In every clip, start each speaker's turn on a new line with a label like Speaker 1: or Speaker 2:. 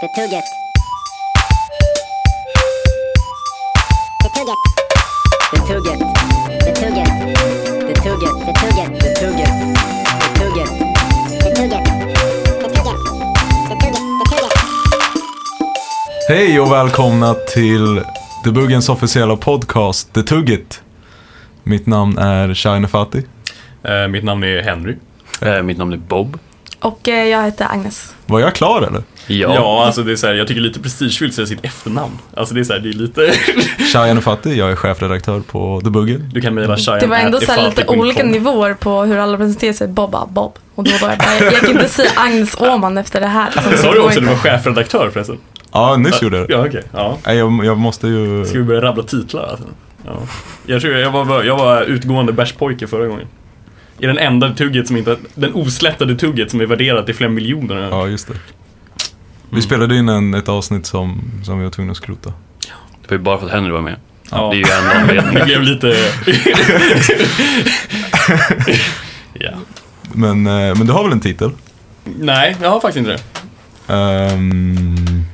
Speaker 1: Betugget. Betugget. Betugget. Betugget. Betugget. Betugget. Betugget. Betugget. Betugget. Betugget. Betugget. Betugget.
Speaker 2: Hej och välkomna till The Buggens officiella podcast The Tugget. Mitt namn är Shine Fati.
Speaker 3: Eh, mitt namn är Henry.
Speaker 4: Eh, mitt namn är Bob.
Speaker 5: Och eh, jag heter Agnes.
Speaker 2: Var jag klar eller?
Speaker 3: Ja, alltså det är så här, jag tycker lite prestigefyllt att säga sitt efternamn. Alltså det är så här, det är lite...
Speaker 2: Shine Fati, jag är chefredaktör på The Buggen.
Speaker 3: Du kan mejla Shayan
Speaker 5: Det var ändå
Speaker 3: at
Speaker 5: så här lite
Speaker 3: ifallte.com.
Speaker 5: olika nivåer på hur alla presenterade sig. Bob bara Bob. Och då var jag bara, jag, jag kan inte säga Agnes Åhman efter det här. Liksom,
Speaker 3: Sa
Speaker 5: det
Speaker 3: du
Speaker 5: går
Speaker 3: också att du var
Speaker 5: inte.
Speaker 3: chefredaktör förresten?
Speaker 2: Ja, nyss gjorde jag det.
Speaker 3: Ja, okej. Ja.
Speaker 2: Nej, Jag, jag måste ju...
Speaker 3: Ska vi börja rabbla titlar alltså? Ja. Jag tror jag var, jag var utgående bärspojke förra gången. I den enda tugget som inte, den oslättade tugget som är värderat till flera miljoner.
Speaker 2: Ja, just det. Vi spelade in en, ett avsnitt som, som vi var tvungna att skrota.
Speaker 4: Det var ju bara för att Henry var med.
Speaker 3: Ja.
Speaker 4: Det är ju enda anledningen.
Speaker 3: Det blev lite... ja.
Speaker 2: Men, eh, men du har väl en titel?
Speaker 3: Nej, jag har faktiskt inte det.
Speaker 2: Ehm,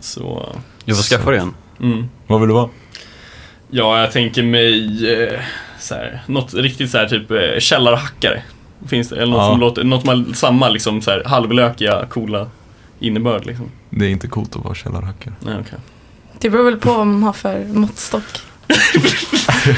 Speaker 3: Så...
Speaker 4: Jag får skaffa det igen.
Speaker 3: Mm.
Speaker 2: vad vill du vara?
Speaker 3: Ja, jag tänker mig eh, så här, något riktigt så här typ eh, källarhackare. Finns det? Eller något
Speaker 2: Ja.
Speaker 3: som låter, något som har samma liksom så här halvlökiga, coola innebörd liksom.
Speaker 2: Det är inte coolt att vara källarhackare.
Speaker 3: Nej, okej.
Speaker 5: Det beror väl på vad man har för måttstock.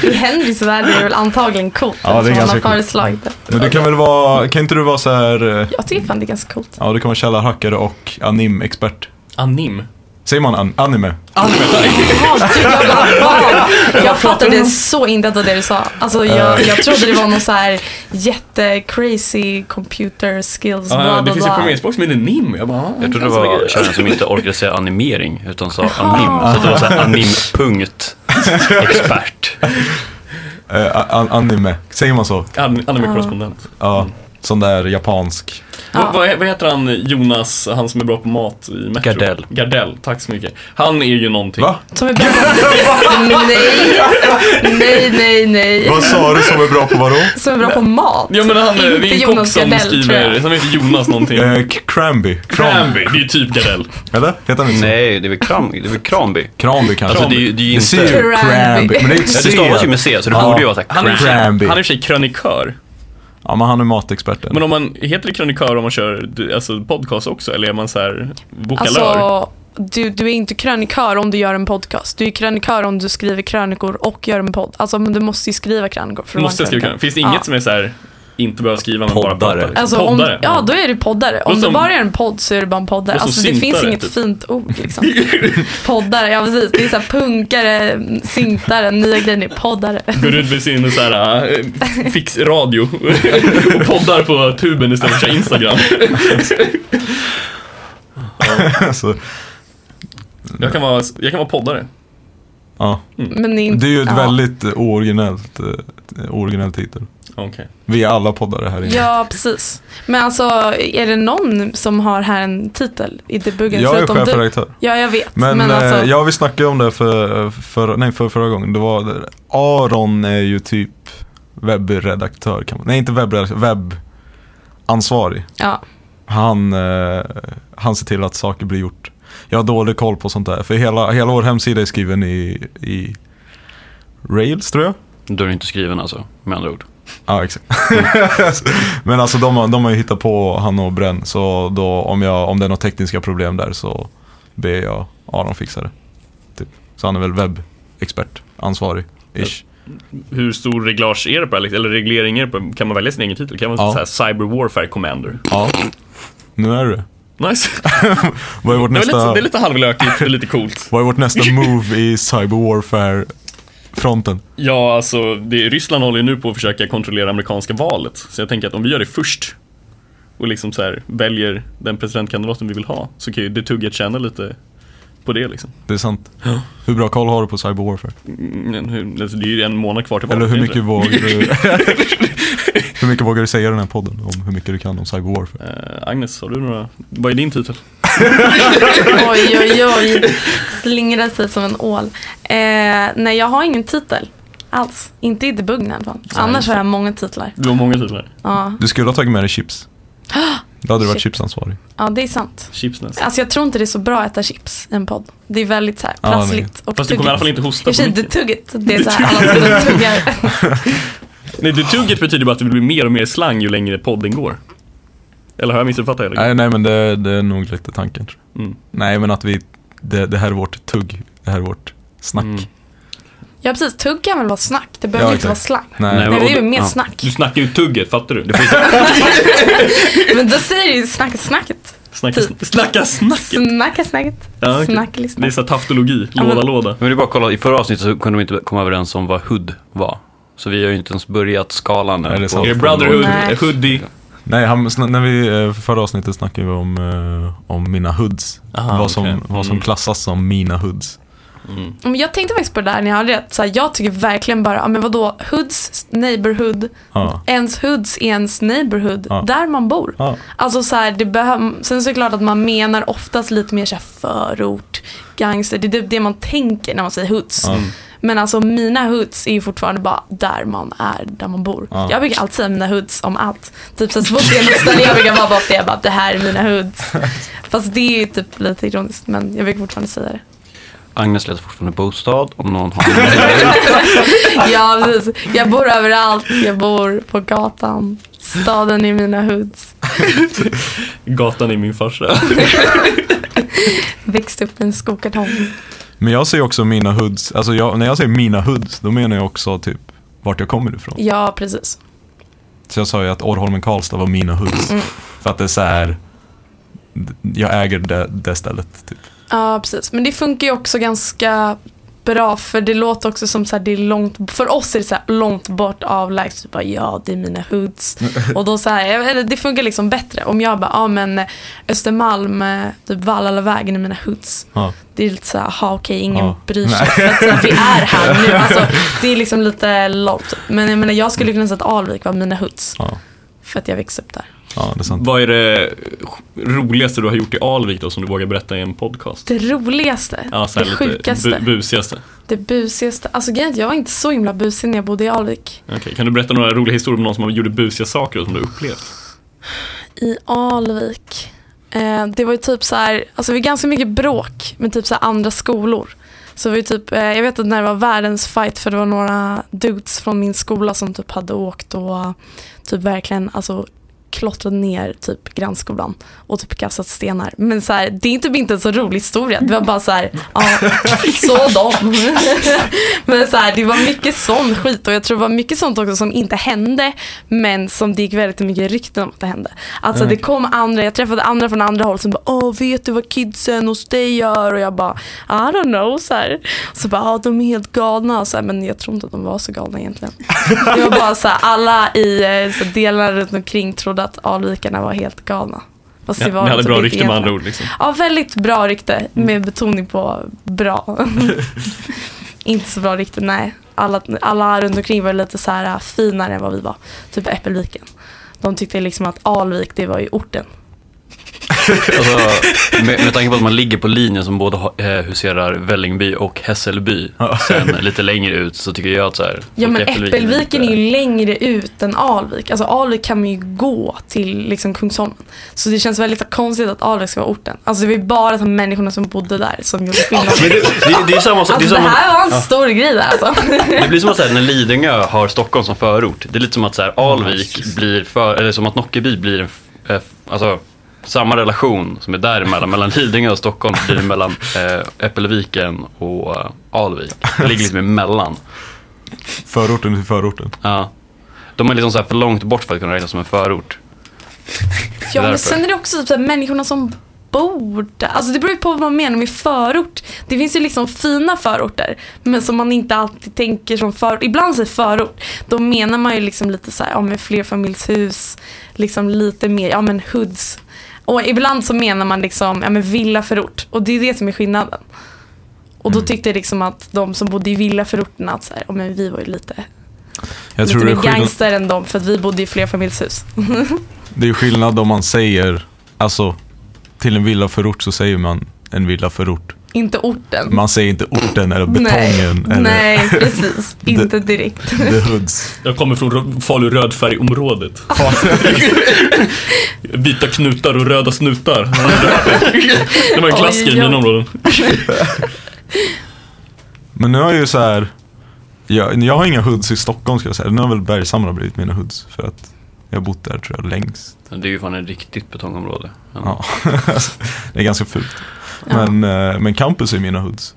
Speaker 5: I Henrys värld är det väl antagligen coolt.
Speaker 2: Ja, det är
Speaker 5: eftersom han
Speaker 2: ganska
Speaker 5: har
Speaker 2: coolt.
Speaker 5: föreslagit det.
Speaker 2: Men du kan väl vara... Kan inte du vara så här... eh,
Speaker 5: Jag tycker fan det är ganska coolt.
Speaker 2: Ja, du kan vara källarhackare och anim-expert.
Speaker 3: Anim.
Speaker 2: Säger man an- anime?
Speaker 5: Jaha, gud, jag bara, "Wow." Jag fattade så inte av det du sa. Alltså, jag, jag trodde det var någon så här jätte-crazy computer skills,
Speaker 3: Ja,
Speaker 5: bla
Speaker 3: det
Speaker 5: bla
Speaker 3: finns ju
Speaker 5: bla.
Speaker 3: programmeringsspråk som heter NIM. Jag bara, ah,
Speaker 4: Jag trodde det
Speaker 3: alltså,
Speaker 4: var
Speaker 3: grejer.
Speaker 4: tjejen som inte orkade säga animering utan sa anim. Så att det var så här anim punkt expert.
Speaker 2: Eh, a- an- anime, säger man så?
Speaker 3: An- Anime-korrespondent.
Speaker 2: Ja,
Speaker 4: Mm.
Speaker 2: sån där japansk.
Speaker 5: Ja.
Speaker 3: Vad, vad, vad heter han Jonas, han som är bra på mat i Metro?
Speaker 4: Gardell.
Speaker 3: Gardell, tack så mycket. Han är ju någonting.
Speaker 2: Va?
Speaker 5: Som är bra. Nej, nej, nej, nej.
Speaker 2: Vad sa du som är bra på vadå?
Speaker 5: Som är bra på mat.
Speaker 3: Ja men han, eh, det är en kock som
Speaker 5: tror jag.
Speaker 3: skriver, liksom som heter Jonas någonting.
Speaker 2: Eh, K- Cranby. Cran-
Speaker 3: Cranby, det är ju typ Gardell.
Speaker 2: Eller? Heter han inte så?
Speaker 4: Nej, det är väl kram, det är väl Kranby.
Speaker 2: Cranby kanske.
Speaker 4: Alltså det är ju, det är ju
Speaker 2: det ser
Speaker 4: inte...
Speaker 2: ju Cranby. Men det är ju
Speaker 4: Ja,
Speaker 2: ett
Speaker 4: det stavas ju
Speaker 2: C.
Speaker 4: med C, så det
Speaker 2: Ja.
Speaker 4: borde ju vara så här
Speaker 3: Han är i och för
Speaker 4: crank.
Speaker 3: sig- han
Speaker 2: Cranby.
Speaker 3: är i och för sig krönikör.
Speaker 2: Ja, men han är matexperten.
Speaker 3: Men om man, heter det krönikör om man kör du- alltså, podcast också eller är man så här vokalör?
Speaker 5: Alltså, du, du är inte krönikör om du gör en podcast. Du är krönikör om du skriver krönikor och gör en podd. Alltså, men du måste ju skriva krönikor för att
Speaker 3: Måste jag
Speaker 5: vara en
Speaker 3: skriva krönikör?
Speaker 5: krönikör.
Speaker 3: Finns det inget
Speaker 5: Ja.
Speaker 3: som är så här inte behöver skriva men bara
Speaker 4: Poddare.
Speaker 3: pratar? Liksom.
Speaker 5: Alltså,
Speaker 3: Poddare?
Speaker 5: Om, ja, då är du poddare. Om
Speaker 3: Låter
Speaker 5: du
Speaker 3: som-
Speaker 5: bara är en podd så är du bara en poddare.
Speaker 3: Låter
Speaker 5: Alltså,
Speaker 3: som
Speaker 5: det finns
Speaker 3: syntare,
Speaker 5: inget
Speaker 3: typ.
Speaker 5: fint ord liksom. poddare, ja precis. Det är så här punkare, syntare, nya grejen är poddare.
Speaker 3: Går ut med sin så här, eh, fix radio och poddar på tuben istället för Instagram.
Speaker 2: Så,
Speaker 3: Jag kan vara, jag kan vara poddare.
Speaker 2: ja.
Speaker 5: Men är
Speaker 2: Det
Speaker 5: inte,
Speaker 2: är ju ett
Speaker 5: ja.
Speaker 2: väldigt eh, ooriginellt, eh, originell titel.
Speaker 3: Okej.
Speaker 2: Vi är alla poddare här inne.
Speaker 5: Ja, precis. Men alltså, är det någon som har här en titel i debuggen?
Speaker 2: Jag är
Speaker 5: förutom du?
Speaker 2: chefredaktör.
Speaker 5: Ja, jag vet.
Speaker 2: Men,
Speaker 5: Men, alltså,
Speaker 2: eh, ja, vi snackade om det för, för, nej, för förra gången. Det var, Aron är ju typ webbredaktör, kan man, nej inte webbredaktör, webbansvarig.
Speaker 5: ja.
Speaker 2: Han, eh, han ser till att saker blir gjort. Jag har dålig koll på sånt där, för hela, hela vår hemsida är skriven i, i Rails tror jag.
Speaker 4: Då är du inte skriven alltså, med andra ord.
Speaker 2: Ja, exakt. Men alltså de, har- de har ju hittat på han och Bränn, så då, om, jag, om det är några tekniska problem där så ber jag Aron fixa det. Typ. Så han är väl webbexpert, ansvarig, ish.
Speaker 3: Hur stor reglage är det på det här, liksom? eller reglering är det på? Kan man välja sin egen titel? Kan man
Speaker 2: Ja.
Speaker 3: ja. säga Cyber Warfare Commander?
Speaker 2: Ja, nu är det
Speaker 3: Nice.
Speaker 2: Vad är vårt
Speaker 3: Det, var lite,
Speaker 2: nästa,
Speaker 3: så- det är lite halvlökigt, det är lite coolt.
Speaker 2: vad är vårt nästa move i cyber warfare-fronten?
Speaker 3: Ja, alltså det, Ryssland håller ju nu på att försöka kontrollera amerikanska valet. Så jag tänker att om vi gör det först och liksom så här, väljer den presidentkandidaten vi vill ha så kan ju det tugget känna lite på det liksom.
Speaker 2: Det är sant. Hur bra koll har du på cyber warfare?
Speaker 3: Men hur- alltså, Det är ju en månad kvar till valet.
Speaker 2: Eller hur
Speaker 3: är det
Speaker 2: mycket
Speaker 3: inte
Speaker 2: vågar du... hur mycket vågar du säga i den här podden om hur mycket du kan om cyber warfare?
Speaker 3: det? Eh, Agnes, har du några? Vad är din titel?
Speaker 5: Oj, oj, oj. Slingrade sig som en ål. Eh, nej, jag har ingen titel. Alls. Inte i debuggen i alla fall. Annars har jag många titlar.
Speaker 3: Du har många titlar.
Speaker 5: Ja.
Speaker 2: Du skulle ha tagit med dig chips. Då hade du varit
Speaker 5: Shit.
Speaker 2: chipsansvarig.
Speaker 5: Ja, det är sant.
Speaker 3: Chipsnäs.
Speaker 5: Alltså jag tror inte det är så bra att äta chips i en podd. Det är väldigt så här
Speaker 2: Ja, nej.
Speaker 5: prassligt och
Speaker 3: Fast du kommer i alla fall inte hosta
Speaker 5: I och
Speaker 3: på
Speaker 5: för sig, det
Speaker 3: micken.
Speaker 5: tugget. Det är så här, alla sitter och tuggar.
Speaker 3: Nej, det tugget betyder bara att det blir mer och mer slang ju längre podden går. Eller har jag missuppfattat det?
Speaker 2: Nej, nej men det, det är nog lite tanken tror jag.
Speaker 3: Mm.
Speaker 2: Nej men att vi, det, det här är vårt tugg, det här är vårt snack.
Speaker 3: Mm.
Speaker 5: Ja, precis. Tugg kan väl vara snack? Det behöver
Speaker 2: Ja,
Speaker 5: inte vara
Speaker 2: exakt.
Speaker 5: slang.
Speaker 2: Nej.
Speaker 5: Nej, men det är ju mer
Speaker 4: Ja.
Speaker 5: snack.
Speaker 3: Du snackar ju tugget, fattar du? du
Speaker 5: Men då säger du ju snacka snacket.
Speaker 3: snacka, snacka snacket!
Speaker 5: Snacka snacket.
Speaker 3: Ja, okej. Det
Speaker 5: Snacklistan.
Speaker 3: är så här taftologi,
Speaker 5: Ja, men-
Speaker 3: låda låda.
Speaker 4: Men det är bara att kolla, i förra avsnittet så kunde de inte komma överens om vad hood var. Så vi har ju inte ens börjat skalan än.
Speaker 2: Nej, det är sant.
Speaker 3: Är det
Speaker 2: Är
Speaker 3: brotherhood, eh,
Speaker 5: Nej.
Speaker 3: hoodie?
Speaker 2: Nej, han, sn- när vi, eh, förra avsnittet snackade vi om, eh, om mina hoods.
Speaker 3: Aha,
Speaker 2: vad, som,
Speaker 3: okej.
Speaker 2: vad som
Speaker 3: Mm.
Speaker 2: klassas som mina hoods.
Speaker 5: Men jag tänkte faktiskt på det där ni hade rätt. Så här, jag tycker verkligen bara, ja, men vadå, hoods, neighborhood.
Speaker 3: Mm.
Speaker 2: Ja.
Speaker 5: Ens hoods är ens neighborhood,
Speaker 2: Ja.
Speaker 5: där man bor.
Speaker 2: Ja.
Speaker 5: Alltså så här, det behöv... Sen så är det klart att man menar oftast lite mer så här förort, gangster. Det är typ det man tänker när man säger hoods.
Speaker 2: Ja.
Speaker 5: Men alltså mina hoods är ju fortfarande bara där man är, där man bor.
Speaker 2: Ja.
Speaker 5: Jag brukar alltid säga mina hoods om allt. Typ så här, så fort det är något ställe jag brukar vara på, det är bara det här är mina hoods. Fast det är ju typ lite ironiskt men jag brukar fortfarande säga det.
Speaker 4: Agnes letar fortfarande bostad om någon har
Speaker 5: Ja precis, jag bor överallt. Jag bor på gatan. Staden är mina hoods.
Speaker 3: Gatan är min farsa.
Speaker 5: Växte upp i en skokartong.
Speaker 2: Men jag säger också mina hoods, alltså jag, när jag säger mina hoods, då menar jag också typ vart jag kommer ifrån.
Speaker 5: Ja precis.
Speaker 2: Så jag sa ju att Orrholmen Karlstad var mina hoods. För att det är så här, d- jag äger det, det stället. Typ.
Speaker 5: Ja, precis. Men det funkar ju också ganska bra för det låter också som så här, det är långt, för oss är det så här långt bort avlägset. Så bara, ja, det är mina hoods. Och då så här, jag vet inte, det funkar liksom bättre. Om jag bara, ja men eh, Östermalm, eh, typ Vallalavägen är mina hoods.
Speaker 2: Ja.
Speaker 5: Det är lite så här, aha okej, ingen
Speaker 2: Ja.
Speaker 5: bryr sig. För att så här, vi är här nu. Alltså, det är liksom lite långt. Men jag menar, jag skulle kunna säga att Alvik var mina hoods.
Speaker 2: Ja.
Speaker 5: För att jag växte upp där.
Speaker 2: ja, det är sant.
Speaker 3: Vad är det roligaste du har gjort i Alvik då, som du vågar berätta i en podcast?
Speaker 5: Det roligaste,
Speaker 3: Ja, så
Speaker 5: det
Speaker 3: här lite
Speaker 5: sjukaste.
Speaker 3: Bu busigaste.
Speaker 5: Det busigaste. Alltså grejen är att jag var inte så himla busig när jag bodde i Alvik.
Speaker 3: Okej, Kan du berätta några roliga historier om någon som gjorde busiga saker och som du upplevt?
Speaker 5: I Alvik. Eh, det var ju typ så här, alltså vi var ganska mycket bråk med typ så här andra skolor. Så vi typ, eh, jag vet att när det var världens fight för det var några dudes från min skola som typ hade åkt och typ verkligen alltså klottrat ner typ grannskolan och typ kastat stenar. Men så här, det är typ inte en så rolig historia. Det var bara så här, ja, så dem. men så här, det var mycket sån skit och jag tror det var mycket sånt också som inte hände men som det gick väldigt mycket rykten om att det hände. Alltså
Speaker 3: Mm.
Speaker 5: det kom andra, jag träffade andra från andra håll som bara åh vet du vad kidsen hos dig gör? Och jag bara I don't know så här. Så bara "Ah, de är helt galna så här, men jag tror inte att de var så galna egentligen. Det var bara så här, alla i eh, så här, delarna runt omkring trodde att alvikarna var helt galna. Fast
Speaker 3: Ja,
Speaker 5: det var
Speaker 3: ni hade
Speaker 5: typ
Speaker 3: bra
Speaker 5: inte
Speaker 3: rykte med
Speaker 5: egentligen.
Speaker 3: andra ord liksom.
Speaker 5: Ja, väldigt bra rykte
Speaker 4: Mm.
Speaker 5: med betoning på bra. inte så bra rykte, nej. Alla, alla runt omkring var lite så här äh, finare än vad vi var. Typ Äppelviken. De tyckte liksom att Alvik, det var ju orten.
Speaker 4: Alltså, med, med tanke på att man ligger på linjen som både har- eh, huserar Vällingby och Hässelby sen lite längre ut så tycker jag att så här,
Speaker 5: Ja men
Speaker 4: folk i
Speaker 5: Äppelviken är
Speaker 4: lite-
Speaker 5: ju längre ut än Alvik. Alltså Alvik kan man ju gå till liksom Kungsholmen. Så det känns väldigt så konstigt att Alvik ska vara orten. Alltså det var ju bara så människorna som bodde där som gjorde skillnad.
Speaker 4: Men det, det, det är samma sak.
Speaker 5: Alltså
Speaker 4: det, är
Speaker 5: det
Speaker 4: samma,
Speaker 5: här var en stor grej där alltså.
Speaker 4: det blir som att så här, när Lidingö har Stockholm som förort. Det är lite som att så här, Alvik blir för, eller som att Nockeby blir en, f- eh, f- alltså, samma relation som är däremellan, mellan Lidingö och Stockholm, blir det mellan eh, Äppelviken och eh, Alvik. Det ligger liksom emellan.
Speaker 2: Förorten till förorten.
Speaker 4: Ja. De är liksom så här för långt bort för att kunna räknas som en förort.
Speaker 5: Ja, men
Speaker 4: Därför.
Speaker 5: sen är det också typ så här, människorna som bor där. Alltså det beror ju på vad man menar med förort. Det finns ju liksom fina förorter, men som man inte alltid tänker som förort. Ibland säger förort, då menar man ju liksom lite så här, ja men flerfamiljshus, liksom lite mer, ja men hoods. Och ibland så menar man liksom, ja men villaförort. Och det är det som är skillnaden. Och
Speaker 2: Mm.
Speaker 5: då tyckte jag liksom att de som bodde i villaförorterna att så här, ja men vi var ju lite,
Speaker 2: Jag
Speaker 5: lite
Speaker 2: tror det är
Speaker 5: mer
Speaker 2: skillnad,
Speaker 5: gangster än dem för att vi bodde i flerfamiljshus.
Speaker 2: det är skillnad om man säger, alltså till en villaförort så säger man en villaförort.
Speaker 5: Inte orten.
Speaker 2: Man säger inte orten eller betongen
Speaker 5: Nej,
Speaker 2: eller
Speaker 5: nej precis. Inte direkt.
Speaker 2: the hoods.
Speaker 3: Jag kommer från Falu rödfärgområdet. vita knutar och röda snutar. Det var en klassiker i
Speaker 5: Oj, oj, oj.
Speaker 3: mina områden.
Speaker 2: Men nu har jag ju så här. Jag, jag har inga hoods i Stockholm ska jag säga. Nu har väl Bergshamra blivit mina hoods. För att jag har bott där tror jag längst.
Speaker 4: Det är ju fan ett riktigt betongområde.
Speaker 2: Ja. det är ganska fult. Men, eh, men campus är mina hoods.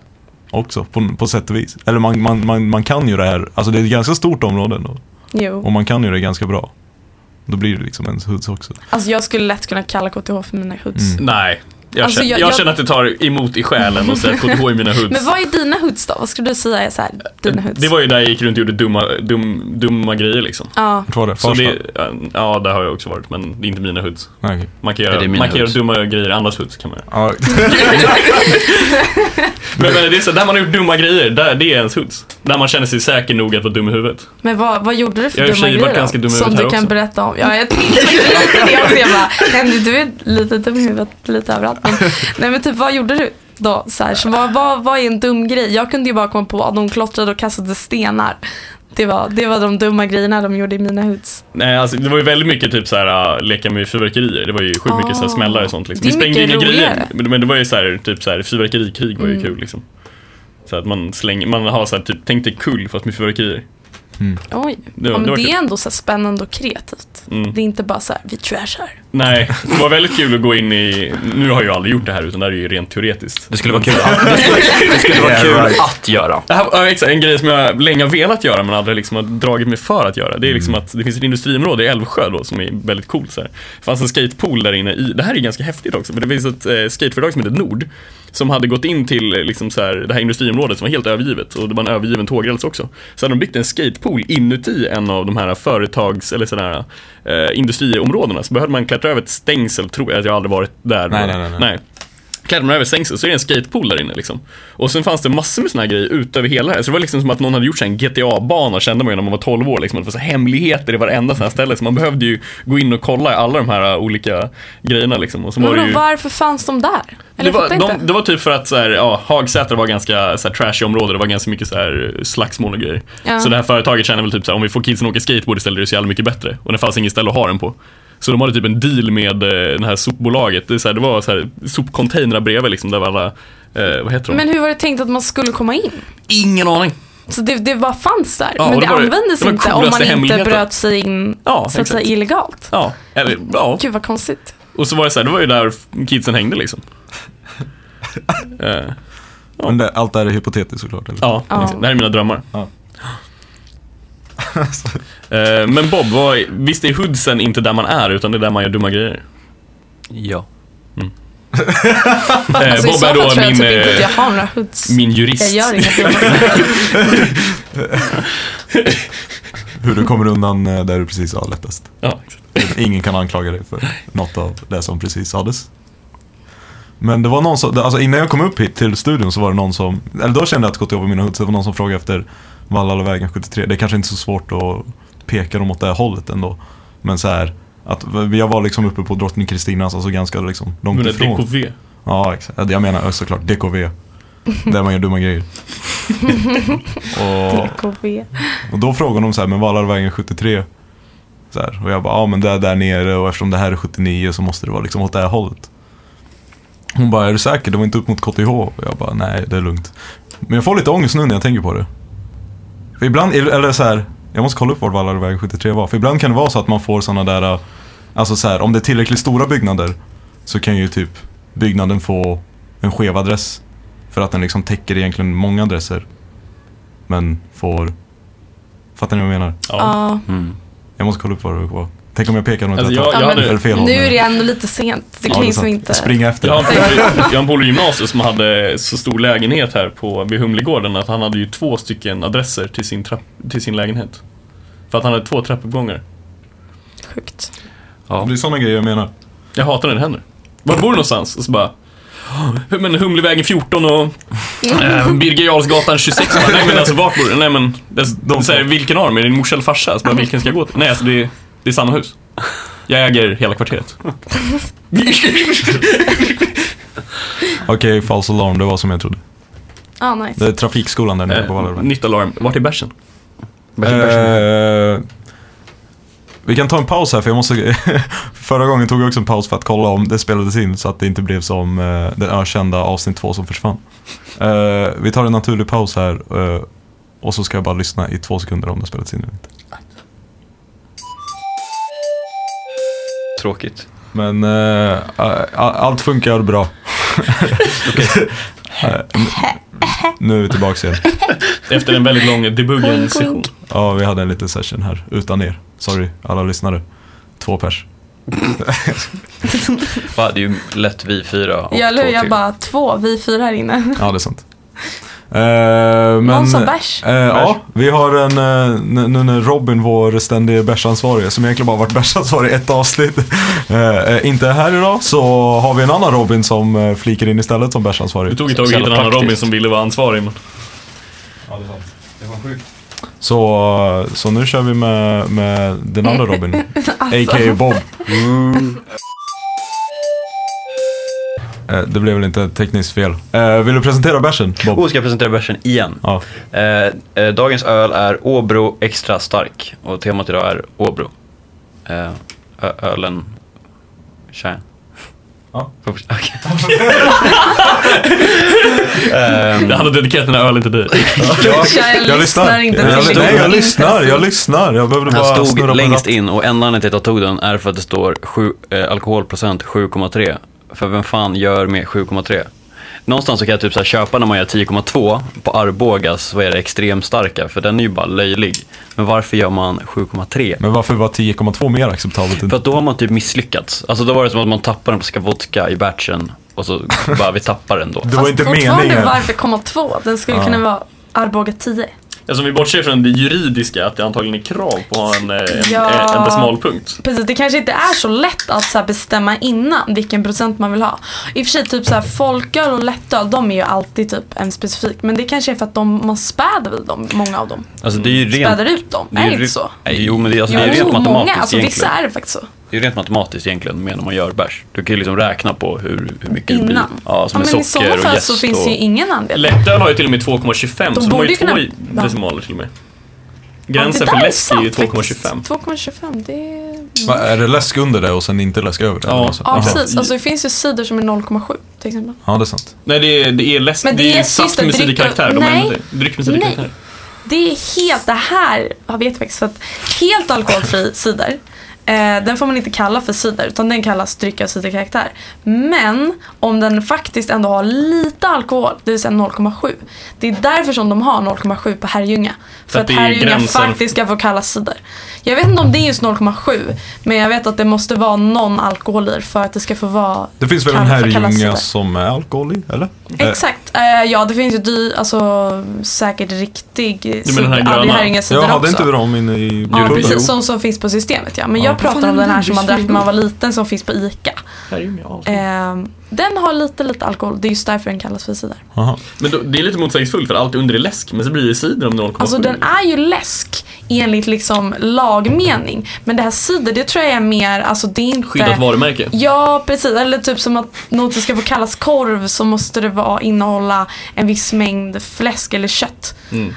Speaker 2: Också på, på sätt och vis. Eller man, man, man, man kan ju det här. Alltså det är ett ganska stort område ändå.
Speaker 5: Jo.
Speaker 2: Och man kan ju det ganska bra. Då blir det liksom ens hoods också.
Speaker 5: Alltså jag skulle lätt kunna kalla KTH för mina hoods.
Speaker 2: Mm.
Speaker 3: Nej, jag,
Speaker 5: Alltså,
Speaker 3: känner,
Speaker 5: jag-
Speaker 3: jag,
Speaker 5: jag-
Speaker 3: känner att det tar emot i själen och säga KTH i mina hoods.
Speaker 5: Men vad är dina hoods då? Vad skulle du säga är så här, dina hoods?
Speaker 3: Det var ju där jag gick runt och gjorde dumma, dum, dumma grejer liksom.
Speaker 5: Ja,
Speaker 2: Vart var det?
Speaker 3: Så
Speaker 2: Farsta?
Speaker 3: det, ja, där har jag också varit, men det är inte mina hoods.
Speaker 2: Nej, okej.
Speaker 3: Man kan
Speaker 4: Ja, det
Speaker 3: göra,
Speaker 4: är mina
Speaker 3: man kan göra
Speaker 4: hoods.
Speaker 3: dumma grejer i andras hoods kan man
Speaker 2: Ja.
Speaker 3: göra. Men, men det är så, där man har gjort dumma grejer, där, det är ens hoods. Där man känner sig säker nog att vara dum i huvudet.
Speaker 5: men vad, vad gjorde du för
Speaker 3: Jag har i och för
Speaker 5: dumma
Speaker 3: sig varit
Speaker 5: grejer
Speaker 3: ganska dum i
Speaker 5: Som
Speaker 3: huvudet
Speaker 5: du
Speaker 3: här
Speaker 5: kan
Speaker 3: också.
Speaker 5: berätta om. Ja, jag tänkte lite det också. Jag bara, Henry du är lite dum i huvudet lite överallt. Men, nej men typ vad gjorde du då? Så här, så vad, vad, vad är en dum grej? Jag kunde ju bara komma på att de klottrade och kastade stenar. Det var, det var de dumma grejerna de gjorde i mina hoods.
Speaker 3: Nej, alltså, det var ju väldigt mycket typ så här, äh, leka med fyrverkerier. Det var ju sjukt
Speaker 5: Ah.
Speaker 3: mycket så här, smällar och sånt. Liksom.
Speaker 5: Det är
Speaker 3: Vi sprängde
Speaker 5: mycket
Speaker 3: inga
Speaker 5: roligare. Mm.
Speaker 3: grejer, men, men det var ju så här, typ så här, fyrverkerikrig var ju kul liksom. Så att man slänger, man har så här, typ, tänk dig kull fast med fyrverkerier.
Speaker 5: Oj.
Speaker 3: Det var-
Speaker 5: ja, men
Speaker 3: det var
Speaker 5: det
Speaker 3: kul.
Speaker 5: är ändå så här spännande och kreativt.
Speaker 3: Mm.
Speaker 5: Det är inte bara så här, vi trashar.
Speaker 3: Nej, det var väldigt kul att gå in i, nu har jag ju aldrig gjort det här utan det här är ju rent teoretiskt.
Speaker 4: Det skulle vara kul att, det skulle, det skulle vara
Speaker 2: Yeah,
Speaker 4: kul
Speaker 2: right.
Speaker 4: att göra.
Speaker 3: Det här var exakt en grej som jag länge har velat göra men aldrig liksom har dragit mig för att göra. Det är liksom
Speaker 2: Mm.
Speaker 3: att det finns ett industriområde i Älvsjö då som är väldigt coolt. Så här. Det fanns en skatepool där inne. I, det här är ganska häftigt också för det finns ett eh, skateföretag som heter Nord som hade gått in till eh, liksom så här, det här industriområdet som var helt övergivet och det var en övergiven tågräls också. Så hade de byggt en skatepool inuti en av de här företags eller sådana här eh, industriområdena så behövde man klättra över ett stängsel tror jag, jag har aldrig varit där.
Speaker 2: Nej, nej, nej, nej.
Speaker 3: nej klädde man över stängsel så är det en skatepool där inne liksom. Och sen fanns det massor med såna här grejer utöver hela det här. Så det var liksom som att någon hade gjort så här en GTA-bana kände man ju när man var 12 år liksom. Att Det var så här hemligheter i varenda sån här ställe. Så man behövde ju gå in och kolla i alla de här äh, olika grejerna liksom. Och så var
Speaker 5: Men
Speaker 3: det
Speaker 5: vadå,
Speaker 3: ju...
Speaker 5: varför fanns de där? Eller
Speaker 3: Det var,
Speaker 5: jag fattar
Speaker 3: de,
Speaker 5: inte.
Speaker 3: det var typ för att så här, ja, Hagsätra var ganska så här, trashy område, det var ganska mycket så här, slagsmål och grejer.
Speaker 5: Ja.
Speaker 3: Så det här företaget kände väl typ så här, om vi får kidsen att åka skateboard istället är det så jävla mycket bättre. Och det fanns ingen ställe att ha den på. Så de hade typ en deal med eh, det här sopbolaget, det, är så här, det var så här, sopcontainrar bredvid liksom, där var alla, eh, vad heter de?
Speaker 5: Men hur var det tänkt att man skulle komma in?
Speaker 3: ingen aning.
Speaker 5: Så det, det bara fanns där,
Speaker 3: Ja,
Speaker 5: men
Speaker 3: och
Speaker 5: det,
Speaker 3: det var-
Speaker 5: användes
Speaker 3: det var
Speaker 5: inte om
Speaker 3: coolaste
Speaker 5: man inte
Speaker 3: hemligheten.
Speaker 5: bröt sig in
Speaker 3: Ja,
Speaker 5: så att säga,
Speaker 3: exakt.
Speaker 5: illegalt.
Speaker 3: Ja, eller ja.
Speaker 5: Gud vad konstigt.
Speaker 3: Och så var det så här, det var ju där kidsen hängde liksom. Eh,
Speaker 2: Men det, allt det här är hypotetiskt såklart. Eller?
Speaker 3: ja,
Speaker 5: Ja.
Speaker 3: exakt. det här är mina drömmar.
Speaker 2: Ja.
Speaker 3: Eh, Men Bob, vad, visst är hoodsen inte där man är utan det är där man gör dumma grejer?
Speaker 4: Ja.
Speaker 3: Eh,
Speaker 5: Alltså, I
Speaker 3: Bob
Speaker 5: så
Speaker 3: är
Speaker 5: fall
Speaker 3: då
Speaker 5: tror jag
Speaker 3: min,
Speaker 5: typ inte att jag
Speaker 3: eh,
Speaker 5: har några hoods.
Speaker 3: min
Speaker 5: Jag
Speaker 3: jurist.
Speaker 5: gör inget. jag bara-
Speaker 2: Hur du kommer undan eh, där du precis sa lättast.
Speaker 3: Ja, exakt.
Speaker 2: Ingen kan anklaga dig för något av det som precis sades. Men det var någon som, alltså innan jag kom upp hit till studion så var det någon som, eller då kände jag att KTH var mina hoods, det var någon som frågade efter Vallalavägen 73. Det är kanske inte så svårt att peka dem åt det här hållet ändå. Men så här, att jag var liksom uppe på Drottning Kristinas, alltså ganska liksom
Speaker 3: Men
Speaker 2: långt
Speaker 3: det är
Speaker 2: ifrån.
Speaker 3: DKV.
Speaker 2: Ja, exakt. Jag menar såklart DKV. Där man gör dumma grejer. och,
Speaker 5: TKV.
Speaker 2: och då frågade de så här, men Vallarvägen 73? Så här, och jag bara, ja men det är där nere och eftersom det här är 79 så måste det vara liksom åt det här hållet. Hon bara, är du säker? Det var inte upp mot KTH? Och jag bara, nej det är lugnt. Men jag får lite ångest nu när jag tänker på det. För ibland, eller så här, jag måste kolla upp vart Vallarvägen 73 var. För ibland kan det vara så att man får sådana där, äh, alltså så här, om det är tillräckligt stora byggnader så kan ju typ byggnaden få en skev adress. För att den liksom täcker egentligen många adresser. Men får... Fattar ni vad jag menar?
Speaker 3: Ja.
Speaker 5: Ja.
Speaker 4: Mm.
Speaker 2: Jag måste kolla upp vad det var. Tänk om jag pekar något
Speaker 3: Alltså,
Speaker 2: rätt
Speaker 3: jag-
Speaker 2: håll.
Speaker 5: jag hade-
Speaker 2: Eller fel håll.
Speaker 5: Nu är det ändå lite sent. Det
Speaker 2: Ja,
Speaker 5: kan
Speaker 2: är
Speaker 5: ju som
Speaker 2: sant.
Speaker 5: inte...
Speaker 2: Springa efter.
Speaker 3: Jag har en polare- jag har en polare i gymnasiet som hade så stor lägenhet här på, vid Humlegården att han hade ju två stycken adresser till sin, trapp, till sin lägenhet. För att han hade två trappuppgångar.
Speaker 5: Sjukt.
Speaker 2: Det är sådana grejer jag menar.
Speaker 3: Jag hatar när det händer. Var bor du någonstans? Och så bara... Men Humlevägen 14 och eh, Birger Jarlsgatan 26. Bara, nej men alltså vart bor du? Nej men, alltså, de säger vilken av dem? Är det din morsa eller farsa? Så bara, vilken ska jag gå till? Nej alltså det är, det är samma hus. Jag äger hela kvarteret.
Speaker 2: Okej, false alarm. Det var som jag trodde. Det
Speaker 5: Ja, Ah, nice.
Speaker 2: är trafikskolan där nere på
Speaker 3: Eh,
Speaker 2: Vallarvägen.
Speaker 3: nytt alarm. Vart är bärsen?
Speaker 2: Eh, Vi kan ta en paus här för jag måste... Förra gången tog jag också en paus för att kolla om det spelades in så att det inte blev som eh, den ökända avsnitt två som försvann. Eh, vi tar en naturlig paus här eh, och så ska jag bara lyssna i två sekunder om det spelats in eller inte.
Speaker 4: Tråkigt.
Speaker 2: Men eh, a- a- allt funkar bra. Eh, nu- nu är vi tillbaka igen.
Speaker 3: Efter en väldigt lång debuggen session.
Speaker 2: Ja, vi hade en liten session här utan er. Sorry alla lyssnare. Två pers.
Speaker 4: Va, det är ju lätt vi fyra och
Speaker 5: Jag
Speaker 4: två
Speaker 5: lurar
Speaker 4: till.
Speaker 5: bara två, vi fyra här inne.
Speaker 2: Ja, det är sant. Eh, men,
Speaker 5: Någon sa bärs.
Speaker 2: Eh, ja, vi har en, eh, nu- nu när Robin, vår ständige bärsansvarige, som egentligen bara varit bärsansvarig i ett avsnitt, eh, eh, inte är här idag, så har vi en annan Robin som eh, flikar in istället som
Speaker 3: Det
Speaker 2: bärsansvarig.
Speaker 3: tog ett tag att
Speaker 4: Så
Speaker 3: hitta en
Speaker 4: jävla
Speaker 3: annan
Speaker 4: taktiskt.
Speaker 3: Robin som ville vara ansvarig. Men
Speaker 2: Så, eh, så nu kör vi med, med den andra Robin, a.k.a. Bob. Eh, Det blev väl inte ett tekniskt fel. Eh, Vill du presentera bärsen, Bob?
Speaker 4: Oh, ska jag presentera bärsen igen?
Speaker 2: Ja.
Speaker 4: Eh, eh, dagens öl är Åbro Extra Stark och temat idag är Åbro. Eh, ö- ölen... Tja.
Speaker 2: Ja.
Speaker 4: Får jag fortsätta? Okej. Ehm,
Speaker 3: Jag hade dedikerat den här ölen till dig.
Speaker 4: jag-
Speaker 5: Jag, lyssnar inte
Speaker 2: jag,
Speaker 5: till
Speaker 2: lyssnar. Nej, jag
Speaker 5: mycket.
Speaker 2: lyssnar, jag lyssnar. Jag behövde bara
Speaker 4: Han
Speaker 2: snurra på
Speaker 4: stod längst
Speaker 2: ratten.
Speaker 4: in och enda anledningen till att jag tog den är för att det står sju, eh, alkoholprocent 7,3. För vem fan gör med 7,3? Någonstans så kan jag typ så här köpa när man gör 10,2 på Arbogas, vad är det, extremstarka, för den är ju bara löjlig. Men varför gör man 7,3?
Speaker 2: Men varför var 10,2 mer acceptabelt? än-
Speaker 4: För att då har man typ misslyckats. Alltså då var det som att man tappar en flaska vodka i batchen och så bara, vi tappar den då.
Speaker 2: Det var inte meningen.
Speaker 5: varför komma två? Den skulle kunna vara Arboga 10.
Speaker 3: Alltså om vi bortser från det juridiska, att det antagligen är krav på att ha en, eh, en,
Speaker 5: Ja.
Speaker 3: eh, en decimalpunkt.
Speaker 5: Precis, det kanske inte är så lätt att så här bestämma innan vilken procent man vill ha. I och för sig, typ så här, folköl och lättöl, de är ju alltid typ en specifik. Men det kanske är för att de, man späder väl dem, många av dem.
Speaker 4: Alltså det är ju rent...
Speaker 5: Späder ut dem,
Speaker 4: ju
Speaker 5: är det inte
Speaker 4: rent-
Speaker 5: så?
Speaker 4: Nej, jo men det, är- alltså, det är ju rent matematiskt
Speaker 5: många. Alltså, vissa
Speaker 4: egentligen.
Speaker 5: är det faktiskt så.
Speaker 4: Det är ju rent matematiskt egentligen med när man gör bärs. Du kan ju liksom räkna på hur, hur mycket det blir.
Speaker 5: Innan.
Speaker 4: Ja, som
Speaker 5: men
Speaker 4: är
Speaker 5: i
Speaker 4: socker
Speaker 5: sådana
Speaker 4: och
Speaker 5: fall
Speaker 4: jäst
Speaker 5: så finns
Speaker 4: och...
Speaker 5: ju ingen anledning.
Speaker 3: Lättöl har ju till och med 2,25 så
Speaker 5: De
Speaker 3: de har
Speaker 5: borde
Speaker 3: ju
Speaker 5: ju
Speaker 3: två
Speaker 5: kunna-
Speaker 3: i-
Speaker 5: Ja.
Speaker 3: decimaler till och med.
Speaker 5: Ja, det
Speaker 3: Gränsen
Speaker 5: där
Speaker 3: för
Speaker 5: är
Speaker 3: läsk är ju
Speaker 5: sant faktiskt.
Speaker 3: 2,25.
Speaker 5: 2,25 det är...
Speaker 2: Va, är det läsk under det och sen inte läsk över det?
Speaker 3: Ja.
Speaker 2: Eller så?
Speaker 5: Ja,
Speaker 2: Jaha.
Speaker 5: precis. Alltså, det finns ju cider som är 0,7 till exempel.
Speaker 2: Ja, det är sant.
Speaker 3: Nej det är, det är läsk,
Speaker 5: Men
Speaker 3: det,
Speaker 5: det
Speaker 3: är
Speaker 5: är
Speaker 3: ju
Speaker 5: just
Speaker 3: saft
Speaker 5: det,
Speaker 3: med
Speaker 5: dryck och-
Speaker 3: sidokaraktär. De
Speaker 5: nej.
Speaker 3: ändrar det. Dryck med sidokaraktär.
Speaker 5: Nej. Det är helt, det här har vi faktiskt för att helt alkoholfri cider. Eh, den får man inte kalla för cider utan den kallas dryck av ciderkaraktär. Men om den faktiskt ändå har lite alkohol, det vill säga 0,7. Det är därför som de har 0,7 på Herrljunga. För,
Speaker 3: att
Speaker 5: att,
Speaker 3: det är
Speaker 5: Herrljunga
Speaker 3: gränsen-
Speaker 5: faktiskt ska få kallas cider. Jag vet inte om det är just 0,7 men jag vet att det måste vara någon alkohol i för att det ska få vara
Speaker 2: Det finns väl
Speaker 5: kall-
Speaker 2: en
Speaker 5: få kallas
Speaker 2: herrljunga
Speaker 5: cider.
Speaker 2: som är alkohol i, eller?
Speaker 5: Exakt. Eh, ja, det finns ju dy, alltså, säkert riktig
Speaker 3: Du menar den här
Speaker 5: cider- ja, det
Speaker 3: gröna?
Speaker 5: här är inga
Speaker 2: Eh,
Speaker 5: cider
Speaker 2: jag hade
Speaker 5: också.
Speaker 2: inte vi dem inne i
Speaker 5: Ja,
Speaker 2: pulver?
Speaker 5: precis. Som, som finns på systemet ja. Men
Speaker 2: Ja.
Speaker 5: jag pratar om den här som man drack när man var liten som finns på ICA.
Speaker 3: Här är ju med allt.
Speaker 5: Ehm, den har lite, lite alkohol. Det är just därför den kallas för cider.
Speaker 2: Jaha.
Speaker 3: Men då, det är lite motsägelsefullt för allt under är läsk men så blir det cider om 0,7.
Speaker 5: Alltså den är ju läsk enligt liksom lagmening. Men det här cider, det tror jag är mer, alltså det är inte...
Speaker 3: Skyddat varumärke.
Speaker 5: Ja, precis. Eller typ som att något som ska få kallas korv så måste det vara, innehålla en viss mängd fläsk eller kött.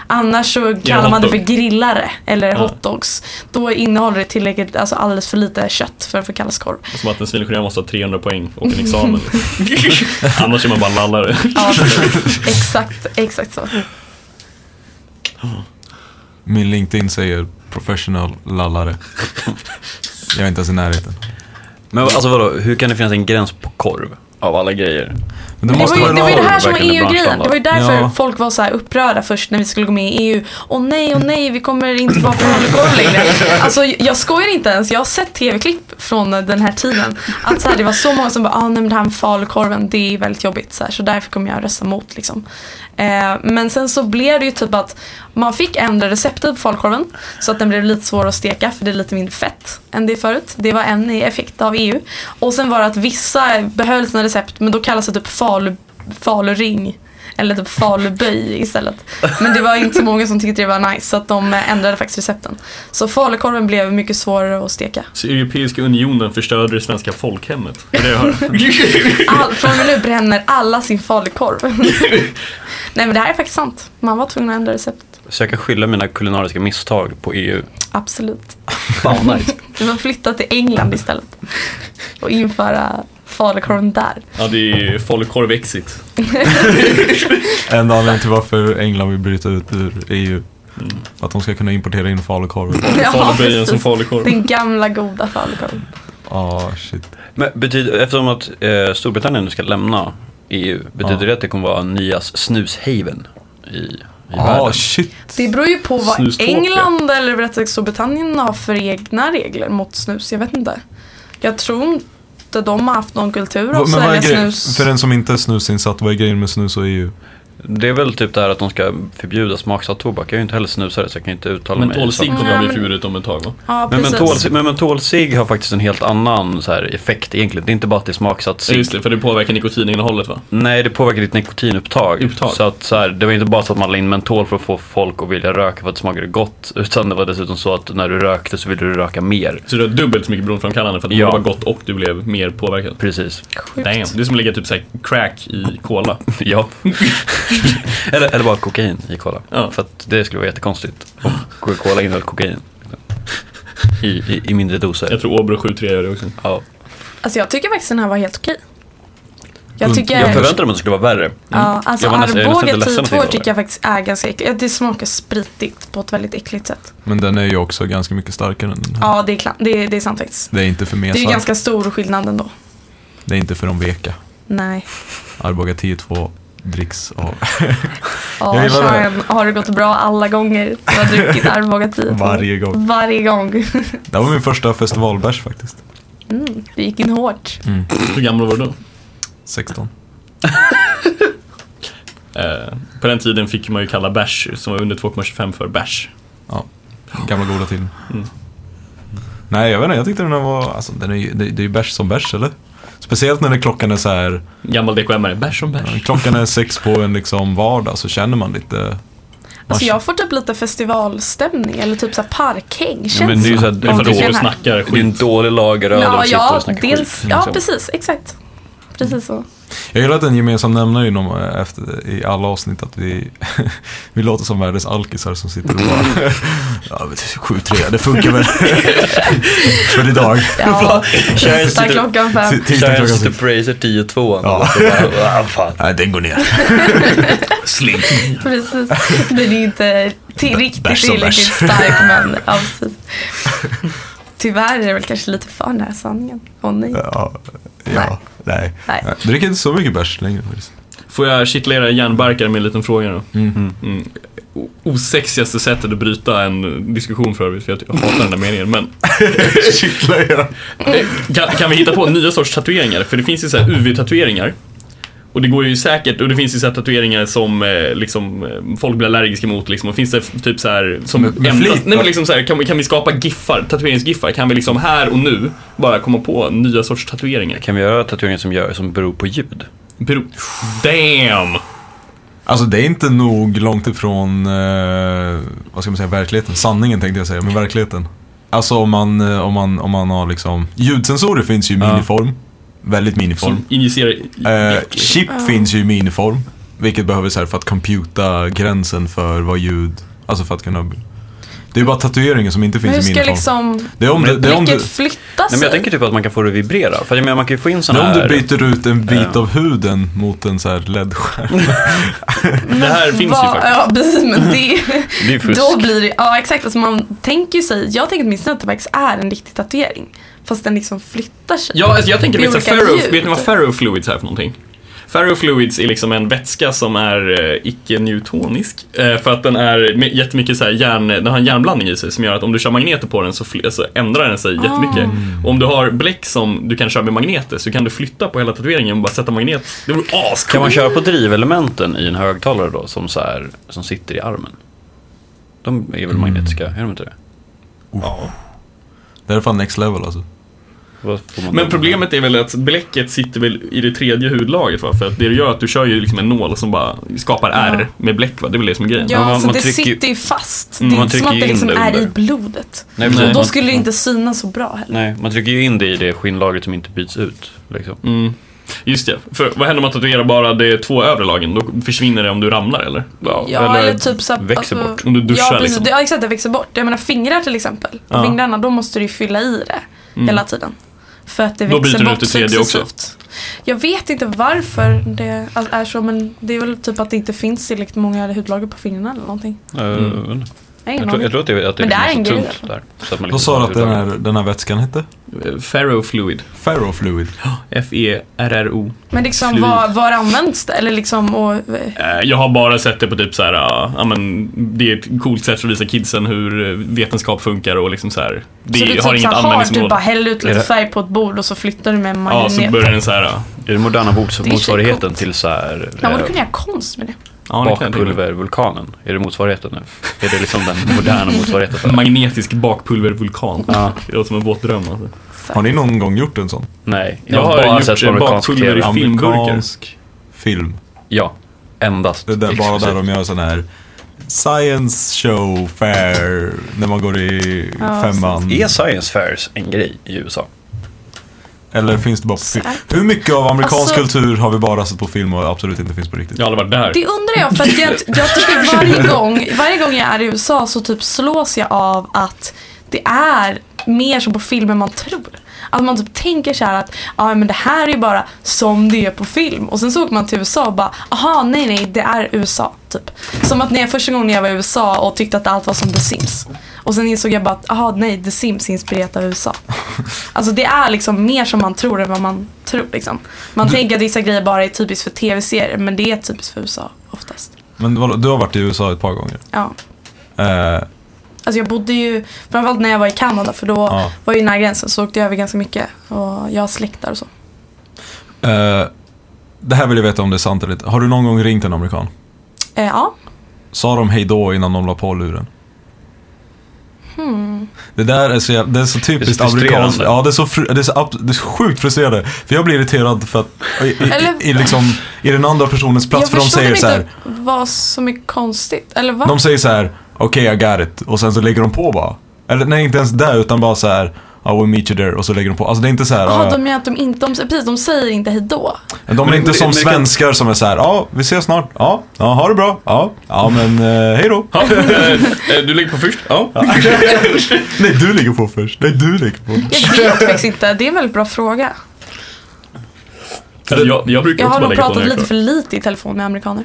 Speaker 5: Annars så kallar man det för
Speaker 3: Mm. hotdog.
Speaker 5: grillare eller
Speaker 3: Ja.
Speaker 5: hotdogs. Då innehåller det tillräckligt, alltså alldeles för lite kött för att få kallas korv.
Speaker 3: Som att en civilingenjör måste ha 300 poäng och en examen. liksom. Annars är man bara lallare.
Speaker 5: Ja, precis. exakt, exakt så.
Speaker 2: Min LinkedIn säger professional lallare. jag är inte ens i närheten.
Speaker 4: Men alltså vadå, hur kan det finnas en gräns på korv? Av alla grejer.
Speaker 2: Men
Speaker 5: Det var, ju, det var ju det här som var
Speaker 4: verkligen
Speaker 5: EU-grejen.
Speaker 4: branschstandard.
Speaker 5: Det var ju därför
Speaker 2: Ja.
Speaker 5: folk var så här upprörda först när vi skulle gå med i EU. Åh nej, åh nej, vi kommer inte vara falukorv längre. Alltså jag skojar inte ens. Jag har sett tv-klipp från den här tiden. Att så här, det var så många som bara, ah, nej men det här med falukorven, det är väldigt jobbigt. Så, här, så därför kommer jag rösta mot liksom. Eh, men sen så blev det ju typ att man fick ändra receptet på falukorven. Så att den blev lite svårare att steka för det är lite mindre fett än det förut. Det var en effekt av EU. Och sen var det att vissa behöll sina recept men då kallas det typ falu faluring. Eller typ faluböj istället. Men det var inte så många som tyckte det var nice så att de eh, ändrade faktiskt recepten. Så falukorven blev mycket svårare att steka.
Speaker 3: Så Europeiska unionen förstörde det svenska folkhemmet. Det är det jag hör.
Speaker 5: All, från och med nu bränner alla sin falukorv. Nej men det här är faktiskt sant. Man var tvungen att ändra receptet.
Speaker 4: E Så jag kan skylla mina kulinariska misstag på EU.
Speaker 5: Absolut.
Speaker 4: Fan nice.
Speaker 5: Vi får flytta till England istället. Och införa falukorven där.
Speaker 3: Ja, det är ju falukorv-exit.
Speaker 2: Enda anledningen till varför England vill bryta ut ur EU. Att de ska kunna importera in falukorv.
Speaker 3: Falubröden som falukorv.
Speaker 5: Den gamla goda falukorven.
Speaker 2: Ah shit.
Speaker 4: Men betyder, eftersom att eh, Storbritannien nu ska lämna EU, betyder
Speaker 2: Ja.
Speaker 4: det att det kommer vara Nias snushaven i, i
Speaker 2: Ah
Speaker 4: världen?
Speaker 2: shit.
Speaker 5: Det beror ju på vad
Speaker 3: Snustårta.
Speaker 5: England eller rättare sagt Storbritannien har för egna regler mot snus. Jag vet inte. Jag tror inte de har haft någon kultur av att
Speaker 2: Vad- Men vad är
Speaker 5: sälja
Speaker 2: grejen?
Speaker 5: snus.
Speaker 2: För den som inte är snusinsatt, vad är grejen med snus och E EU?
Speaker 4: Det är väl typ det här att de ska förbjuda smaksatt tobak. Jag är ju inte heller snusare så jag kan inte uttala mig.
Speaker 3: Mentolcigg
Speaker 4: exakt.
Speaker 3: kommer att bli
Speaker 5: men-
Speaker 3: förbjudet om ett tag va?
Speaker 5: Ja,
Speaker 4: Men
Speaker 5: precis.
Speaker 4: mentolcigg men mentolcigg har faktiskt en helt annan så här, effekt egentligen. Det är inte bara att det är smaksatt
Speaker 3: Ja,
Speaker 4: cigg.
Speaker 3: just det, för det påverkar nikotininnehållet va?
Speaker 4: Nej, det påverkar ditt nikotinupptag.
Speaker 3: Upptag.
Speaker 4: Så att, så här, det var inte bara så att man la in mentol för att få folk att vilja röka för att det smakade gott. Utan det var dessutom så att när du rökte så ville du röka mer.
Speaker 3: Så du har dubbelt så mycket beroendeframkallande för att det
Speaker 4: Ja.
Speaker 3: både var gott och du blev mer påverkad.
Speaker 4: Precis.
Speaker 5: Sjukt.
Speaker 3: Damn. Det är som att lägga typ såhär crack i cola.
Speaker 4: Ja. eller, eller bara kokain i cola.
Speaker 3: Ja.
Speaker 4: För att det skulle vara jättekonstigt om Coca-Cola innehöll kokain. I, i, i mindre
Speaker 3: Jag
Speaker 4: doser.
Speaker 3: tror Åbro 73 gör det också.
Speaker 4: Ja.
Speaker 5: Alltså jag tycker faktiskt den här var helt okej. Jag
Speaker 2: Mm,
Speaker 5: tycker...
Speaker 4: Jag förväntade mig att det skulle vara värre.
Speaker 5: Eh.
Speaker 4: Mm.
Speaker 5: Ja, alltså
Speaker 4: Jag var nästan- jag är nästan
Speaker 5: Arboga typ
Speaker 4: lite ledsen
Speaker 5: 10
Speaker 4: att det var
Speaker 5: tycker jag faktiskt är ganska äckligt. Det smakar spritigt på ett väldigt äckligt sätt.
Speaker 2: Men den är ju också ganska mycket starkare än den här.
Speaker 5: Ja, det är, kla- det är, det är sant faktiskt.
Speaker 2: Det är inte för
Speaker 5: Det är ju
Speaker 2: mesar.
Speaker 5: ganska stor skillnad ändå.
Speaker 2: Det är inte för de veka.
Speaker 5: Nej.
Speaker 2: Arboga 10-2 dricks av Jag gillar
Speaker 5: Ja,
Speaker 2: det.
Speaker 5: Sean, har det gått bra alla gånger du har druckit Arboga 10?
Speaker 2: varje gång.
Speaker 5: Varje gång.
Speaker 2: Det här var min första festivalbärs faktiskt.
Speaker 5: Mm, det gick in hårt.
Speaker 3: Hur gammal var du då?
Speaker 2: 16.
Speaker 3: Eh, på den tiden fick man ju kalla bärs som var under 2,25 för bärs.
Speaker 2: Ja, gamla goda tiden. Nej, jag vet inte. Jag tyckte den här var... Alltså, den är, ju- det, det är ju bärs som bärs, eller? Speciellt när det, klockan är så här...
Speaker 3: Gammal DKM-are, bärs som bärs.
Speaker 2: Klockan är sex på en liksom vardag så känner man lite...
Speaker 5: Alltså jag får typ lite festivalstämning eller typ så här parkhäng-känsla.
Speaker 4: Ja, men det är ju så här-
Speaker 5: om
Speaker 4: det
Speaker 3: Det
Speaker 4: är
Speaker 3: är
Speaker 5: du
Speaker 3: för då
Speaker 5: känner.
Speaker 3: du snackar
Speaker 4: Det är en
Speaker 3: skit.
Speaker 4: dålig lager öl
Speaker 5: Ja,
Speaker 4: och sitter
Speaker 5: ja,
Speaker 4: och snackar
Speaker 5: dels,
Speaker 4: skit.
Speaker 5: ja
Speaker 4: liksom.
Speaker 5: precis, exakt. Precis så.
Speaker 2: Jag gillar att en gemensam nämnare inom, efter, i alla avsnitt att vi, vi låter som världens alkisar som sitter och bara... ja, men 7-3, det funkar väl. För idag.
Speaker 5: Ja,
Speaker 4: Kör en
Speaker 5: sista
Speaker 4: sitter-
Speaker 5: klockan fem.
Speaker 2: Tisdag
Speaker 4: Kör en
Speaker 2: klockan sex.
Speaker 4: Stupracer 10-2.
Speaker 2: Ja.
Speaker 4: Ja. Fan.
Speaker 2: Nej, den går ner.
Speaker 3: Slim.
Speaker 5: Precis. Den är inte till, riktigt
Speaker 2: bärs och
Speaker 5: tillräckligt
Speaker 2: bärs.
Speaker 5: stark men ja, precis. Tyvärr är det väl kanske lite för nära sanningen. Åh nej.
Speaker 2: Ja, ja, nej.
Speaker 5: Nej.
Speaker 2: Jag dricker inte så mycket bärs längre faktiskt.
Speaker 3: Får jag kittla era hjärnbarkar med en liten fråga då? Mm. O- Osexigaste sättet att bryta en diskussion för övrigt, för jag ty- jag hatar den där meningen. Men
Speaker 2: Kittlar jag.
Speaker 3: Eh, Kan, kan vi hitta på nya sorts tatueringar? För det finns ju så här UV-tatueringar. Och det går ju säkert, och det finns ju så här tatueringar som eh, liksom, eh, folk blir allergiska mot liksom. Och finns det f- typ så här som
Speaker 2: Med- med
Speaker 3: ändras-
Speaker 2: flit,
Speaker 3: nej,
Speaker 2: va?
Speaker 3: men liksom så här, kan, vi- kan vi skapa giffar, tatueringsgiffar? Kan vi liksom här och nu bara komma på nya sorts tatueringar?
Speaker 4: Kan vi göra tatueringar som, gör, som beror på ljud?
Speaker 3: Bero- Damn!
Speaker 2: Alltså det är inte nog långt ifrån, eh, vad ska man säga, verkligheten. Sanningen tänkte jag säga, men verkligheten. Alltså om man, eh, om man, om man har liksom, ljudsensorer finns ju i
Speaker 4: Ja.
Speaker 2: miniform. Väldigt miniform.
Speaker 3: Som injicerar...
Speaker 2: Eh, chip finns ju i miniform. Vilket behöver så här för att computa gränsen för vad ljud, alltså för att kunna... Det är bara tatueringen som inte
Speaker 5: Men
Speaker 2: finns
Speaker 5: hur
Speaker 2: i
Speaker 5: ska
Speaker 2: miniform.
Speaker 5: liksom
Speaker 2: Det är om du, det är om du,
Speaker 5: blicket flytta
Speaker 4: Nej, men jag
Speaker 5: sig?
Speaker 4: tänker typ att man kan få det att vibrera. För jag menar, man kan ju få in
Speaker 2: det
Speaker 4: sådana
Speaker 2: är om
Speaker 4: här...
Speaker 2: du byter ut en bit
Speaker 4: Ja.
Speaker 2: av huden mot en så här LED-skärm.
Speaker 3: Det här finns ju
Speaker 5: Vad-
Speaker 3: faktiskt.
Speaker 5: Ja, precis, men det,
Speaker 4: Det är ju fusk.
Speaker 5: då blir det, ja exakt, alltså man tänker ju sig, jag tänker åtminstone att det faktiskt är en riktig tatuering. Fast den liksom flyttar sig.
Speaker 3: Ja, alltså jag tänker
Speaker 5: Det är
Speaker 3: lite
Speaker 5: olika typ.
Speaker 3: ferro,
Speaker 5: ljud.
Speaker 3: vet ni vad ferrofluids är för någonting? Ferrofluids är liksom en vätska som är eh, icke-newtonisk eh, för att den är med jättemycket så här järn, den har en järnblandning i sig som gör att om du kör magneter på den så, fly, så ändrar den sig jättemycket.
Speaker 5: Ah.
Speaker 3: Och om du har bläck som du kan köra med magneter så kan du flytta på hela tatueringen och bara sätta magnet. Det vore
Speaker 4: Kan man
Speaker 3: ascoolt!
Speaker 4: köra på drivelementen i en högtalare då, som, så här, som sitter i armen? De är väl
Speaker 2: Mm.
Speaker 4: magnetiska, är de inte det?
Speaker 2: Det här är fan next level alltså.
Speaker 4: Vad får man
Speaker 3: Men
Speaker 4: då?
Speaker 3: problemet är väl att bläcket sitter väl i det tredje hudlagret va? För att det du gör är att du kör ju liksom en nål som bara skapar
Speaker 5: Ja.
Speaker 3: R med bläck va? Det är väl det som är grejen.
Speaker 5: Ja,
Speaker 4: Men man-
Speaker 5: så
Speaker 4: man
Speaker 5: det
Speaker 4: trycker ju-
Speaker 5: sitter ju fast.
Speaker 4: Mm,
Speaker 5: det är
Speaker 4: man
Speaker 5: inte som att
Speaker 4: trycker ju
Speaker 5: det
Speaker 4: in
Speaker 5: liksom
Speaker 4: det
Speaker 5: är i
Speaker 4: under.
Speaker 5: blodet.
Speaker 4: Nej, precis.
Speaker 5: Och då
Speaker 4: Man-
Speaker 5: skulle det inte synas så bra heller.
Speaker 4: Nej, man trycker ju in det i det skinnlagret som inte byts ut. Liksom.
Speaker 3: Mm. Just det. För vad händer om man tatuerar bara de två övre lagen? Då försvinner det om du ramlar eller?
Speaker 5: Ja, eller, typ så här,
Speaker 4: växer bort.
Speaker 3: Om du duschar
Speaker 5: ja, precis,
Speaker 3: liksom.
Speaker 5: det- Ja, exakt. Det växer bort. Jag menar fingrar till exempel.
Speaker 3: Ja.
Speaker 5: Fingrarna, då måste du ju fylla i det
Speaker 3: mm.
Speaker 4: Mm.
Speaker 5: hela tiden. För att det
Speaker 3: Då
Speaker 5: växer
Speaker 3: byter du
Speaker 5: bort
Speaker 3: ut det tredje också.
Speaker 5: successivt. Jag vet inte varför det är så, men det är väl typ att det inte finns tillräckligt många hudlager på fingrarna eller någonting.
Speaker 4: Mm.
Speaker 5: Jag har ingen
Speaker 4: Jag, tror,
Speaker 5: aning.
Speaker 4: jag tror att det, att det,
Speaker 5: Men det är en
Speaker 4: så
Speaker 5: grej,
Speaker 4: tunt där. Så att man liksom
Speaker 2: Vad sa du att den här,
Speaker 4: är?
Speaker 2: den här vätskan hette?
Speaker 3: Ferrofluid.
Speaker 2: Ferrofluid.
Speaker 3: E F-E-R-R-O.
Speaker 5: Men liksom,
Speaker 3: Fluid.
Speaker 5: var, var används det? Eller liksom, och,
Speaker 3: Eh, Jag har bara sett det på typ så här, ja, ja, men det är ett coolt sätt att visa kidsen hur eh, vetenskap funkar och liksom så här. Det
Speaker 5: så du
Speaker 3: har
Speaker 5: typ
Speaker 3: inget
Speaker 5: så här, har, du
Speaker 3: användningsområde.
Speaker 5: bara häller ut
Speaker 4: Är
Speaker 5: lite
Speaker 4: det-
Speaker 5: färg på ett bord och så flyttar du med en
Speaker 3: Ja,
Speaker 5: majonet.
Speaker 3: så börjar den så här. eh, ja.
Speaker 4: Är den moderna mots-
Speaker 5: Det är
Speaker 4: motsvarigheten
Speaker 5: coolt.
Speaker 4: till så här,
Speaker 5: Ja, men
Speaker 4: eh,
Speaker 5: då kunde jag konst med det.
Speaker 3: Ja, det kan jag tänka mig.
Speaker 4: bakpulvervulkanen? Är det motsvarigheten nu? Är det liksom den moderna motsvarigheten?
Speaker 3: Mm.
Speaker 4: för-
Speaker 3: Magnetisk bakpulvervulkan.
Speaker 4: Ja.
Speaker 3: Det låter som en våt dröm alltså.
Speaker 2: Har ni någon gång gjort en sån?
Speaker 4: Nej,
Speaker 3: Jag har
Speaker 4: bara
Speaker 3: gjort
Speaker 4: sett på
Speaker 3: eh,
Speaker 4: amerikansk
Speaker 3: bakpulver i
Speaker 4: TV.
Speaker 3: filmburkar.
Speaker 2: Amerikansk film.
Speaker 4: Ja, endast.
Speaker 2: Det är där, bara där
Speaker 4: Exklusivt.
Speaker 2: de gör sån här science show fair när man går i
Speaker 5: Ja,
Speaker 2: femman.
Speaker 4: Är science fairs en grej i USA?
Speaker 2: Eller finns det bara på film? Hur mycket av amerikansk kultur har vi bara sett på film och absolut inte finns på riktigt?
Speaker 3: Jag har aldrig varit där.
Speaker 5: Det undrar jag för att jag, jag tycker varje gång, varje gång jag är i USA så typ slås jag av att det är mer som på film än man tror. Att man typ tänker så här att ja men det här är ju bara som det är på film. Och sen så åker man till USA och bara aha nej nej det är USA. Typ. Som att när jag första gången jag var i USA och tyckte att allt var som The Sims. Och sen insåg jag bara att aha nej The Sims är inspirerat av USA. Alltså det är liksom mer som man tror än vad man tror liksom. Man tänker att vissa grejer bara är typiskt för tv-serier men det är typiskt för USA oftast.
Speaker 2: Men vadå, du har varit i USA ett par gånger.
Speaker 5: Ja.
Speaker 2: Eh,
Speaker 5: Alltså jag bodde ju, framförallt när jag var i Kanada för då
Speaker 2: Ja.
Speaker 5: var jag ju nära gränsen så åkte jag över ganska mycket och jag har släkt där och så.
Speaker 2: eh, det här vill jag veta om det är sant eller inte. Har du någon gång ringt en amerikan?
Speaker 5: Eh, ja,
Speaker 2: Sa de hej då innan de la på luren?
Speaker 5: Hmm.
Speaker 2: Det där är så, jävla, det är så typiskt
Speaker 4: Det är så frustrerande.
Speaker 2: amerikanskt. Ja, det är så, fru, det är så ab- det är så sjukt frustrerande. För jag blir irriterad för att i, i,
Speaker 5: Eller-
Speaker 2: i, liksom, i den andra personens plats.
Speaker 5: jag
Speaker 2: För de
Speaker 5: förstår typ
Speaker 2: säger så här,
Speaker 5: inte vad som är konstigt. Eller vad?
Speaker 2: de säger så här, okej okay, I got it. Och sen så lägger de på bara. Eller nej, inte ens det utan bara så här, I will meet you there. Och så lägger de på. Alltså det är inte så här,
Speaker 5: Jaha,
Speaker 2: "Ah,
Speaker 5: de menar att de inte, de, precis de säger inte hejdå.
Speaker 2: Men De är
Speaker 4: Men-
Speaker 2: inte
Speaker 4: men-
Speaker 2: som
Speaker 4: men-
Speaker 2: svenskar som är så här, ja, vi ses snart, ja, ja, ha det bra, ja, ja men eh, hej då.
Speaker 3: Ja, eh, eh, du ligger på först? Ja.
Speaker 2: Nej, du ligger på först. Nej, du ligger på.
Speaker 5: Jag vet faktiskt inte, det är en väldigt bra fråga.
Speaker 3: Alltså, jag, jag brukar
Speaker 5: Jag
Speaker 3: också bara
Speaker 5: har nog
Speaker 3: lägga på
Speaker 5: pratat
Speaker 3: när jag
Speaker 5: lite
Speaker 3: är
Speaker 5: för
Speaker 3: klar.
Speaker 5: lite i telefon med amerikaner.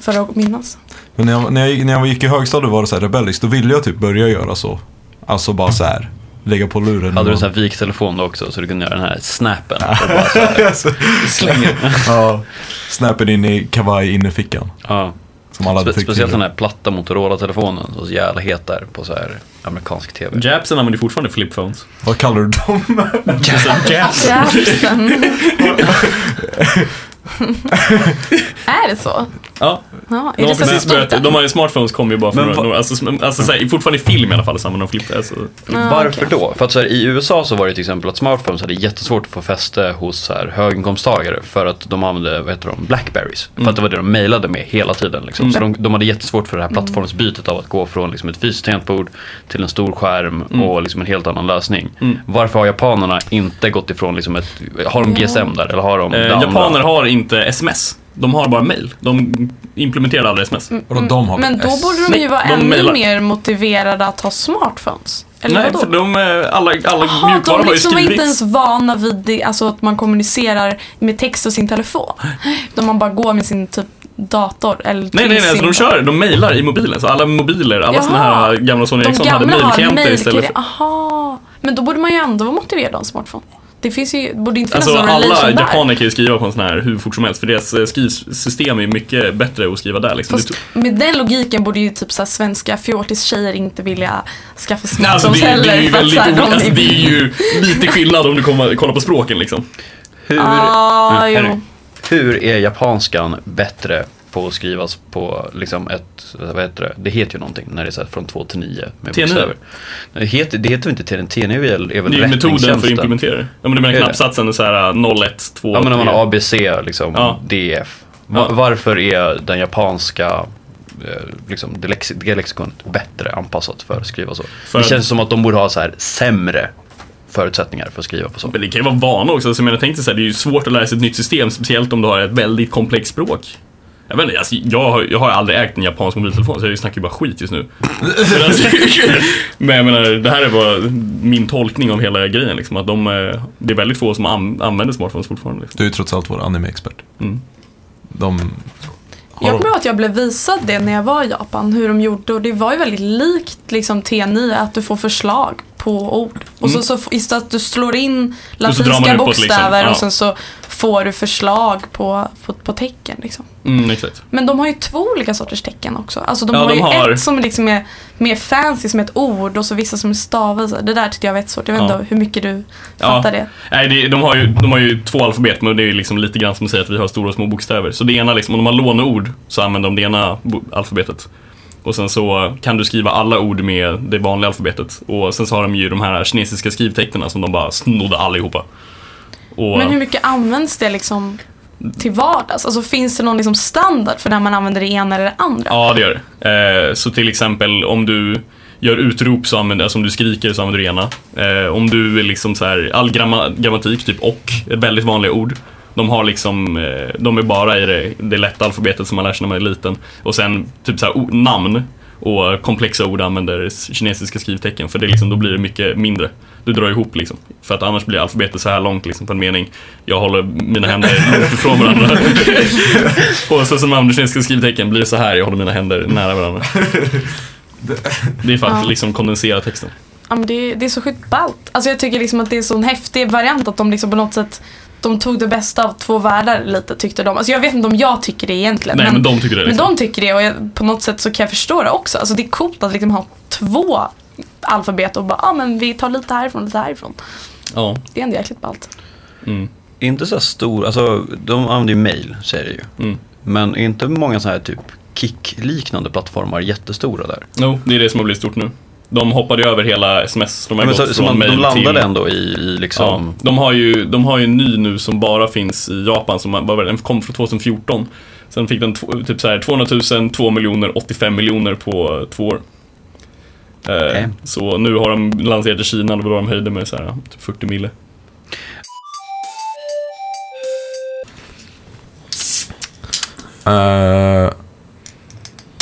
Speaker 5: För att minnas.
Speaker 2: Men när jag, när jag, när jag gick i högstadiet var det så här rebelliskt, då ville jag typ börja göra så. Alltså bara så här, lägga på luren.
Speaker 4: Hade du en
Speaker 2: och-
Speaker 4: sån här viktelefon då också så du kunde göra den här snappen?
Speaker 2: Alltså.
Speaker 4: Slänger.
Speaker 2: ja, snappen in i kavaj in i fickan.
Speaker 4: Ja.
Speaker 2: Som alla hade
Speaker 4: Spe-
Speaker 2: tyckt
Speaker 4: speciellt
Speaker 2: var-
Speaker 4: den här platta Motorola-telefonen som så jävla het där på så här amerikansk tv.
Speaker 3: Japsen använder fortfarande flip phones.
Speaker 2: Vad kallar du dem?
Speaker 3: Alltså, Japs.
Speaker 5: Jackson. är det så?
Speaker 3: Ja,
Speaker 5: Ja,
Speaker 3: de
Speaker 5: är
Speaker 3: har
Speaker 5: det så
Speaker 3: precis
Speaker 5: stort?
Speaker 3: börjat. De har ju smartphones kom ju bara för
Speaker 4: Men
Speaker 3: några,
Speaker 4: vad-
Speaker 3: några- alltså, sm- alltså så här, fortfarande i film i alla fall så använder de flip alltså.
Speaker 5: Ja,
Speaker 4: Varför
Speaker 5: okej.
Speaker 4: då? För att så här, i USA så var det till exempel att smartphones hade jättesvårt att få fäste hos så här, höginkomsttagare för att de använde, vad heter de, Blackberries. För att det var det de mejlade med hela tiden. Liksom. Så
Speaker 5: Mm.
Speaker 4: de, de hade jättesvårt för det här plattformsbytet av att gå från liksom, ett fysiskt tangentbord till en stor skärm
Speaker 5: Mm.
Speaker 4: och liksom, en helt annan lösning. Varför har japanerna inte gått ifrån, liksom, ett, har de GSM där eller har de
Speaker 3: Eh,
Speaker 4: det andra?
Speaker 3: japaner har inte sms. De har bara mail. De implementerar aldrig sms.
Speaker 5: Mm,
Speaker 2: Vadå, de har
Speaker 5: Men då borde de
Speaker 3: Nej,
Speaker 5: ju vara
Speaker 3: de
Speaker 5: ännu
Speaker 3: mejlar.
Speaker 5: mer motiverade att ha smartphones. Eller
Speaker 3: Nej,
Speaker 5: vadå?
Speaker 3: för de, eh, alla, alla
Speaker 5: Jaha,
Speaker 3: mjukvaror har
Speaker 5: de
Speaker 3: ju
Speaker 5: liksom var
Speaker 3: skrivits.
Speaker 5: inte ens vana vid det, alltså att man kommunicerar med text och sin telefon. Utan man bara går med sin typ dator eller
Speaker 3: Nej,
Speaker 5: till
Speaker 3: nej, nej,
Speaker 5: sin...
Speaker 3: alltså de kör, de mejlar i mobilen. Så alla mobiler, alla
Speaker 5: Jaha.
Speaker 3: såna här gamla Sony
Speaker 5: De
Speaker 3: Ericsson liksom hade
Speaker 5: gamla har
Speaker 3: mejlklienter istället
Speaker 5: mejlgrejer.
Speaker 3: för...
Speaker 5: Aha. Men då borde man ju ändå vara motiverad av en smartphone. Det finns ju, borde inte finnas
Speaker 3: Alltså
Speaker 5: någon
Speaker 3: alla
Speaker 5: relation där.
Speaker 3: japaner kan ju skriva på en sån här hur fort som helst för deras eh, skrivsystem är mycket bättre att skriva där liksom.
Speaker 5: Fast
Speaker 3: Det-
Speaker 5: med den logiken borde ju typ så här svenska fjortis-tjejer inte vilja skaffa
Speaker 3: Nej,
Speaker 5: smartphones
Speaker 3: alltså, det, är- det
Speaker 5: heller.
Speaker 3: är ju
Speaker 5: för att
Speaker 3: väldigt
Speaker 5: så här,
Speaker 3: olika.
Speaker 5: de
Speaker 3: Alltså, det är ju lite skillnad om du kommer, kollar på språken liksom.
Speaker 4: Hur, Mm,
Speaker 5: Ah,
Speaker 4: Nej,
Speaker 5: jo.
Speaker 4: herregud. hur är japanskan bättre på att skrivas på liksom ett, vad heter det, det heter ju någonting när det är så här från 2 till 9 med
Speaker 3: TNU.
Speaker 4: bokstäver. Det heter, det heter väl inte TNU, TNU är väl- är väl
Speaker 3: Det är ju metoden för att
Speaker 4: rättningstjänsten.
Speaker 3: implementera det. Ja, men du menar
Speaker 4: Är det?
Speaker 3: knappsatsen äh, är såhär 01, 2,
Speaker 4: Ja men om man har
Speaker 3: 3.
Speaker 4: ABC, liksom,
Speaker 3: Ja.
Speaker 4: DF. Va-
Speaker 3: Ja.
Speaker 4: Varför är den japanska eh, liksom, det lex- det lexikonet bättre anpassat för att skriva så?
Speaker 3: För
Speaker 4: det
Speaker 3: att-
Speaker 4: känns som att de borde ha så här sämre förutsättningar för att skriva på sånt.
Speaker 3: Men det kan ju vara vana också. Alltså, jag menar, tänk dig så här, det är ju svårt att lära sig ett nytt system, speciellt om du har ett väldigt komplext språk. Jag, vet inte, alltså, jag, har, jag har aldrig ägt en japansk mobiltelefon så jag snackar ju bara skit just nu. Men, alltså, men jag menar, det här är bara min tolkning av hela grejen. Liksom, att de, eh, det är väldigt få som an- använder smartphones fortfarande. Liksom.
Speaker 2: Du är ju trots allt vår anime-expert.
Speaker 3: Mm.
Speaker 2: De...
Speaker 5: Jag kommer ihåg att jag blev visad det när jag var i Japan, hur de gjorde och det var ju väldigt likt liksom T9 att du får förslag på ord. Och så, så f- istället att du slår in
Speaker 3: Mm. Och så drar man
Speaker 5: latinska
Speaker 3: uppåt,
Speaker 5: bokstäver
Speaker 3: liksom. Ja.
Speaker 5: och sen så får du förslag på, på, på tecken. Liksom.
Speaker 3: Mm, exakt.
Speaker 5: Men de har ju två olika sorters tecken också. Alltså de
Speaker 3: Ja,
Speaker 5: har
Speaker 3: de
Speaker 5: ju
Speaker 3: har-
Speaker 5: ett som liksom är mer fancy som ett ord och så vissa som är stavelser. Det där tyckte jag var svårt. Jag vet
Speaker 3: Ja.
Speaker 5: inte hur mycket du
Speaker 3: Ja.
Speaker 5: fattar det.
Speaker 3: Nej, det, de, har ju, de har ju två alfabet, men det är ju liksom lite grann som att säga att vi har stora och små bokstäver. Så det ena, liksom, om de har låneord, så använder de det ena bo- alfabetet. Och sen så kan du skriva alla ord med det vanliga alfabetet. Och sen så har de ju de här kinesiska skrivtecknen som de bara snodde allihopa. Och,
Speaker 5: Men hur mycket används det liksom till vardags? Alltså finns det någon liksom standard för när man använder det ena eller det andra?
Speaker 3: Ja, det gör det. Eh, så till exempel om du gör utrop, så använder, alltså om du skriker så använder du ena. Eh, om du är liksom så här, all gramma, grammatik, typ och, är väldigt vanliga ord. De har liksom, eh, de är bara i det, det lätta alfabetet som man lär sig när man är liten. Och sen typ så här, o- namn och komplexa ord använder kinesiska skrivtecken för det är liksom, då blir det mycket mindre. Du drar ihop liksom. För att annars blir alfabetet så här långt liksom, på en mening. Jag håller mina händer långt ifrån varandra. Och så som Anders ska skrivtecken blir det så här, jag håller mina händer nära varandra. Det är för att
Speaker 5: Ja.
Speaker 3: liksom kondensera texten.
Speaker 5: Ja, men det, det är så sjukt ballt. Alltså jag tycker liksom att det är en sån häftig variant att de liksom på något sätt de tog det bästa av två världar lite tyckte de. Alltså jag vet inte om jag tycker det egentligen.
Speaker 3: Nej men de tycker det.
Speaker 5: men
Speaker 3: Liksom.
Speaker 5: de tycker det och jag, på något sätt så kan jag förstå det också. Alltså det är coolt att liksom ha två alfabet och bara ja ah, men vi tar lite härifrån lite härifrån.
Speaker 3: Ja.
Speaker 5: Det är ändå jäkligt ballt.
Speaker 3: Mm.
Speaker 4: Är inte så här stor, alltså de använder ju mail säger det ju.
Speaker 3: Mm.
Speaker 4: Men är inte många sådana här typ Kik-liknande plattformar jättestora där?
Speaker 3: Jo, det är det som har blivit stort nu. De hoppade ju över hela sms. De har
Speaker 4: Men
Speaker 3: gått
Speaker 4: så, så
Speaker 3: från
Speaker 4: man, de
Speaker 3: mail
Speaker 4: landade
Speaker 3: till...
Speaker 4: ändå i, i liksom...
Speaker 3: Ja, de, har ju, de har ju en ny nu som bara finns i Japan, som var- var, den kom från 2014. Sen fick den två- typ så här 200 000, 2 miljoner, 85 miljoner på eh, två år. Eh,
Speaker 4: Okej.
Speaker 3: Så nu har de lanserat i Kina, då var de höjde med så här, typ 40 mille.
Speaker 2: Eh,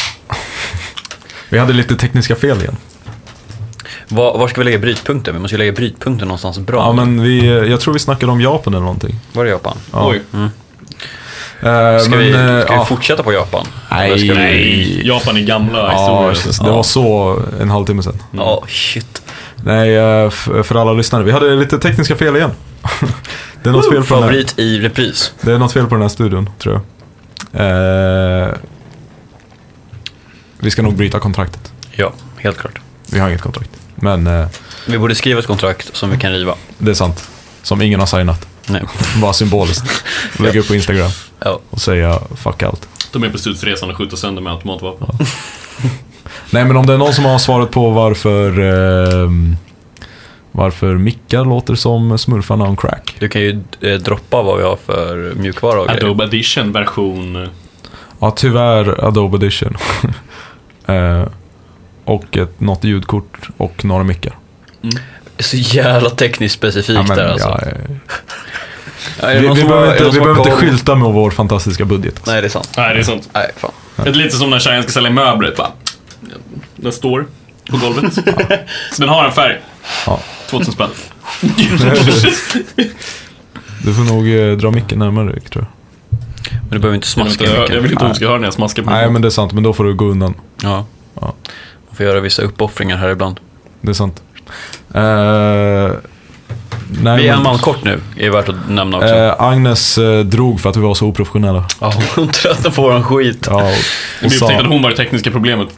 Speaker 2: vi hade lite tekniska fel igen.
Speaker 4: Var, var ska vi lägga brytpunkten? Vi måste ju lägga brytpunkten någonstans bra.
Speaker 2: Ja, men vi, jag tror vi snackade om Japan eller någonting.
Speaker 4: Var är Japan?
Speaker 2: Ja.
Speaker 3: Oj.
Speaker 4: Mm.
Speaker 2: Eh,
Speaker 4: Ska,
Speaker 2: men,
Speaker 4: vi,
Speaker 2: eh,
Speaker 4: ska
Speaker 2: ja.
Speaker 4: vi fortsätta på Japan?
Speaker 2: Nej.
Speaker 4: Eller ska vi-
Speaker 3: Nej, Japan är gamla
Speaker 2: Ja,
Speaker 3: historier.
Speaker 2: det var så en halvtimme sedan.
Speaker 4: Ja, shit.
Speaker 2: Nej, eh, f- för alla lyssnare. Vi hade lite tekniska fel igen. det, är något fel på den här,
Speaker 4: Favorit i repris.
Speaker 2: det är något fel på den här studion, tror jag. Eh, vi ska nog bryta kontraktet.
Speaker 4: Ja, helt klart.
Speaker 2: Vi har inget kontrakt. Men eh,
Speaker 4: Vi borde skriva ett kontrakt som vi kan riva.
Speaker 2: det är sant. Som ingen har signat.
Speaker 4: Nej.
Speaker 2: Bara symboliskt. Lägga upp på Instagram
Speaker 4: Ja.
Speaker 2: och säga fuck allt.
Speaker 3: De är på studieresan och skjuter sönder med automatvapen.
Speaker 2: Nej, men om det är någon som har svaret på varför eh, varför mickar låter som smurfarna on crack.
Speaker 4: Du kan ju eh, droppa vad vi har för mjukvara och grejer.
Speaker 3: Adobe Edition version...
Speaker 2: Ja, tyvärr Adobe Edition. eh, och ett, något ljudkort och några mickar.
Speaker 4: Så jävla tekniskt specifikt
Speaker 2: Ja, men,
Speaker 4: där alltså.
Speaker 2: ja, eh,
Speaker 4: Ja, är det
Speaker 2: vi
Speaker 4: någon
Speaker 2: vi
Speaker 4: som har-
Speaker 2: behöver
Speaker 4: är det
Speaker 2: inte, vi
Speaker 4: någon som har
Speaker 2: behöver inte
Speaker 4: koll?
Speaker 2: skylta med vår fantastiska budget. Alltså.
Speaker 4: Nej, det är sant.
Speaker 3: Nej, det är sånt.
Speaker 4: Nej, fan.
Speaker 3: Det är lite som när tjejen ska sälja möbler. Bara. Den står på golvet. Så den har en färg.
Speaker 2: Ja.
Speaker 3: 2000 spänn.
Speaker 2: Du får nog eh, dra micken närmare Rick, tror jag.
Speaker 4: Men du behöver inte
Speaker 3: Jag vill
Speaker 4: smaska
Speaker 3: inte, höra- jag
Speaker 4: mycket.
Speaker 3: vill inte att hon ska höra när jag smaskar
Speaker 4: Mm.
Speaker 3: på
Speaker 2: Nej, men det är sant. Men då får du gå undan.
Speaker 4: Ja.
Speaker 2: Ja.
Speaker 4: Man får göra vissa uppoffringar här ibland.
Speaker 2: Det är sant. Eh, nej,
Speaker 4: Vi är en
Speaker 2: men-
Speaker 4: man kort nu, är värt att nämna också.
Speaker 2: Eh, Agnes eh, drog för att vi var så oprofessionella.
Speaker 4: Ja, hon tröttnar på våran skit.
Speaker 2: Ja, och,
Speaker 3: Vi
Speaker 2: och
Speaker 3: upptäckte att
Speaker 2: sa,
Speaker 3: hon var det tekniska problemet.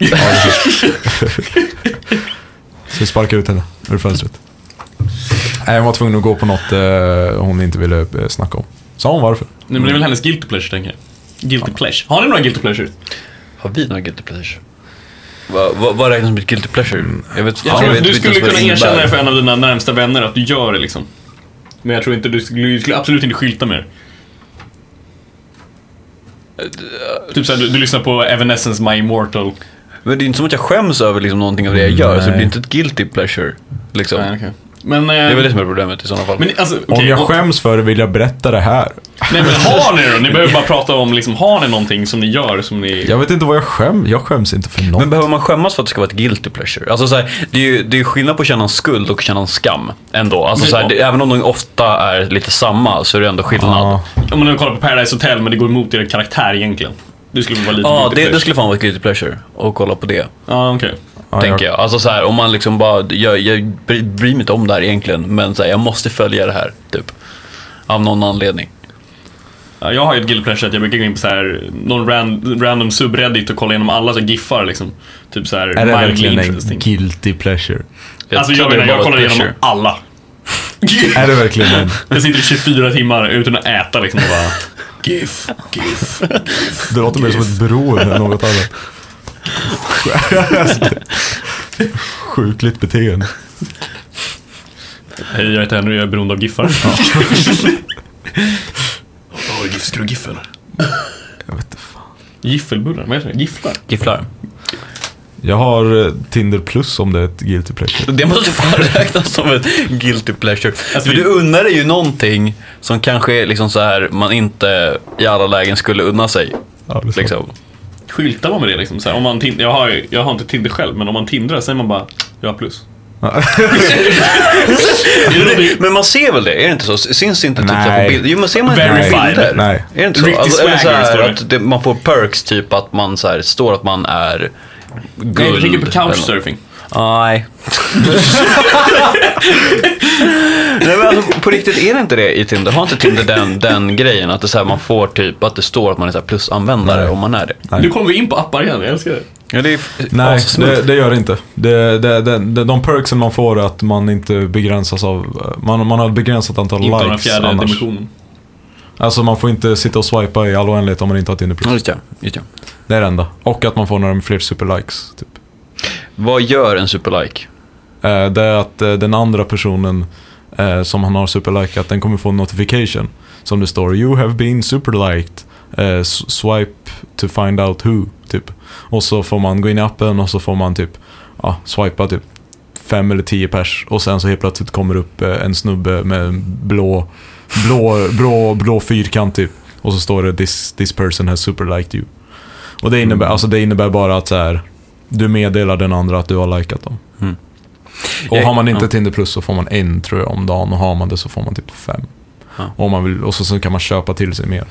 Speaker 2: så vi sparkade ut henne ur fönstret. Nej, hon var tvungen att gå på något eh, hon inte ville eh, snacka om. Sa hon varför?
Speaker 3: Nej, men det är väl hennes guilty pleasure, tänker jag. Guilty pleasure. Har ni några guilty pleasure?
Speaker 4: Har vi några guilty pleasure? Vad va, vad räknas som ett guilty pleasure?
Speaker 2: Mm.
Speaker 4: Jag vet,
Speaker 3: Jag
Speaker 4: jag
Speaker 3: tror
Speaker 4: vet
Speaker 3: att du
Speaker 4: inte
Speaker 3: skulle
Speaker 4: ens
Speaker 3: kunna
Speaker 4: vad innebär.
Speaker 3: erkänna det för en av dina närmsta vänner att du gör det liksom. Men jag tror inte du skulle, du skulle absolut inte skylta med det. Typ såhär, du, du lyssnar på Evanescence My Immortal.
Speaker 4: Men det är inte som att jag skäms över liksom någonting av det jag gör, så det
Speaker 2: Nej.
Speaker 4: blir inte ett guilty pleasure. Liksom.
Speaker 3: Nej, okej. Men, eh,
Speaker 4: Det är väl det som är problemet i sådana fall.
Speaker 3: men alltså,
Speaker 2: Om
Speaker 3: okej,
Speaker 2: jag
Speaker 3: och-
Speaker 2: skäms för det vill jag berätta det här.
Speaker 3: Nej men har ni då? Ni behöver bara prata om liksom, har ni någonting som ni gör som ni...
Speaker 2: Jag vet inte vad jag skäms. Jag skäms inte för något.
Speaker 4: Men behöver man skämmas för att det ska vara ett guilty pleasure? Alltså så här, det, är ju, det är ju skillnad på att känna en skuld och känna en skam ändå. Alltså så här, det, även om de ofta är lite samma så är det ändå skillnad.
Speaker 2: Ja.
Speaker 3: Om man nu kollar på Paradise Hotel men det går emot er karaktär egentligen. Du skulle vara lite...
Speaker 4: Ja, det,
Speaker 3: guilty
Speaker 4: det skulle fan vara ett guilty pleasure att kolla på det,
Speaker 3: pleasure. Ja, okej.
Speaker 2: Ja,
Speaker 4: tänker jag. Alltså så här, om man liksom bara, jag, jag bry- bryr mig inte om det här egentligen, men så här, jag måste följa det här, typ. Av någon anledning.
Speaker 3: Ja, Jag har ju ett guilty pleasure att jag brukar gå in på så här, någon ran, random subreddit och kolla igenom alla så här giffar liksom. Typ så här,
Speaker 2: Är det
Speaker 3: mildly
Speaker 2: verkligen en
Speaker 3: interesting.
Speaker 2: guilty pleasure?
Speaker 3: Alltså
Speaker 4: tror
Speaker 3: jag
Speaker 4: det är
Speaker 3: menar, jag
Speaker 4: bara ett
Speaker 3: kollar igenom
Speaker 4: pleasure.
Speaker 3: alla.
Speaker 2: Är det verkligen en?
Speaker 3: Jag sitter i 24 timmar utan att äta liksom och bara... GIF, GIF.
Speaker 2: Det låter mer som ett beroende än något annat. Sjukligt beteende.
Speaker 3: Hej, jag heter Henry jag är beroende av giffar. Åh, GIF, ska du ha GIF eller?
Speaker 2: Jag vet inte fan.
Speaker 3: Giffelbullar, vad heter det? Gifflar?
Speaker 4: Gifflar.
Speaker 2: Jag har eh, Tinder plus om det är ett guilty pleasure.
Speaker 4: Det måste fan räknas som ett guilty pleasure. För
Speaker 3: Alltså vi-
Speaker 4: du unnar dig ju någonting som kanske är liksom så här man inte i alla lägen skulle unna sig.
Speaker 2: Ja, det är sant.
Speaker 4: Liksom.
Speaker 3: Skyltar man med det liksom? Så här, om man tin- jag, har, ju- jag har inte Tinder själv, men om man tindrar säger man bara jag har plus.
Speaker 4: Men man ser väl det? Är det inte så? Syns inte typ så här
Speaker 2: Nej.
Speaker 4: på bilder? Jo, men ser man inte det på
Speaker 2: Verified.
Speaker 4: bilder?
Speaker 2: Nej.
Speaker 4: Är det inte så?
Speaker 3: Riktig
Speaker 4: Alltså, eller så
Speaker 3: swagger står
Speaker 4: här,
Speaker 3: det.
Speaker 4: att det, man får perks, typ att man så här, står att man är guld.
Speaker 3: Nej, jag tänker på
Speaker 4: eller något.
Speaker 3: couchsurfing.
Speaker 4: Nej. Nej men alltså, på riktigt är det inte det i Tinder? Har inte Tinder den, den grejen att det, är så här, man får typ att det står att man är så här plusanvändare
Speaker 2: Nej.
Speaker 4: om man är det?
Speaker 2: Nej.
Speaker 3: Nu kommer vi in på appar igen, jag älskar det.
Speaker 4: Ja, det är
Speaker 2: Nej,
Speaker 4: assmooth.
Speaker 2: det, det gör det inte. Det, det, det, det, de perksen man får är att man inte begränsas av... Man, man har ett begränsat antal
Speaker 3: Inte av den
Speaker 2: likes
Speaker 3: fjärde
Speaker 2: annars.
Speaker 3: dimensionen.
Speaker 2: Alltså man får inte sitta och swipa i all oändlighet om man inte har Tinder plus.
Speaker 4: Ja, Just det, just det.
Speaker 2: Det är det enda. Och att man får några fler superlikes. Typ.
Speaker 4: Vad gör en superlike?
Speaker 2: Eh, Det är att eh, den andra personen eh, som han har superlikat, den kommer få en notification. Som det står “You have been superliked. Eh, s- Swipe to find out who”. Typ. Och så får man gå in i appen och så får man typ ja, swipa typ fem eller tio pers. Och sen så helt plötsligt kommer upp eh, en snubbe med en blå, blå, blå, blå fyrkant typ. Och så står det “This, this person has superliked you”. Och det innebär,
Speaker 4: Mm.
Speaker 2: alltså, det innebär bara att så här, du meddelar den andra att du har likat dem. Och
Speaker 4: Jag-
Speaker 2: har man inte
Speaker 4: Mm. ja.
Speaker 2: Tinder plus så får man en tror jag om dagen och har man det så får man typ fem.
Speaker 4: Ja.
Speaker 2: Och, om man vill, och så, så kan man köpa till sig mer.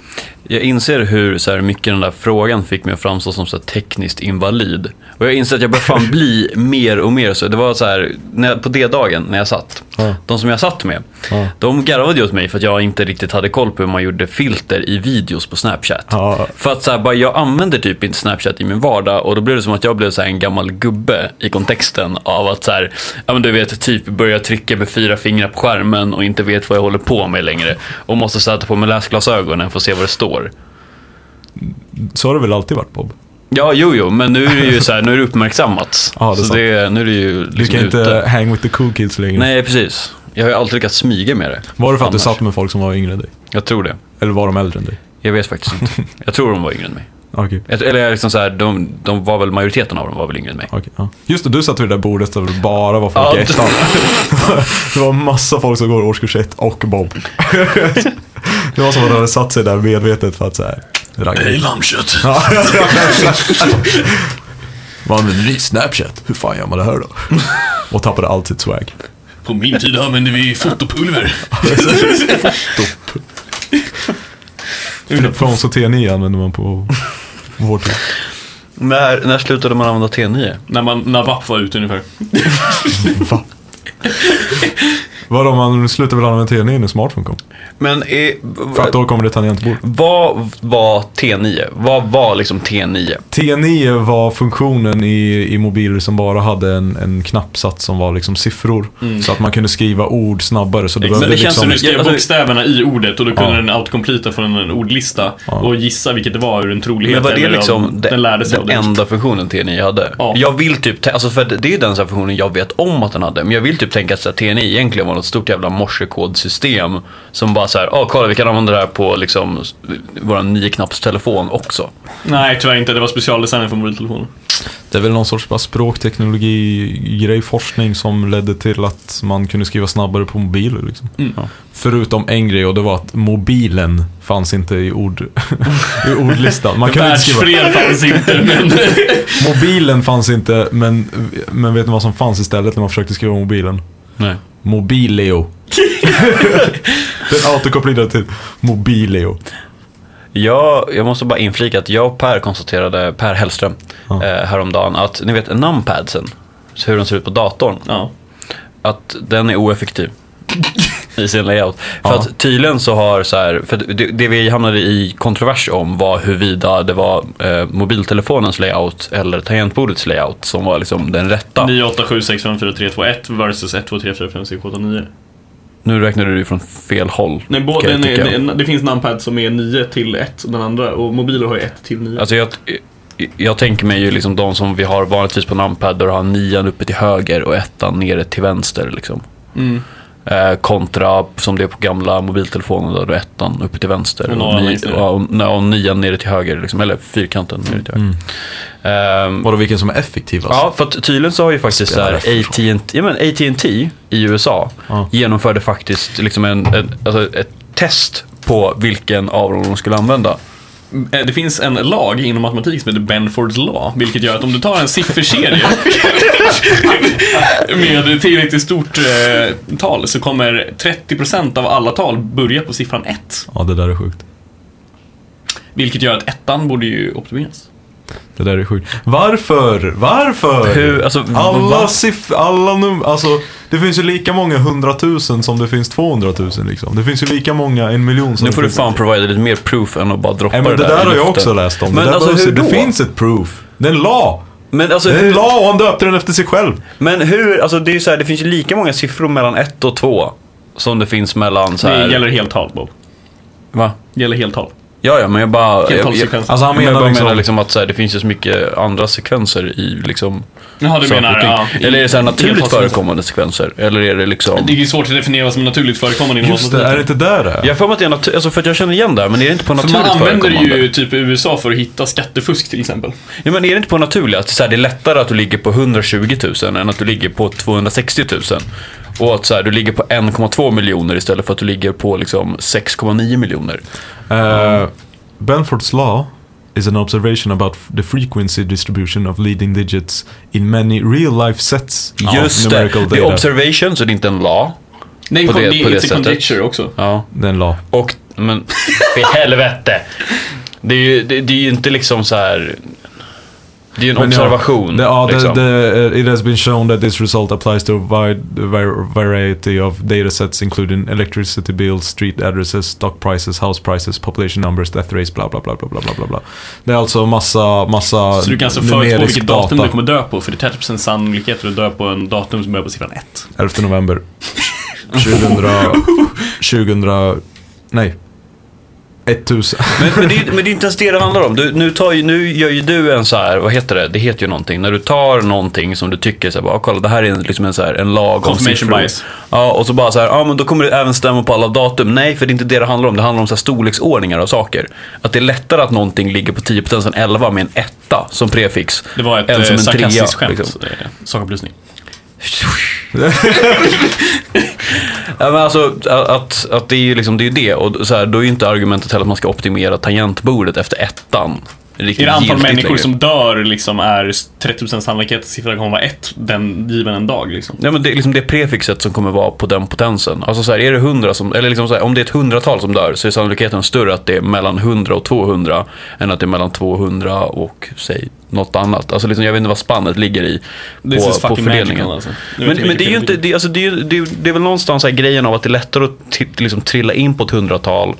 Speaker 4: Jag inser hur så här, mycket den där frågan fick mig att framstå som så här, tekniskt invalid. Och jag inser att jag börjar fan bli mer och mer så. Det var så här, när, jag- på D-dagen när jag satt.
Speaker 2: Ja.
Speaker 4: De som jag satt med,
Speaker 2: Ja.
Speaker 4: de garvade ju åt mig för att jag inte riktigt hade koll på hur man gjorde filter i videos på Snapchat.
Speaker 2: Ja.
Speaker 4: För att så här, bara, jag använder typ inte Snapchat i min vardag och då blev det som att jag blev så här, en gammal gubbe i kontexten av att så här, ja, men du vet, typ börja trycka med fyra fingrar på skärmen och inte vet vad jag håller på med längre. Och måste sätta på mig läsglasögonen för att se vad det står.
Speaker 2: Så har det väl alltid varit Bob?
Speaker 4: Ja, jo, jo, men nu är det ju så här, nu är det uppmärksammat.
Speaker 2: Ja, det är
Speaker 4: så
Speaker 2: sant.
Speaker 4: det, nu är det ju liksom
Speaker 2: Du kan inte
Speaker 4: ute.
Speaker 2: hang with the cool kids längre.
Speaker 4: Nej, precis. Jag har ju alltid lyckats smyga med det.
Speaker 2: Var det för att
Speaker 4: Annars.
Speaker 2: du satt med folk som var yngre än dig?
Speaker 4: Jag tror det.
Speaker 2: Eller var de äldre än dig?
Speaker 4: Jag vet faktiskt inte. Jag tror de var yngre än mig.
Speaker 2: Okej.
Speaker 4: Jag- Eller jag är liksom så här, de, de var väl, majoriteten av dem var väl yngre än mig.
Speaker 2: okej, ja. Just det, du satt vid det där bordet där det bara var folk
Speaker 4: Ja,
Speaker 2: i
Speaker 4: du-
Speaker 2: ettan. det var massa folk som går årskurs ett och Bob. det var som att de hade satt sig där medvetet för att såhär... Hej lammkött! Vad använder ni? Snapchat? Hur fan gör man det här då? Och tappade allt sitt swag.
Speaker 3: På min tid använde vi fotopulver.
Speaker 2: Från T9 använder man på vår tid.
Speaker 4: När, när slutade man använda T9?
Speaker 3: när, man, när VAP var ute ungefär.
Speaker 2: Va? Vadå, man slutar väl använda T9 när smartphone kom?
Speaker 4: Men är,
Speaker 2: För att då kommer det tangentbord.
Speaker 4: vad var T9? Vad var liksom T9?
Speaker 2: T9 var funktionen i, i mobiler som bara hade en, en knappsats som var liksom siffror. Så att man kunde skriva ord snabbare. Så du
Speaker 3: Mm. Men det,
Speaker 2: behövde
Speaker 3: känns som
Speaker 2: liksom...
Speaker 3: du skrev
Speaker 4: Ja, alltså-
Speaker 3: bokstäverna i ordet och då kunde
Speaker 2: Ja.
Speaker 3: den autocompleta från en ordlista och gissa vilket det var ur en trolighet.
Speaker 4: Men var det
Speaker 3: eller om
Speaker 4: liksom
Speaker 3: den lärde sig
Speaker 4: den
Speaker 3: av det.
Speaker 4: enda funktionen T9 hade?
Speaker 3: Ja.
Speaker 4: Jag vill typ, tä- alltså för det det är ju den så här funktionen jag vet om att den hade. Men jag vill typ tänka att så här, T9 egentligen var något stort jävla morsekodsystem. Som bara så här, ja kolla vi kan använda det här på liksom s- vår nioknappstelefon också.
Speaker 3: Nej, tyvärr inte. Det var specialdesignat för mobiltelefoner.
Speaker 2: Det är väl någon sorts bara språkteknologi-grej, forskning som ledde till att man kunde skriva snabbare på mobiler. Liksom.
Speaker 3: Mm.
Speaker 2: Ja. Förutom en grej och det var att mobilen fanns inte i, ord, i ordlistan. Man kunde inte skriva,
Speaker 3: Världsfred fanns inte, men
Speaker 2: mobilen fanns inte, men, men vet ni vad som fanns istället när man försökte skriva mobilen?
Speaker 4: Nej.
Speaker 2: Mobileo. Den autokopplade till Mobileo.
Speaker 4: Jag, jag måste bara inflika att jag och Per konstaterade, Per Hellström,
Speaker 2: Ja.
Speaker 4: eh, häromdagen att ni vet numpadsen, så hur de ser ut på datorn,
Speaker 3: ja.
Speaker 4: att den är oeffektiv i sin layout. För
Speaker 2: Ja.
Speaker 4: att tydligen så har så här, för det, det vi hamnade i kontrovers om var huruvida det var eh, mobiltelefonens layout eller tangentbordets layout som var liksom den rätta.
Speaker 3: 9, 8, 7, 6, 5, 4, 3, 2, 1 versus 1, 2, 3, 4, 5, 6, 7, 8, 9.
Speaker 4: Nu räknade du från fel håll.
Speaker 3: Nej, både,
Speaker 4: kan jag
Speaker 3: nej,
Speaker 4: tycka.
Speaker 3: nej, det finns numpad som är 9 till 1 och den andra och mobiler har ju 1 till 9.
Speaker 4: Alltså jag, jag tänker mig ju liksom de som vi har vanligtvis på numpad där du har nian uppe till höger och ettan nere till vänster. Liksom.
Speaker 3: Mm.
Speaker 4: Eh, kontra som det är på gamla mobiltelefoner där du har ettan uppe till vänster
Speaker 3: Och nolla längst ner.
Speaker 4: och, och, nej, och nian nere till höger. Liksom, eller fyrkanten nere till höger. Ehm,
Speaker 2: Vadå vilken som är alltså? effektivast?
Speaker 4: Ja, för att tydligen så har ju faktiskt så
Speaker 2: Spelar
Speaker 4: här AT&T ja, men AT&T i USA
Speaker 2: Ja.
Speaker 4: genomförde faktiskt liksom en, en, alltså ett test på vilken av dem de skulle använda.
Speaker 3: Eh, Det finns en lag inom matematik som heter Benfords law, vilket gör att om du tar en sifferserie med ett tillräckligt stort eh, tal så kommer 30% av alla tal börja på siffran 1.
Speaker 2: ja, det där är sjukt.
Speaker 3: Vilket gör att ettan borde ju optimeras.
Speaker 2: Det där är sjukt. Varför? Varför?
Speaker 4: Hur- alltså,
Speaker 2: alla
Speaker 4: va?
Speaker 2: siffror, alla nummer, alltså. Det finns ju lika många hundratusen som det finns tvåhundratusen liksom. Det finns ju lika många, en miljon som
Speaker 4: Nu får
Speaker 2: det
Speaker 4: du
Speaker 2: finns.
Speaker 4: fan provida lite mer proof än att bara droppa
Speaker 2: Nej, men det
Speaker 4: i
Speaker 2: där har jag
Speaker 4: luften.
Speaker 2: också läst om.
Speaker 4: Men
Speaker 2: det, där
Speaker 4: alltså,
Speaker 2: behövs-
Speaker 4: hur då?
Speaker 2: det finns ett proof. Det är en la.
Speaker 4: Men alltså,
Speaker 2: Det är en
Speaker 4: hur,
Speaker 2: la och han döpte den efter sig själv.
Speaker 4: men hur, alltså det är ju så här, det finns ju lika många siffror mellan 1 och 2 som det finns mellan så här,
Speaker 3: Det gäller heltal, Bob.
Speaker 4: Va?
Speaker 3: gäller heltal.
Speaker 4: Ja, ja, men jag bara... Jag, jag, jag,
Speaker 3: Heltalsekvensen.
Speaker 2: Alltså han menar
Speaker 4: bara
Speaker 2: liksom,
Speaker 4: menar liksom att så här, det finns ju så mycket andra sekvenser i liksom...
Speaker 3: Jaha, du
Speaker 4: saker och
Speaker 3: menar...
Speaker 4: ting.
Speaker 3: Ja,
Speaker 4: Eller är det så här naturligt
Speaker 3: heltalsekvensen.
Speaker 4: förekommande sekvenser? Eller är det liksom...
Speaker 3: Det är ju svårt att definiera vad som är naturligt förekommande inom
Speaker 2: just det, är det inte där det är?
Speaker 4: Jag har för mig att det är natur... alltså, för att jag känner igen det här, men är det inte på
Speaker 3: För
Speaker 4: naturligt
Speaker 3: man använder
Speaker 4: förekommande?
Speaker 3: ju typ i USA för att hitta skattefusk till exempel.
Speaker 4: Ja, men är det inte på naturligt att så här, det är lättare att du ligger på 120 000 än att du ligger på 260 000? Och att så här, du ligger på 1,2 miljoner istället för att du ligger på liksom 6,9 miljoner.
Speaker 2: Uh, Benford's law is an observation about f- the frequency distribution of leading digits in many real life sets
Speaker 4: Just uh,
Speaker 2: of
Speaker 4: det,
Speaker 2: numerical
Speaker 4: det är
Speaker 2: data.
Speaker 4: observation så det är inte en law.
Speaker 3: Nej,
Speaker 4: På
Speaker 3: det,
Speaker 4: det-
Speaker 3: det,
Speaker 4: på det
Speaker 3: är
Speaker 4: sättet.
Speaker 3: conjecture också.
Speaker 4: Ja.
Speaker 2: det är en law.
Speaker 4: Och, men för helvete. Det är ju, det, det är ju inte liksom så här. Det är ju en
Speaker 2: Men ja,
Speaker 4: observation.
Speaker 2: The, ja, the,
Speaker 4: liksom.
Speaker 2: the, uh, it has been shown that this result applies to a wide var- variety of data sets including electricity bills, street addresses, stock prices, house prices, population numbers, death rates, bla bla bla bla bla bla bla. bla. Det är alltså massa, massa
Speaker 3: Så du kan alltså förutspå vilket datum du kommer dö på, för det är 30% sannolikhet att dö på en datum som börjar på siffran 1.
Speaker 2: 11 november 2000, 2000 nej 1000
Speaker 4: Men, men, det, är- men det är inte ens det det handlar om. Du, nu, tar ju, nu gör ju du en så här, vad heter det? Det heter ju någonting. När du tar någonting som du tycker så här, bara, "Ah, kolla det här är en- liksom en, så här, en lag om
Speaker 3: Confirmation
Speaker 4: siffror.
Speaker 3: bias.
Speaker 4: Ja, och så bara så här, ja men då kommer det även stämma på alla datum. Nej, för det är inte det det handlar om. Det handlar om så här, storleksordningar av saker. Att det är lättare att någonting ligger på 10 potensen 11 med en etta som prefix.
Speaker 3: Det var ett
Speaker 4: än
Speaker 3: eh,
Speaker 4: som en trea,
Speaker 3: sarkastiskt skämt.
Speaker 4: liksom.
Speaker 3: eh, Sakupplysning.
Speaker 4: Ja, men alltså, att, att det är ju liksom, det, är ju det. Och så här, då är ju inte argumentet heller att man ska optimera tangentbordet efter ettan.
Speaker 3: Är
Speaker 4: riktigt
Speaker 3: det antal
Speaker 4: giltigt
Speaker 3: människor
Speaker 4: längre.
Speaker 3: som dör liksom är 30% sannolikhet att siffran kommer vara 1 den given en dag liksom?
Speaker 4: Ja, men det är liksom det prefixet som kommer vara på den potensen. Alltså så här, är det 100 som, eller liksom så här, om det är ett hundratal som dör så är sannolikheten större att det är mellan 100 och 200 än att det är mellan 200 och säg något annat. Alltså liksom, jag vet inte vad spannet ligger i
Speaker 3: This is
Speaker 4: på, på
Speaker 3: fucking
Speaker 4: fördelningen.
Speaker 3: magical, alltså. Nu
Speaker 4: Men,
Speaker 3: vet jag
Speaker 4: men det är ju
Speaker 3: vilken
Speaker 4: inte,
Speaker 3: bild.
Speaker 4: det, alltså, det, är, ju- det, är, det är väl någonstans så här grejen av att det är lättare att t- liksom, trilla in på ett hundratal.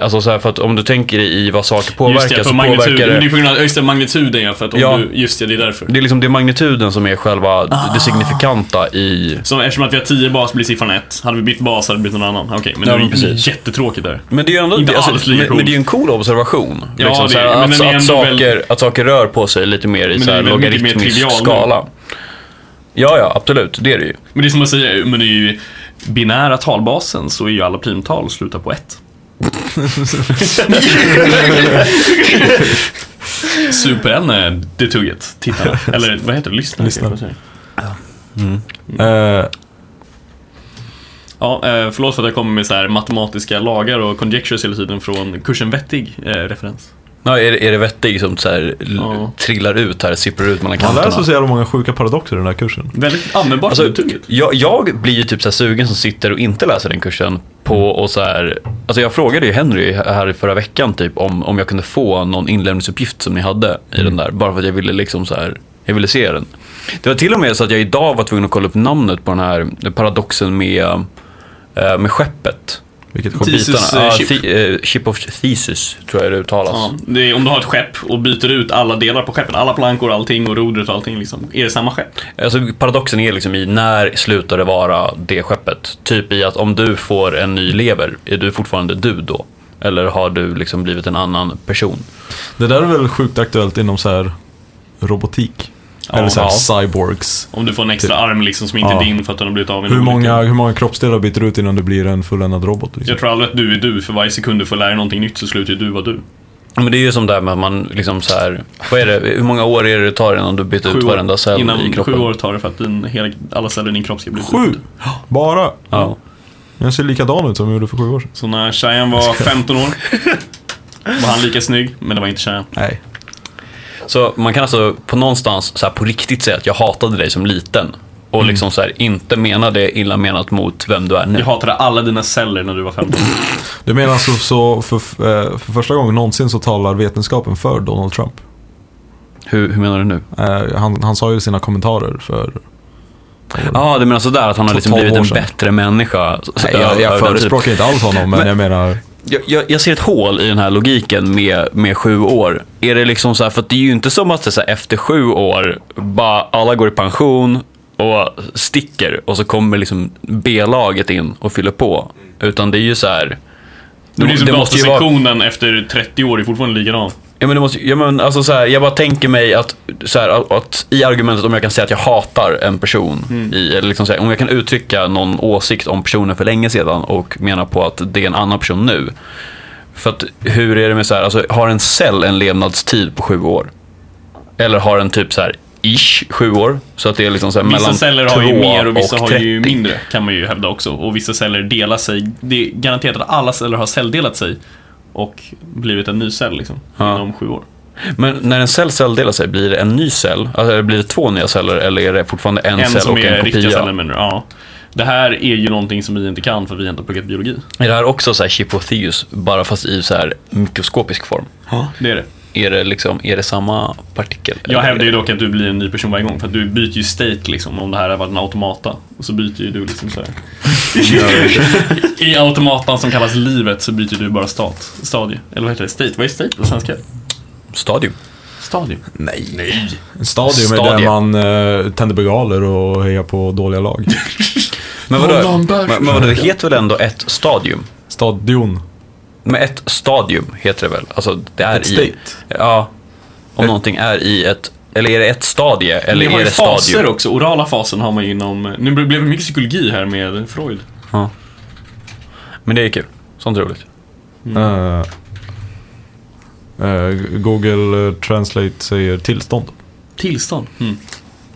Speaker 4: Alltså så här, för att om du tänker i vad saker påverkar
Speaker 3: Just det, för
Speaker 4: så
Speaker 3: magnitud,
Speaker 4: påverkar
Speaker 3: det
Speaker 4: det...
Speaker 3: är på grund av just det, magnituden ja, för att om
Speaker 4: Ja.
Speaker 3: du, just det, det är därför.
Speaker 4: Det är liksom det är magnituden som är själva
Speaker 3: Ah.
Speaker 4: det signifikanta i
Speaker 3: Så eftersom att vi har 10 bas blir siffran 1. Hade vi bytt bas hade det blivit någon annan. Okej, men det
Speaker 4: Ja,
Speaker 3: är
Speaker 4: men
Speaker 3: ju
Speaker 4: precis.
Speaker 3: jättetråkigt där.
Speaker 4: Men det är ju ändå
Speaker 3: Inte
Speaker 4: alltså,
Speaker 3: alls lika
Speaker 4: men,
Speaker 3: coolt.
Speaker 4: men det är ju en cool observation. Liksom
Speaker 3: Ja, det är-
Speaker 4: så här,
Speaker 3: men
Speaker 4: att,
Speaker 3: den är
Speaker 4: att,
Speaker 3: ändå väl-
Speaker 4: saker, att saker rör på sig lite mer i
Speaker 3: det
Speaker 4: så
Speaker 3: är
Speaker 4: här,
Speaker 3: väl mycket mer
Speaker 4: logaritmisk
Speaker 3: trivial nu.
Speaker 4: skala. Ja, ja, absolut. Det är det ju.
Speaker 3: Men det är som att säga, men det är ju binära talbasen så är ju alla primtal slutar på 1. Superämne, det tugget. Tittarna. Eller vad heter det? Lyssnarna.
Speaker 2: Lyssnarna.
Speaker 3: Vad säger
Speaker 2: Eh,
Speaker 3: jag? Ja, eh, förlåt för att jag kommer med så här matematiska lagar och conjectures hela tiden från kursen vettig eh, referens.
Speaker 4: Ja, är, det- är det vettig som så här, l-
Speaker 3: Ja.
Speaker 4: trillar ut här, sipprar ut mellan
Speaker 2: man lär sig så
Speaker 4: kanterna?
Speaker 2: jävla många sjuka paradoxer i den här kursen.
Speaker 3: Väldigt användbart
Speaker 4: Alltså,
Speaker 3: för tugget.
Speaker 4: jag, jag blir ju typ så här sugen som sitter och inte läser den kursen på och så här, alltså jag frågade ju Henry här i förra veckan typ om, om jag kunde få någon inlämningsuppgift som ni hade i
Speaker 3: Mm.
Speaker 4: den där, bara för att jag ville liksom så här, jag ville se den. Det var till och med så att jag idag var tvungen att kolla upp namnet på den här paradoxen med, eh, med skeppet.
Speaker 2: Vilket
Speaker 4: på
Speaker 2: kom
Speaker 3: Thesis,
Speaker 4: bitarna.
Speaker 3: eh,
Speaker 4: Ja,
Speaker 3: chip.
Speaker 4: the, eh, chip of thesis tror jag det uttalas.
Speaker 3: Ja, det är, om du har ett skepp och byter ut alla delar på skeppet, alla plankor och allting och rodret och allting liksom. Är det samma skepp?
Speaker 4: Alltså, paradoxen är liksom i när slutar det vara det skeppet? Typ i att om du får en ny lever, är du fortfarande du då? Eller har du liksom blivit en annan person?
Speaker 2: Det där är väl sjukt aktuellt inom så här robotik. Eller så här
Speaker 4: Ja.
Speaker 2: cyborgs.
Speaker 3: Om du får en extra arm liksom som inte
Speaker 2: Typ. Ja.
Speaker 3: är din för att den har blivit av med
Speaker 2: Hur
Speaker 3: en
Speaker 2: många,
Speaker 3: olycka.
Speaker 2: hur många kroppsdelar byter du ut innan du blir en fulländad robot? Liksom?
Speaker 3: Jag tror aldrig att du är du, för varje sekund du får lära dig någonting nytt så slutar ju du vara du.
Speaker 4: Men det är ju som det här med att man liksom så här, vad är det, hur många år är det det tar innan du byter ut
Speaker 3: år-
Speaker 4: varenda cell
Speaker 3: innan
Speaker 4: i kroppen?
Speaker 3: sju år tar det för att din, hela, alla celler i din kropp ska bli
Speaker 2: Sju!
Speaker 3: utbytta.
Speaker 2: Bara!
Speaker 4: Ja.
Speaker 2: Jag ser likadan ut som jag gjorde för sju år sedan.
Speaker 3: Så när Cheyenne var 15 år var han lika snygg, men det var inte Cheyenne.
Speaker 2: Nej.
Speaker 4: Så man kan alltså på någonstans så här, på riktigt säga att jag hatade dig som liten. Och
Speaker 3: Mm.
Speaker 4: liksom så här, inte mena det illa menat mot vem du är nu.
Speaker 3: Jag hatade alla dina celler när du var 15.
Speaker 2: Du menar alltså så för, eh, för första gången någonsin så talar vetenskapen för Donald Trump?
Speaker 4: Hur, hur menar du nu?
Speaker 2: Eh, han, han sa ju sina kommentarer för...
Speaker 4: Ja, du menar sådär att han har liksom
Speaker 2: Tolv
Speaker 4: blivit
Speaker 2: år
Speaker 4: en
Speaker 2: sedan.
Speaker 4: bättre människa?
Speaker 2: Nej, jag,
Speaker 4: Ja, typ-
Speaker 2: jag
Speaker 4: den
Speaker 2: förespråkar inte alls honom, men,
Speaker 4: Men-
Speaker 2: jag menar...
Speaker 4: Jag, jag, jag ser ett hål i den här logiken med, med sju år. Är det liksom så här, för att det är ju inte som att det är så här, efter sju år, bara alla går i pension och sticker och så kommer liksom B-laget in och fyller på. Utan det är ju så här...
Speaker 3: Det blir som
Speaker 4: det måste ju vara-
Speaker 3: datasektionen efter 30 år, är fortfarande likadan.
Speaker 4: Ja, men det måste, ja, men, alltså, så här, jag bara tänker mig att, så här, att, att i argumentet om jag kan säga att jag hatar en person,
Speaker 3: Mm.
Speaker 4: i, eller liksom, så här, om jag kan uttrycka någon åsikt om personen för länge sedan och menar på att det är en annan person nu. För att hur är det med så här, alltså, har en cell en levnadstid på sju år? Eller har den typ så här, ish, sju år? Så att det är liksom så här,
Speaker 3: Vissa
Speaker 4: mellan
Speaker 3: celler har ju
Speaker 4: två
Speaker 3: mer och vissa har
Speaker 4: 30.
Speaker 3: ju mindre, kan man ju hävda också. Och vissa celler delar sig. Det är garanterat att alla celler har celldelat sig och blivit en ny cell liksom,
Speaker 4: Ja.
Speaker 3: inom sju år.
Speaker 4: Men när en cell celldelar sig, blir det en ny cell? Alltså, blir det två nya celler eller är det fortfarande en,
Speaker 3: En
Speaker 4: cell
Speaker 3: som
Speaker 4: och en
Speaker 3: är
Speaker 4: kopia?
Speaker 3: riktiga celler menar du? Ja. Det här är ju någonting som vi inte kan för vi har inte pluggat biologi.
Speaker 4: Är det här också så här Chipotheus, bara fast i så här mikroskopisk form?
Speaker 3: Det är det.
Speaker 4: Är det, liksom, är det samma partikel?
Speaker 3: Jag hävdar ju dock att du blir en ny person varje gång för att du byter ju state liksom om det här hade varit en automata. Och så byter ju du liksom så här. I automatan som kallas livet så byter du bara stat, stadie. Eller vad heter det? State? Vad är state på svenska?
Speaker 4: Stadium.
Speaker 3: Stadie.
Speaker 2: Ett Stadium är
Speaker 4: Stadium.
Speaker 2: där man eh, tänder bengaler och hejar på dåliga lag.
Speaker 4: Men vadå, men, men vadå, det heter väl ändå ett stadium?
Speaker 2: Stadion.
Speaker 4: Men ett stadium heter det väl? Alltså, det är
Speaker 2: Ett
Speaker 4: i...
Speaker 2: state.
Speaker 4: Ja. Om någonting är i ett... Eller är det ett stadie? Eller
Speaker 3: Eller har
Speaker 4: är
Speaker 3: ju
Speaker 4: det
Speaker 3: faser
Speaker 4: stadium?
Speaker 3: också. Orala fasen har man ju inom... Nu blev det mycket psykologi här med Freud.
Speaker 4: Ja. Men det är kul. Sånt är roligt.
Speaker 2: Eh, eh, Google eh, Translate säger tillstånd.
Speaker 3: Tillstånd. Mm.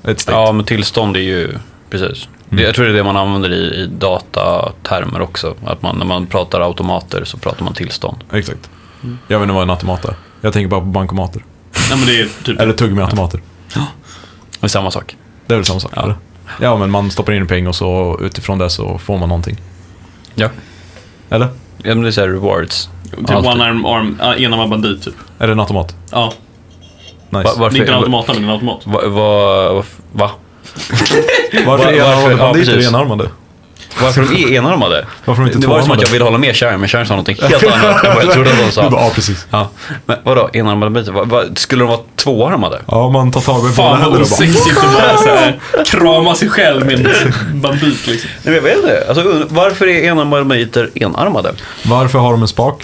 Speaker 2: Ett state.
Speaker 4: Ja, men tillstånd är ju... Precis.
Speaker 2: Mm.
Speaker 4: Det- Jag tror det är det man använder i, i datatermer också. Att man, när man pratar automater så pratar man tillstånd.
Speaker 2: Exakt.
Speaker 4: Mm.
Speaker 2: Jag vet inte vad en automat är. Jag tänker bara på bankomater.
Speaker 3: Nej men det är typ...
Speaker 2: Eller tuggummiautomater.
Speaker 4: Det är samma sak.
Speaker 2: Det är väl samma sak? Ja. Eller? ja, men man stoppar in en peng och så utifrån det så får man någonting.
Speaker 4: Ja.
Speaker 2: Eller?
Speaker 4: Ja, men det är så här rewards.
Speaker 3: Typ
Speaker 4: Alltid.
Speaker 3: one arm, arm äh, enarmad bandit typ.
Speaker 2: Är det en automat?
Speaker 3: Ja.
Speaker 2: Nice.
Speaker 4: Va-
Speaker 3: Det är inte en
Speaker 4: varför? Va,
Speaker 3: automat men det är en automat.
Speaker 4: va, va, va?
Speaker 2: varför
Speaker 4: va-
Speaker 2: är
Speaker 4: varför-
Speaker 2: enarmade
Speaker 4: ja,
Speaker 2: banditer
Speaker 4: precis.
Speaker 2: enarmade?
Speaker 4: Varför de är enarmade?
Speaker 2: Varför de inte
Speaker 4: det var som
Speaker 2: tvåarmade?
Speaker 4: att jag ville hålla med Sharon, men Sharon sa någonting helt annat än vad jag trodde att de
Speaker 2: Du bara,
Speaker 4: sa.
Speaker 2: Ja, precis.
Speaker 4: Ja. Men vadå, enarmade banditer? Va, va, skulle de vara tvåarmade?
Speaker 2: Ja, man tar tag i båda
Speaker 3: Fan vad
Speaker 2: händerna och bara...
Speaker 3: osexigt att bara såhär krama sig själv med en bandit liksom.
Speaker 4: Nej, men jag vet inte. Alltså, und- varför är enarmade banditer enarmade?
Speaker 2: Varför har de en spak?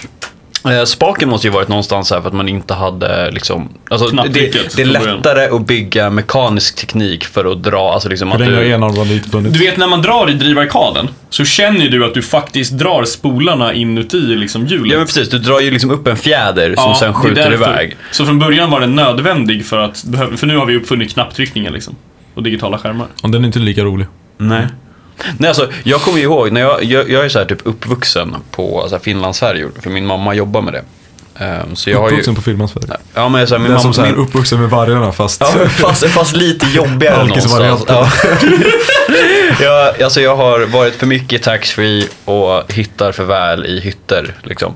Speaker 4: Eh, Spaken måste ju varit någonstans här för att man inte hade liksom, alltså,
Speaker 3: Knapptrycket
Speaker 4: det, det är
Speaker 3: från början.
Speaker 4: lättare att bygga mekanisk teknik för att dra, alltså liksom
Speaker 2: Hur
Speaker 4: att
Speaker 2: länge har
Speaker 4: du,
Speaker 2: enarmad elit funnits?
Speaker 3: Du vet när man drar i drivarkaden så känner ju du att du faktiskt drar spolarna inuti liksom hjulet.
Speaker 4: Ja men precis, du drar ju liksom upp en fjäder som
Speaker 3: Ja,
Speaker 4: sen
Speaker 3: det är
Speaker 4: skjuter
Speaker 3: därför.
Speaker 4: iväg.
Speaker 3: Så från början var den nödvändig för att, behö- för nu har vi uppfunnit knapptryckningen liksom. Och digitala skärmar.
Speaker 2: Ja, Den är inte lika rolig.
Speaker 4: Nej. Nej alltså, jag kommer ju ihåg, när jag, jag, jag är så här typ uppvuxen på så här, Finlandsfärjor, för min mamma jobbar med det. Ehm, så jag har ju...
Speaker 2: Uppvuxen på filmans Sverige.
Speaker 4: Ja men så här, min
Speaker 2: Den
Speaker 4: mamma...
Speaker 2: som så här
Speaker 4: min,
Speaker 2: uppvuxen med vargarna fast...
Speaker 4: Ja, men fast, fast lite jobbigare någonstans.
Speaker 2: Alkisvarianten.
Speaker 4: Ja. jag, alltså jag har varit för mycket i taxfree och hittar för väl i hytter. Liksom.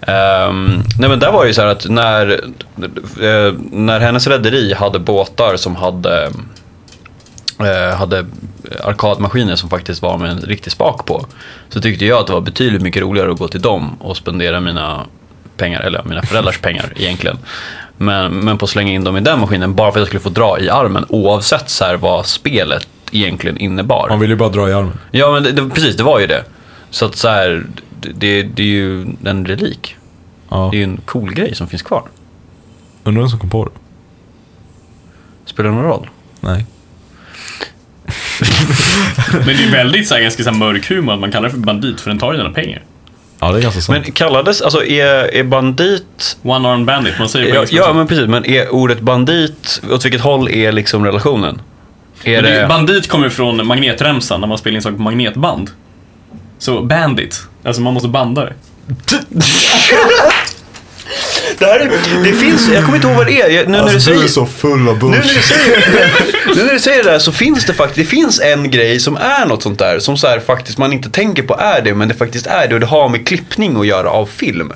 Speaker 4: Ehm, nej men där var det ju så här att när, eh, när hennes rederi hade båtar som hade eh, hade arkadmaskiner som faktiskt var med en riktig spak på. Så tyckte jag att det var betydligt mycket roligare att gå till dem och spendera mina pengar, eller ja, mina föräldrars pengar egentligen. Men, men på att slänga in dem i den maskinen bara för att jag skulle få dra i armen oavsett så här vad spelet egentligen innebar.
Speaker 2: Man vill ju bara dra i armen.
Speaker 4: Ja men det, det, precis, det var ju det. Så att så här, det, det är ju en relik.
Speaker 2: Ja.
Speaker 4: Det är ju en cool grej som finns kvar.
Speaker 2: Undrar vem som kom på det?
Speaker 4: Spelar det någon roll?
Speaker 2: Nej.
Speaker 3: Men det är ju väldigt så här, ganska så här, mörk humor att man kallar det för bandit för den tar ju dina pengar.
Speaker 2: Ja, det är ganska sant.
Speaker 4: Men kallades, alltså är, är bandit
Speaker 3: One arm bandit, man säger på
Speaker 4: Ja,
Speaker 3: engelska
Speaker 4: ja
Speaker 3: också.
Speaker 4: men precis, men är ordet bandit, åt vilket håll är liksom relationen? Är
Speaker 3: Men det,
Speaker 4: det,
Speaker 3: bandit kommer ju från magnetremsan när man spelar in saker på magnetband. Så bandit, alltså man måste banda det.
Speaker 4: det, här är, det finns, jag kommer inte ihåg vad det är, Jag- nu när Alltså, du säger
Speaker 2: full av
Speaker 4: nu när du säger, nu när du säger det där så finns det faktiskt, det finns en grej som är något sånt där som så här faktiskt man inte tänker på är det men det faktiskt är det och det har med klippning att göra av film.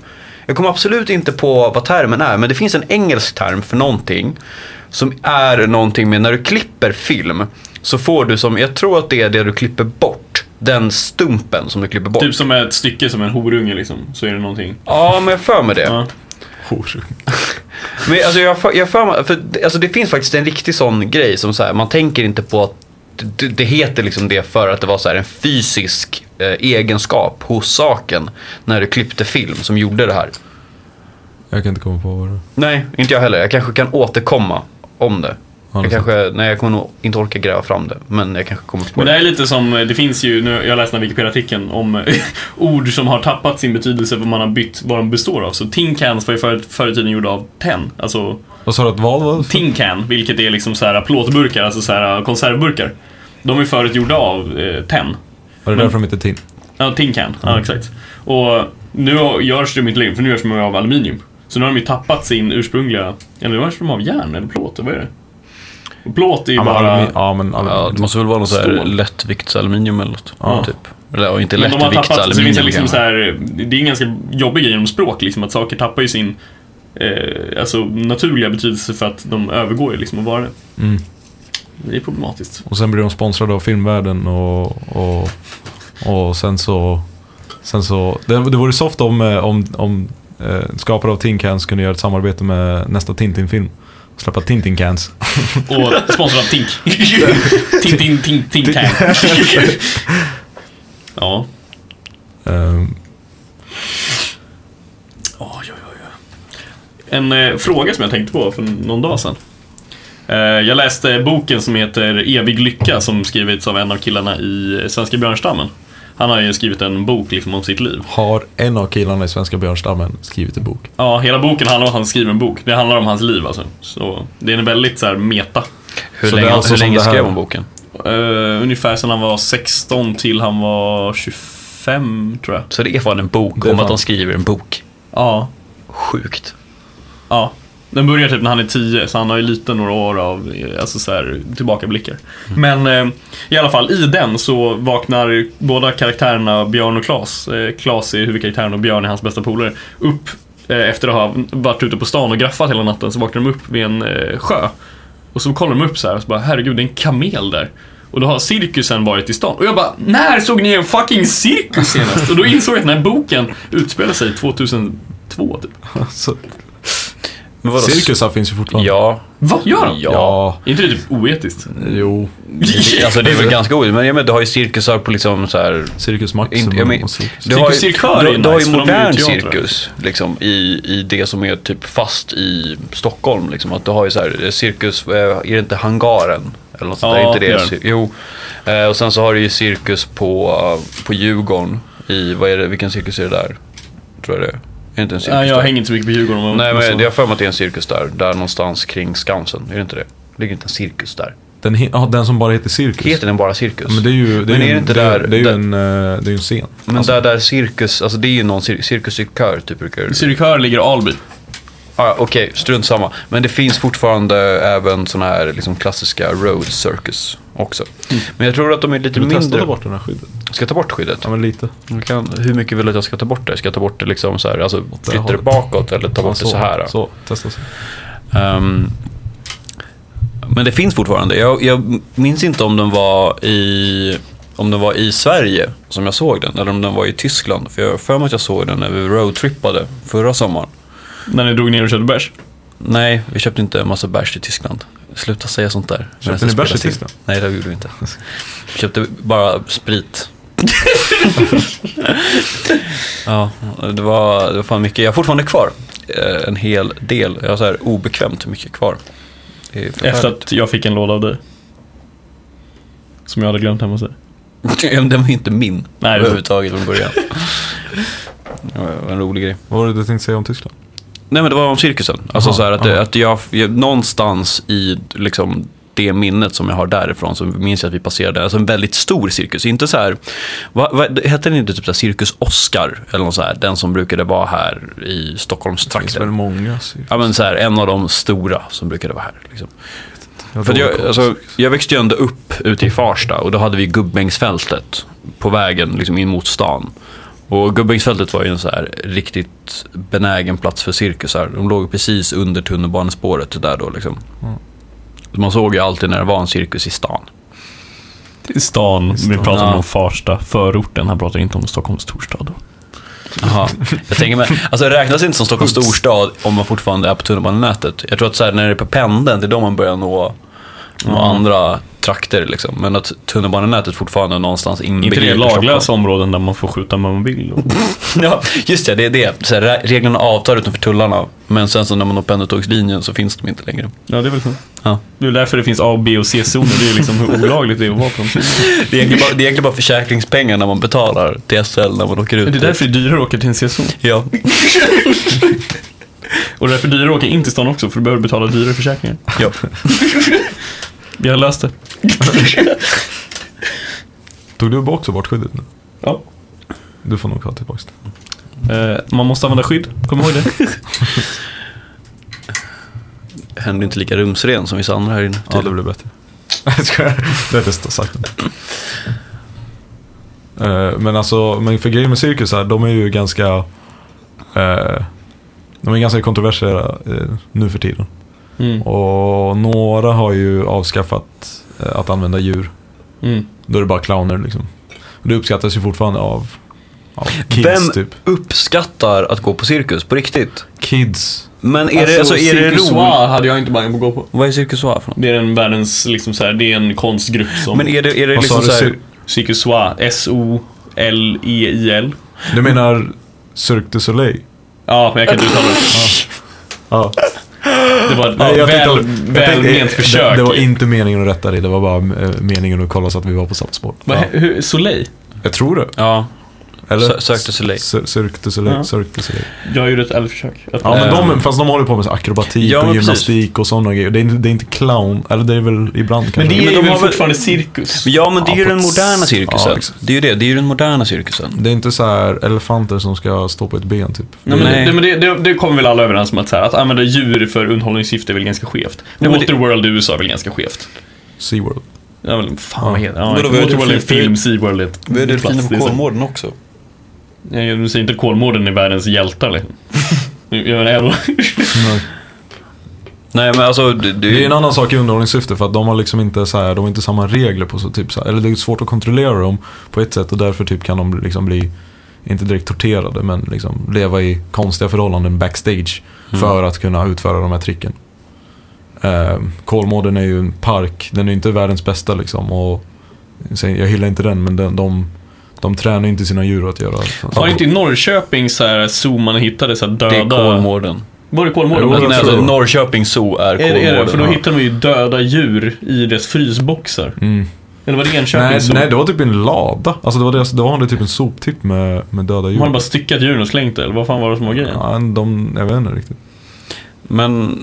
Speaker 4: Jag kommer absolut inte på vad termen är men det finns en engelsk term för någonting som är någonting med när du klipper film så får du som, jag tror att det är det du klipper bort, den stumpen som du klipper bort.
Speaker 3: Typ som ett stycke som en horunge liksom, så är det någonting.
Speaker 4: Ja men jag har för mig det.
Speaker 3: Ja.
Speaker 4: Men alltså jag, för- jag för, mig- för alltså det finns faktiskt en riktig sån grej som så här, man tänker inte på att det, det heter liksom det för att det var så här en fysisk eh, egenskap hos saken när du klippte film som gjorde det här.
Speaker 2: Jag kan inte komma på vad det är.
Speaker 4: Nej, inte jag heller. Jag kanske kan återkomma om det.
Speaker 2: Ja, det är
Speaker 4: jag kanske, nej jag kommer nog inte orka gräva fram det, men jag kanske kommer på
Speaker 3: Men det
Speaker 4: det.
Speaker 3: här är lite som, det finns ju, nu, jag läste den här Wikipedia-artikeln om eh, ord som har tappat sin betydelse vad man har bytt vad de består av. Så tin cans var ju förr, förr i tiden gjorda av tenn, alltså
Speaker 2: Vad sa du att vad var?
Speaker 3: tin can, vilket är liksom så här plåtburkar, alltså så här konservburkar. De är förut gjorda av eh, tenn.
Speaker 2: Var det därför de inte tin?
Speaker 3: Ja, tin can.
Speaker 2: Mm.
Speaker 3: Ja, exakt. Och nu har- görs det inte längre, för nu görs de av aluminium. Så nu har de ju tappat sin ursprungliga, eller nu görs de av järn eller plåt, vad är det? Och Plåt är ju
Speaker 2: Ja, men
Speaker 3: bara...
Speaker 2: alumi- ja, men
Speaker 4: Ja,
Speaker 2: aluminium.
Speaker 4: det måste väl vara något så här
Speaker 3: Stål.
Speaker 4: lättviktsaluminium eller något.
Speaker 2: Ja.
Speaker 4: Typ. Eller ja, inte
Speaker 3: Men de har tappat, så det, finns
Speaker 4: lättviktsaluminium.
Speaker 3: ju liksom så
Speaker 4: kanske.
Speaker 3: här, det är en ganska jobbig grej om språk, liksom, att saker tappar ju sin eh, alltså, naturliga betydelse för att de övergår ju liksom att vara det.
Speaker 2: Mm.
Speaker 3: Det är problematiskt.
Speaker 2: Och sen blir de sponsrade av filmvärlden och, och, och sen så... Sen så det, det vore soft om, eh, om, om eh, skapare av Tin Cans kunde göra ett samarbete med nästa Tintin-film. Och Släppa Tintin Cans.
Speaker 3: Och sponsrad av Tink. Tintin Tink Tink Tank. Ja.
Speaker 2: Ehm,
Speaker 3: Oj, oj, oj, oj. En eh, fråga som jag tänkte på för någon dag sedan. Eh, jag läste boken som heter Evig lycka som skrivits av en av killarna i Svenska björnstammen. Han har ju skrivit en bok liksom, om sitt liv.
Speaker 2: har en av killarna i svenska björnstammen skrivit en bok?
Speaker 3: Ja, hela boken handlar om att han skriver en bok. Det handlar om hans liv alltså. Så det är en väldigt så här meta.
Speaker 4: Hur
Speaker 2: Så det är
Speaker 4: länge,
Speaker 2: alltså
Speaker 4: hur
Speaker 2: som
Speaker 4: länge
Speaker 2: det här-
Speaker 4: skrev hon boken?
Speaker 3: Eh, ungefär sedan han var 16 till han var 25 tror jag.
Speaker 4: Så det är fan en bok
Speaker 2: Det är
Speaker 4: om att
Speaker 2: fan-
Speaker 4: han skriver en bok.
Speaker 3: Ja,
Speaker 4: Sjukt.
Speaker 3: ja. Den börjar typ när han är 10 så han har ju lite några år av eh, alltså så här, tillbakablickar. Men eh, i alla fall i den så vaknar båda karaktärerna Björn och Klas. Eh, Klas är huvudkaraktären och Björn är hans bästa polare. Upp eh, efter att ha varit ute på stan och graffat hela natten så vaknar de upp vid en eh, sjö. Och så kollar de upp så här och så bara herregud det är en kamel där. Och då har cirkusen varit i stan. Och jag bara, när såg ni en fucking cirkus senast? Och då insåg jag att den här boken utspelar sig 2002 typ.
Speaker 2: Alltså,
Speaker 4: Men vadå?
Speaker 2: Cirkusar finns ju fortfarande.
Speaker 4: Ja.
Speaker 3: Va? Gör de?
Speaker 2: Ja.
Speaker 3: Är inte det typ oetiskt?
Speaker 2: Jo.
Speaker 4: Alltså det är väl ganska oerhört, men jag menar, du har ju cirkusar på liksom så här...
Speaker 2: Cirkus
Speaker 4: Inte,
Speaker 2: Maximum
Speaker 4: jag men,
Speaker 2: och cirkus.
Speaker 4: du har ju,
Speaker 3: Cirkuscirkör är
Speaker 4: du,
Speaker 3: ju
Speaker 4: du har
Speaker 3: nice,
Speaker 4: ju
Speaker 3: för de är ju
Speaker 4: modern
Speaker 3: teatrar.
Speaker 4: cirkus liksom, i, i det som är typ fast i Stockholm. Liksom, att du har ju så här, eh, cirkus, eh, är det inte hangaren? Eller något sånt där.
Speaker 3: Ja,
Speaker 4: Är inte
Speaker 3: det
Speaker 4: det.
Speaker 3: är det.
Speaker 4: cir- Jo. Eh, och sen så har du ju cirkus på, eh, på Djurgården. I, vad är det, vilken cirkus är det där? Tror jag det är. Är det inte en cirkus
Speaker 3: Nej, jag
Speaker 4: där?
Speaker 3: hänger inte så mycket på Djurgården. Alltså. om jag-
Speaker 4: Nej,
Speaker 3: om jag
Speaker 4: men
Speaker 3: så.
Speaker 4: jag har för mig att det är en cirkus där. Där någonstans kring Skansen. Är det inte det? Ligger inte en cirkus där?
Speaker 2: Den, he- ja, den som bara heter cirkus.
Speaker 4: Heter den bara cirkus?
Speaker 2: Men det är ju, det är
Speaker 4: Men
Speaker 2: ju,
Speaker 4: är det
Speaker 2: en-
Speaker 4: inte
Speaker 2: det är,
Speaker 4: där-
Speaker 2: det är ju
Speaker 4: där-
Speaker 2: en, eh, det är ju en scen.
Speaker 4: Men där, där cirkus, alltså det är ju någon cir cirkuscirkör typ brukar
Speaker 3: Cirkör ligger i Alby.
Speaker 4: ah, Okej, strunt samma. Men det finns fortfarande även såna här liksom klassiska road circus också. Men jag tror att de är lite
Speaker 2: Mm. Du testade
Speaker 4: mindre.
Speaker 2: bort den här skyddet?
Speaker 4: Ska jag ta bort skyddet?
Speaker 2: Ja men lite.
Speaker 4: Jag Kan, hur mycket vill du att jag ska ta bort det? Ska jag ta bort det liksom så här, alltså
Speaker 2: det
Speaker 4: flytta det
Speaker 2: hållet.
Speaker 4: bakåt eller ta bort det så här? då?
Speaker 2: Så, testa så.
Speaker 4: Ehm, men det finns fortfarande. Jag, jag minns inte om den var i om den var i Sverige som jag såg den eller om den var i Tyskland. För jag har för mig att jag såg den när vi roadtrippade förra sommaren.
Speaker 3: När ni drog ner och körde bärs.
Speaker 4: Nej, vi köpte inte en massa bärs i Tyskland. Sluta säga sånt där. Medan
Speaker 2: ni
Speaker 4: det
Speaker 2: bärs i
Speaker 4: spelas in.
Speaker 2: Tyskland?
Speaker 4: Nej, det gjorde vi inte. Vi köpte bara sprit. ja, det var, det var fan mycket. Jag har fortfarande kvar eh, en hel del. Jag har så här obekvämt mycket kvar. Det är förfärligt.
Speaker 3: Efter att jag fick en låda av dig. Som jag hade glömt hemma hos dig.
Speaker 4: Ja, men Den var ju inte min
Speaker 3: Nej, det är
Speaker 4: överhuvudtaget från början. Det var en rolig grej.
Speaker 2: Vad var det du tänkte säga om Tyskland?
Speaker 4: Nej men det var om cirkusen. Alltså
Speaker 2: Aha,
Speaker 4: så här att,
Speaker 2: aha.
Speaker 4: att jag, jag, någonstans i liksom det minnet som jag har därifrån så minns jag att vi passerade alltså en väldigt stor cirkus. Inte så här, vad, vad, hette den inte typ så här Cirkus Oscar eller något så här, den som brukade vara här i
Speaker 2: Det finns väl
Speaker 4: Stockholmstrakten.
Speaker 2: många
Speaker 4: Ja men så här, en av de stora som brukade vara här. Liksom. För att jag,
Speaker 2: jag,
Speaker 4: alltså, jag växte ju ändå upp ute i Farsta och då hade vi Gubbängsfältet på vägen liksom in mot stan. Och Gubbängsfältet var ju en så här riktigt benägen plats för cirkusar. De låg precis under tunnelbanespåret där då liksom.
Speaker 3: Mm.
Speaker 4: Så Man såg ju alltid när det var en cirkus i stan.
Speaker 3: I stan. Vi pratar
Speaker 4: Ja.
Speaker 3: om Farsta, förorten. Han pratar inte om Stockholms storstad.
Speaker 4: Jaha. Jag tänker mig, alltså det räknas inte som Stockholms storstad om man fortfarande är på tunnelbanenätet. Jag tror att så här, när det är på pendeln, det är då man börjar nå, nå
Speaker 3: Mm.
Speaker 4: andra trakter liksom. Men att tunnelbanenätet fortfarande är någonstans
Speaker 3: Inte
Speaker 4: inbegriper
Speaker 3: det
Speaker 4: Stockholm.
Speaker 3: laglösa områden där man får skjuta med mobil. Och...
Speaker 4: Ja, just det. Det är det. Så här, re- reglerna avtar utanför tullarna. Men sen så när man når pendeltågslinjen så finns de inte längre.
Speaker 3: Ja, det är väl så.
Speaker 4: Ja.
Speaker 3: Det är väl därför det finns A, B och C-zoner. Det är liksom hur olagligt det är att vara på dem.
Speaker 4: Det är egentligen bara, det är egentligen bara försäkringspengar när man betalar till SL när man åker ut.
Speaker 3: Det är därför det är dyrare att åka till en C-zon.
Speaker 4: Ja.
Speaker 3: Och därför är det dyrare att åka in till stan också, för du behöver betala dyrare försäkringar.
Speaker 4: ja.
Speaker 3: Vi har löst det.
Speaker 2: Tog du också bort skyddet nu?
Speaker 3: Ja.
Speaker 2: Du får nog ha tillbaka det.
Speaker 3: Eh, man måste använda skydd, kom ihåg det.
Speaker 4: Händer inte lika rumsren som vissa andra här inne. typ.
Speaker 2: Ja, det blir bättre. Jag skojar. Det är bästa sagt. Eh, Men alltså, men för grejen med cirkusar, de är ju ganska... eh, De är ganska kontroversiella eh, nu för tiden.
Speaker 3: Mm.
Speaker 2: Och några har ju avskaffat eh, att använda djur.
Speaker 3: Mm.
Speaker 2: Då är det bara clowner liksom. Och det uppskattas ju fortfarande av, av kids
Speaker 4: Vem
Speaker 2: typ.
Speaker 4: uppskattar att gå på cirkus på riktigt?
Speaker 2: Kids.
Speaker 4: Men är det, alltså, är det roligt?
Speaker 3: hade jag inte bangat på att gå på.
Speaker 4: Vad är cirkus Soir för något?
Speaker 3: Det är en världens, liksom så här, det är en konstgrupp som...
Speaker 4: Men är det, är det
Speaker 2: Vad
Speaker 4: liksom
Speaker 2: sa du?
Speaker 4: så här,
Speaker 2: Cir-
Speaker 3: Cirkus Soir, S-O-L-E-I-L.
Speaker 2: Du menar Cirque du Soleil?
Speaker 3: Ja, men jag kan inte uttala det.
Speaker 2: Ja.
Speaker 3: Det var ett
Speaker 2: jag tänkte-
Speaker 3: väl,
Speaker 2: jag tänkte-
Speaker 3: välment
Speaker 2: eh,
Speaker 3: försök.
Speaker 2: Det, det var
Speaker 4: typ.
Speaker 2: inte meningen att rätta dig, det var bara eh, meningen att kolla så att vi var på samma spår.
Speaker 3: Vad
Speaker 2: Ja.
Speaker 3: hä- hur- Soleil?
Speaker 2: Jag tror det.
Speaker 4: Ja,
Speaker 2: Eller?
Speaker 4: Cir- Cirque du Soleil.
Speaker 2: Cir- Cirque du Soleil.
Speaker 3: Ja.
Speaker 2: Cirque du Soleil.
Speaker 3: Jag gjorde ett ärligt
Speaker 2: Ja, men de, fast de håller på med så akrobatik
Speaker 4: Eh, Ja, men
Speaker 2: och
Speaker 4: precis.
Speaker 2: gymnastik och sådana grejer. Det är, inte, det är inte clown, eller det är väl ibland kanske.
Speaker 3: Men det är
Speaker 4: Men de
Speaker 3: ju
Speaker 4: har väl-
Speaker 3: fortfarande cirkus.
Speaker 4: ja men det är
Speaker 2: Ja,
Speaker 4: ju
Speaker 2: på
Speaker 4: den
Speaker 2: ett s-
Speaker 4: moderna cirkusen.
Speaker 2: ja, liksom.
Speaker 4: Det är ju det, det är ju den moderna cirkusen.
Speaker 2: Det är inte så här elefanter som ska stå på ett ben typ.
Speaker 3: Nej, men
Speaker 4: Nej.
Speaker 3: Det, men det, det, det kommer väl alla överens om att, så här, att använda djur för underhållningssyfte är väl ganska skevt.
Speaker 4: Nej, men det-
Speaker 3: Waterworld i USA är väl ganska skevt.
Speaker 2: SeaWorld.
Speaker 3: Ja, men, fan vad heter det? Ja,
Speaker 4: Men då var det typ
Speaker 3: Waterworld är en
Speaker 4: fint-
Speaker 3: film, Seaworld är ett plast,
Speaker 2: liksom.
Speaker 3: det är så-
Speaker 4: också?
Speaker 3: liksom. Nej, Du säger inte att Kolmården är världens hjältar liksom. Jag menar, även-
Speaker 4: Nej men alltså, det, det,
Speaker 2: Det är en annan sak i underhållningssyfte för att de har liksom inte, så här, de har inte samma regler på så typ så här, Eller det är svårt att kontrollera dem på ett sätt och därför typ kan de liksom bli inte direkt torterade, men liksom leva i konstiga förhållanden backstage
Speaker 3: Mm.
Speaker 2: för att kunna utföra de här tricken. Eh, Kolmården är ju en park, den är ju inte världens bästa liksom. Och, sen- jag hyllar inte den, men den, de, de tränar ju inte sina djur att göra.
Speaker 3: Var det inte i Norrköping så här zoo man hittade så här döda...
Speaker 4: Det är Kolmården.
Speaker 3: Var det
Speaker 2: Jo,
Speaker 3: Kolmården?
Speaker 2: jag
Speaker 4: Nej,
Speaker 2: tror-
Speaker 4: alltså, Norrköping Zoo är
Speaker 3: Är det,
Speaker 4: Kolmården.
Speaker 3: är det? För då
Speaker 4: Ja.
Speaker 3: hittade de ju döda djur i deras frysboxar.
Speaker 2: Mm.
Speaker 3: Eller var det Enköping
Speaker 2: Nej,
Speaker 3: zoo?
Speaker 2: nej, det var typ en lada. Alltså det var deras, då hade de typ en soptipp med, med döda
Speaker 3: De hade
Speaker 2: djur.
Speaker 3: bara styckat djuren och slängt det, eller vad fan var det som var grejen?
Speaker 2: Ja, de, jag vet inte riktigt.
Speaker 4: Men,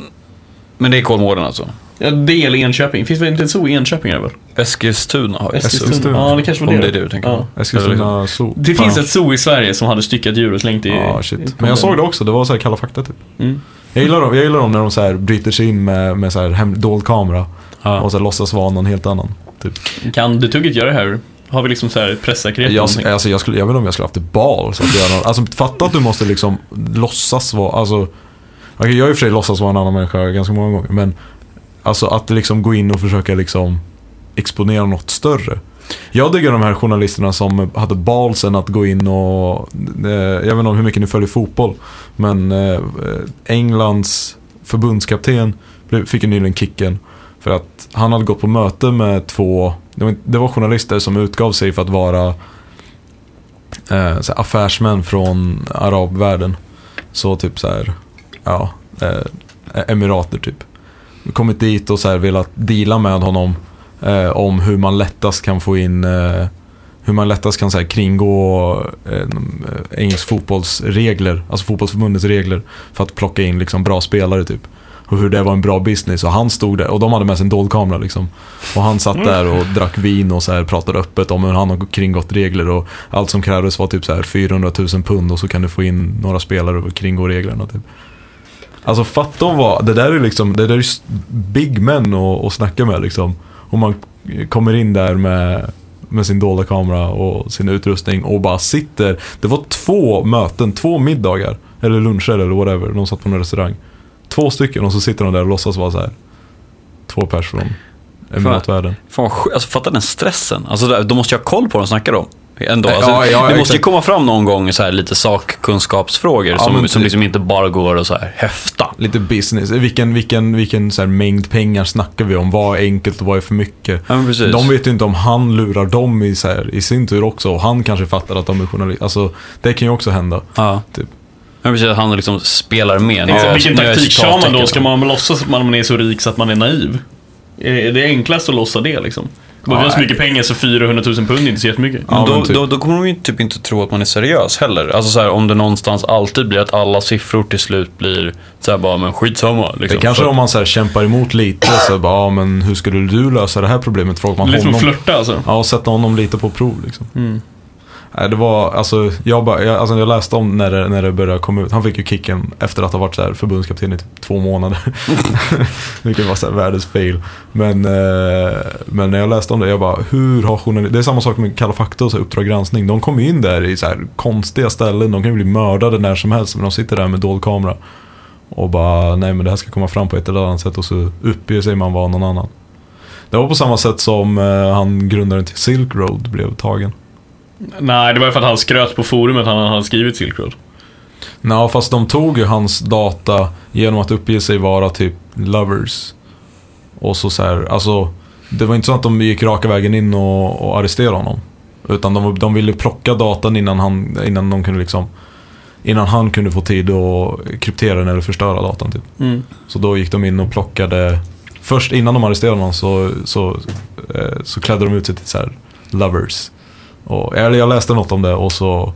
Speaker 4: men det är Kolmården alltså.
Speaker 3: Ja, det eller Enköping. Finns det inte ett zoo i Enköping? är det väl?
Speaker 4: Eskilstuna har ju
Speaker 2: Eskilstuna.
Speaker 3: Ja, det kanske var
Speaker 4: Om
Speaker 3: det.
Speaker 4: det är det du tänker på.
Speaker 3: Ja.
Speaker 2: Eskilstuna zoo.
Speaker 3: Det finns
Speaker 2: Ja.
Speaker 3: ett zoo i Sverige som hade styckat djur och slängt i...
Speaker 2: Ja, ah,
Speaker 3: i
Speaker 2: shit. Men jag såg det också, det var så här Kalla fakta typ.
Speaker 3: Mm.
Speaker 2: Jag gillar dem, jag gillar dem när de så här bryter sig in med, med så här hem, dold kamera
Speaker 4: Ja.
Speaker 2: och så här låtsas vara någon helt annan. Typ.
Speaker 3: Kan det tugget göra det här? Har vi liksom så här presssäkerhet?
Speaker 2: Jag,
Speaker 3: eller någonting?
Speaker 2: alltså, jag, skulle, jag vet inte om jag skulle haft ett bal. Så att göra någon, alltså, fatta att du måste liksom låtsas vara, alltså, okej, jag har i och för sig låtsats vara en annan människa ganska många gånger. Men alltså, att liksom gå in och försöka liksom exponera något större. Jag diggar de här journalisterna som hade balsen att gå in och, eh, jag vet inte hur mycket ni följer fotboll, men eh, Englands förbundskapten blev- fick ju nyligen kicken. För att han hade gått på möte med två, det var, det var journalister som utgav sig för att vara eh, så här, affärsmän från arabvärlden. Så typ så här, ja, eh, emirater typ. Kommit dit och så här velat deala med honom eh, om hur man lättast kan få in, eh, hur man lättast kan så här, kringgå eh, de, eh, engelsk fotbollsregler, alltså fotbollsförbundets regler för att plocka in liksom bra spelare typ. Och hur det var en bra business och han stod där och de hade med sig en dold kamera liksom. Och han satt där och drack vin och så här pratade öppet om hur han har kringgått regler och allt som krävdes var typ så här 400 000 pund och så kan du få in några spelare och kringgå reglerna typ. Alltså fatta om vad, det där är liksom, det där är s- big men att, att snacka med liksom. Och man kommer in där med, med sin dolda kamera och sin utrustning och bara sitter. Det var två möten, två middagar, eller luncher eller whatever, de satt på en restaurang. Två stycken och så sitter de där och låtsas vara så här. två pers från emiratvärlden.
Speaker 4: Fan, vad sj- alltså, fatta den stressen. Alltså, där- de måste ju ha koll på vad de snackar om. Ändå. Alltså,
Speaker 2: Ja, ja,
Speaker 4: det måste ju
Speaker 2: exakt.
Speaker 4: komma fram någon gång så här, lite sakkunskapsfrågor som,
Speaker 2: men
Speaker 4: som
Speaker 2: typ.
Speaker 4: liksom inte bara går att så här, häfta.
Speaker 2: Lite business, vilken, vilken, vilken så här mängd pengar snackar vi om? Vad är enkelt och vad är för mycket?
Speaker 4: Ja, men precis.
Speaker 2: De vet ju inte om han lurar dem i, så här, i sin tur också och han kanske fattar att de är journalister. Alltså, det kan ju också hända.
Speaker 4: Ja.
Speaker 2: Typ.
Speaker 4: Men precis, att han liksom spelar med. Nu
Speaker 3: Exakt,
Speaker 4: är jag-
Speaker 3: Vilken
Speaker 4: nu är jag
Speaker 3: taktik kör man då?
Speaker 4: citattecken.
Speaker 3: Ska man låtsas att man är så rik så att man är naiv? Är det enklast att låtsas det liksom? Bara, vi har så mycket pengar så 400 000 pund är inte så jättemycket.
Speaker 4: Men
Speaker 2: Ja,
Speaker 4: då,
Speaker 2: men typ.
Speaker 4: då, då kommer de ju typ inte tro att man är seriös heller. Alltså så här, om det någonstans alltid blir att alla siffror till slut blir så här bara, men skitsamma. Liksom.
Speaker 2: Det kanske
Speaker 4: För-
Speaker 2: om man så här kämpar emot lite, så bara, ja, men hur skulle du lösa det här problemet? Frågar man
Speaker 3: Lite som att
Speaker 2: honom.
Speaker 3: flörta alltså.
Speaker 2: Ja, och sätta honom lite på prov liksom. Nej, det var, alltså, jag, bara, jag, alltså, jag läste om när det, när det började komma ut. Han fick ju kicken efter att ha varit så här förbundskapten i typ två månader. Vilket var så här världens fail. Men, eh, men när jag läste om det, jag bara, hur har journalister... Det är samma sak med Kalla fakta och så här Uppdrag granskning. De kommer ju in där i så här konstiga ställen. De kan ju bli mördade när som helst, men de sitter där med dold kamera. Och bara, nej men det här ska komma fram på ett eller annat sätt och så uppger sig man vara någon annan. Det var på samma sätt som eh, han grundaren till Silk Road blev tagen.
Speaker 3: Nej, det var för att han skröt på forumet han hade skrivit Silk Road.
Speaker 2: Nej, fast de tog ju hans data genom att uppge sig vara typ lovers. Och så så här, alltså. Det var inte så att de gick raka vägen in och, och arresterade honom. Utan de, de ville plocka datan innan han, innan de kunde liksom. Innan han kunde få tid att kryptera den eller förstöra datan typ. Så då gick de in och plockade. Först innan de arresterade honom så, så, eh, så klädde de ut sig till så här lovers. Och, eller jag läste något om det och så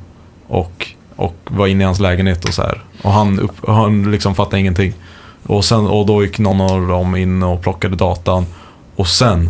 Speaker 2: och, och var inne i hans lägenhet och så här. Och han, upp, och han liksom fattade ingenting. Och, sen, och då gick någon av dem in och plockade datan. Och sen,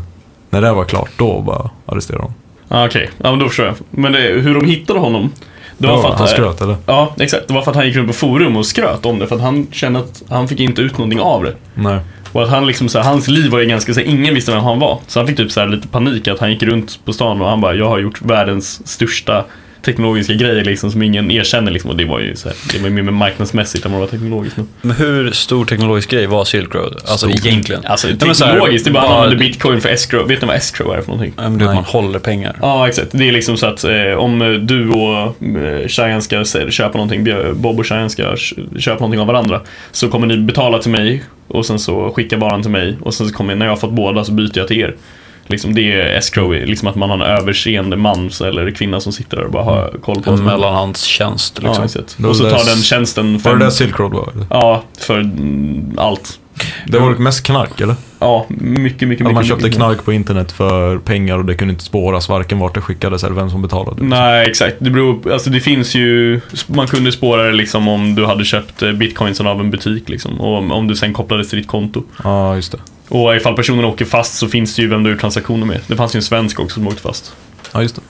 Speaker 2: när det var klart, då bara arresterade de.
Speaker 3: Ah, Okej, ja, men då förstår jag. Men det, hur de hittade honom? Det var
Speaker 2: Ja,
Speaker 3: för att,
Speaker 2: han skröt eller?
Speaker 3: Ja, exakt. Det var för att han gick runt på forum och skröt om det. För att han kände att han fick inte ut någonting av det.
Speaker 2: Nej.
Speaker 3: Och att han liksom, så här, hans liv var ju ganska så här, ingen visste vem han var. Så han fick typ så här, lite panik att han gick runt på stan och han bara, jag har gjort världens största teknologiska grejer liksom som ingen erkänner liksom, och det var ju så här, det var ju mer marknadsmässigt än vad det var teknologiskt. nu.
Speaker 4: Men hur stor teknologisk grej var Silk Road? Alltså egentligen?
Speaker 3: Alltså
Speaker 4: Nej, men så här,
Speaker 3: teknologiskt, det är bara att man använder bitcoin för escrow. Vet ni vad escrow är för någonting?
Speaker 4: Ja, men du vet, man håller pengar.
Speaker 3: Ja, exakt. Det är liksom så att eh, om eh, du och eh, Cheyenne ska se- köpa någonting, Björ- Bob och Cheyenne ska kö- köpa någonting av varandra, så kommer ni betala till mig och sen så skicka varan till mig och sen så kommer när jag har fått båda så byter jag till er. Liksom det är escrow, liksom att man har en överseende man eller kvinna som sitter där och bara har
Speaker 2: Mm.
Speaker 3: koll på vad
Speaker 4: En
Speaker 3: som händer.
Speaker 4: mellanhandstjänst
Speaker 3: Ja,
Speaker 4: liksom.
Speaker 3: exakt. Och så tar den tjänsten
Speaker 2: Var det där
Speaker 3: för,
Speaker 2: Silk Road var? eller?
Speaker 3: ja, för mm, allt.
Speaker 2: Det var mest knark eller?
Speaker 3: Ja, mycket, mycket, mycket.
Speaker 2: Att man köpte
Speaker 3: mycket.
Speaker 2: knark på internet för pengar och det kunde inte spåras varken vart det skickades eller vem som betalade.
Speaker 3: Nej, exakt. Det beror, alltså det finns ju, man kunde spåra det liksom om du hade köpt eh, bitcoinsen av en butik liksom, och om, om du sen kopplades till ditt konto.
Speaker 2: Ja, just det.
Speaker 3: Och ifall personen åker fast så finns det ju vem du har gjort transaktioner med. Det fanns ju en svensk också som åkte fast.
Speaker 2: Ja, just det.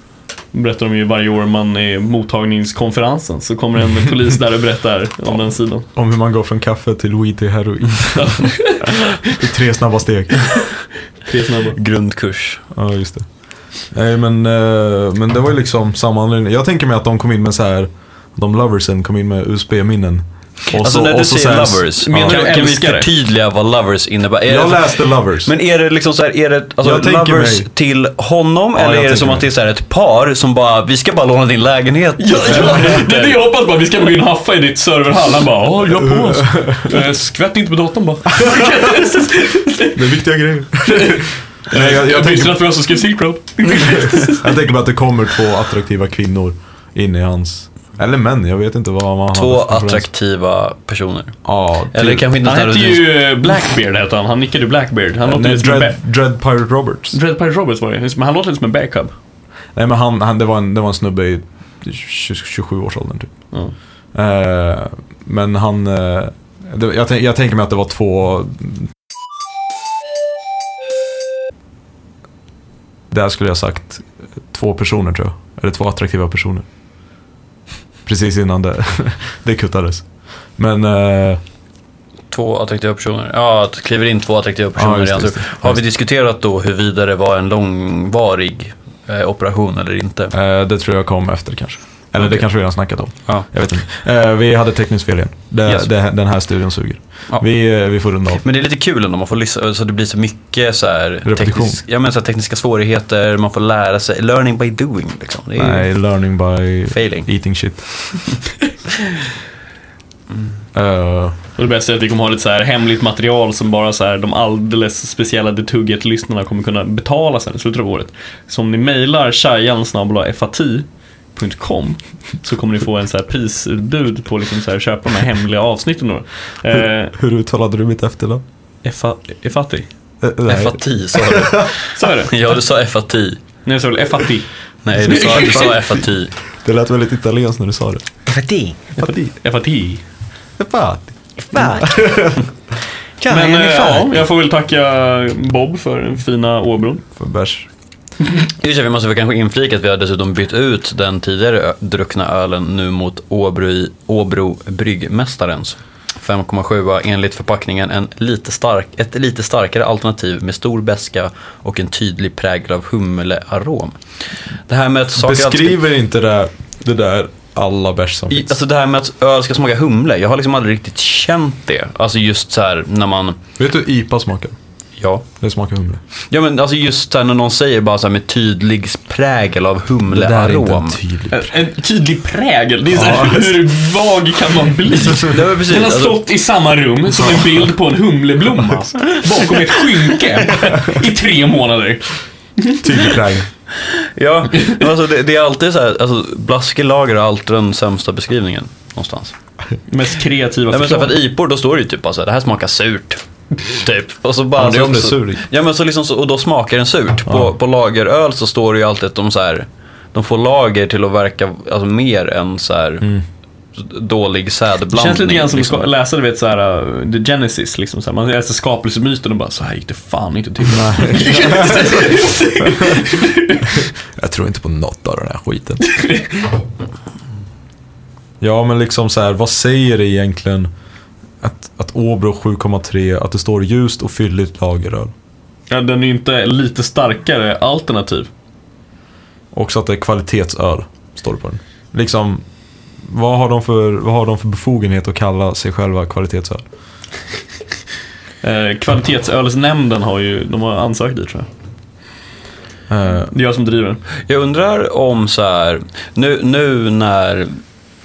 Speaker 3: Berättar de ju varje år man är mottagningskonferensen så kommer en polis där och berättar om den sidan.
Speaker 2: Om hur man går från kaffe till weed till heroin. I tre snabba steg.
Speaker 3: Tre snabba.
Speaker 4: Grundkurs.
Speaker 2: Ja, just det. Nej, men, eh, men det var ju liksom samma anledning. Jag tänker mig att de kom in med så här, de loversen kom in med USB-minnen. Och
Speaker 4: Alltså när du säger
Speaker 2: så här-
Speaker 4: lovers,
Speaker 3: Menar
Speaker 4: kan,
Speaker 3: du
Speaker 4: kan vi
Speaker 3: älskare?
Speaker 4: förtydliga vad lovers innebär? Är
Speaker 2: Jag
Speaker 4: det-
Speaker 2: läste lovers.
Speaker 4: Men är det liksom så här, är det alltså,
Speaker 2: Jag tänker
Speaker 4: lovers
Speaker 2: mig-
Speaker 4: till honom
Speaker 2: jag
Speaker 4: eller är det
Speaker 2: tänker
Speaker 4: som att
Speaker 2: mig.
Speaker 4: det är så här ett par som bara, vi ska bara låna din lägenhet?
Speaker 3: Det är det jag hoppas bara, vi ska gå in och haffa i ditt serverhall. Han bara, ja, jag på oss. Eh, Skvätt inte på datorn bara.
Speaker 2: Det är viktiga grejer.
Speaker 3: Jag, jag,
Speaker 2: jag
Speaker 3: jag
Speaker 2: tänker-
Speaker 3: visste att vi också skrev Silk Road.
Speaker 2: Jag tänker mig att det kommer två attraktiva kvinnor in i hans... Eller män, jag vet inte vad man
Speaker 4: Två
Speaker 2: hade för preferens.
Speaker 4: attraktiva personer.
Speaker 2: Ja,
Speaker 4: Eller
Speaker 2: typ.
Speaker 4: kanske inte
Speaker 3: Han
Speaker 4: ens
Speaker 3: hette
Speaker 4: hade-
Speaker 3: ju eh, Blackbeard hette han, han nickade Blackbeard. Han låter
Speaker 2: Nej,
Speaker 3: lite som en
Speaker 2: Dread,
Speaker 3: bä-
Speaker 2: Dread Pirate Roberts.
Speaker 3: Dread Pirate Roberts var det, men han låter lite som en backup.
Speaker 2: Nej men han, han det, var en, det var en snubbe i 27-årsåldern typ.
Speaker 3: Ja.
Speaker 2: Eh, men han... Eh, det, jag, tän- jag tänker mig att det var två... Där skulle jag sagt två personer tror jag. Eller två attraktiva personer. Precis innan det, det kuttades. Men... Eh,
Speaker 4: Två attraktiva personer. Ja, att kliver in två attraktiva personer
Speaker 2: just
Speaker 4: i
Speaker 2: det,
Speaker 4: hans
Speaker 2: just
Speaker 4: rum.
Speaker 2: det.
Speaker 4: Har vi diskuterat då huruvida det var en långvarig eh, operation eller inte?
Speaker 2: Eh, det tror jag kom efter kanske. Eller det
Speaker 4: Okej.
Speaker 2: kanske vi redan snackat om.
Speaker 4: Ja.
Speaker 2: Jag vet inte. Eh, vi hade tekniskt fel igen. Det,
Speaker 4: Yes.
Speaker 2: det, den här studion suger.
Speaker 4: Ja.
Speaker 2: Vi, eh, vi får runda av.
Speaker 4: Men det är lite kul ändå, man får lyssna, så det blir så mycket så här,
Speaker 2: Repetition.
Speaker 4: ja, men så här tekniska svårigheter, man får lära sig, learning by doing liksom. Det är
Speaker 2: Nej, learning by
Speaker 4: failing.
Speaker 2: eating shit. Eh,
Speaker 3: Och det bästa är att vi kommer ha lite så här hemligt material som bara så här, de alldeles speciella The Tugget-lyssnarna kommer kunna betala sen i slutet av året. Så om ni mejlar shayan.fati.com så kommer ni få en så här prisutbud på liksom så här, köpa de här hemliga avsnitten. då. Eh,
Speaker 2: hur uttalade du mitt efternamn?
Speaker 3: Efa- Efati?
Speaker 2: Eh, nej.
Speaker 4: FATI sa du.
Speaker 3: Så är det.
Speaker 4: Ja, du sa FATI.
Speaker 3: Nej, jag sa väl Efati.
Speaker 4: Nej, du sa, du sa FATI.
Speaker 2: Det lät väldigt italienskt när du sa det.
Speaker 4: FATI.
Speaker 3: Efati.
Speaker 2: Fatti.
Speaker 3: Men eh, ja, jag får väl tacka Bob för den fina åbron.
Speaker 2: För bärs.
Speaker 4: Just det, vi måste väl kanske inflika att vi har dessutom bytt ut den tidigare ö- druckna ölen nu mot Åbro, Åbro Bryggmästarens. 5,7 enligt förpackningen en lite stark, ett lite starkare alternativ med stor beska och en tydlig prägel av humlearom. Det här med att saker alltid-
Speaker 2: Beskriver inte det, det där alla bärs som
Speaker 4: I-
Speaker 2: finns?
Speaker 4: Alltså det här med att öl ska smaka humle, jag har liksom aldrig riktigt känt det. Alltså just så här när man,
Speaker 2: Vet du hur IPA smakar?
Speaker 4: ja.
Speaker 2: Det smakar humle.
Speaker 4: Ja men alltså just så här när någon säger bara så här med tydlig prägel av humlearom.
Speaker 2: tydlig
Speaker 3: En, Eh, en tydlig prägel. Det är så här, hur vag kan man bli?
Speaker 4: Det var precis,
Speaker 3: Den har
Speaker 4: alltså-
Speaker 3: stått i samma rum som en bild på en humleblomma. Bakom ett skynke. I tre månader.
Speaker 2: Tydlig prägel.
Speaker 4: Ja, men alltså det, det är alltid så här, alltså blaskelager är alltid den sämsta beskrivningen någonstans.
Speaker 3: Mest kreativa
Speaker 4: Nej men så här, för
Speaker 3: förslag.
Speaker 4: att IPOR, då står det ju typ bara så här, det här smakar surt. Typ. Och så bara,
Speaker 2: Ja, men det är om det är
Speaker 4: så-
Speaker 2: sur.
Speaker 4: Ja men så liksom, så, och då smakar den surt. På, på lageröl så står det ju alltid att de så här, de får lager till att verka alltså, mer än så här dålig sädblandning.
Speaker 3: Det känns lite grann som
Speaker 4: liksom.
Speaker 3: att läsa du vet, så här, uh, The Genesis. Liksom, så här. Man läser skapelsemyten och bara så här gick det fan inte till.
Speaker 2: Jag tror inte på något av den här skiten. ja, men liksom så här, vad säger det egentligen att, att Åbro 7,3, att det står ljust och fylligt lageröl?
Speaker 3: ja, den är ju inte lite starkare alternativ.
Speaker 2: Också att det är kvalitetsöl. står det på den. Liksom, vad har de för, vad har de för befogenhet att kalla sig själva kvalitetsöl?
Speaker 3: Eh, kvalitetsölsnämnden har ju, de har ansökt dit tror jag.
Speaker 2: Eh,
Speaker 3: Det är jag som driver.
Speaker 4: Jag undrar om så här, nu, nu när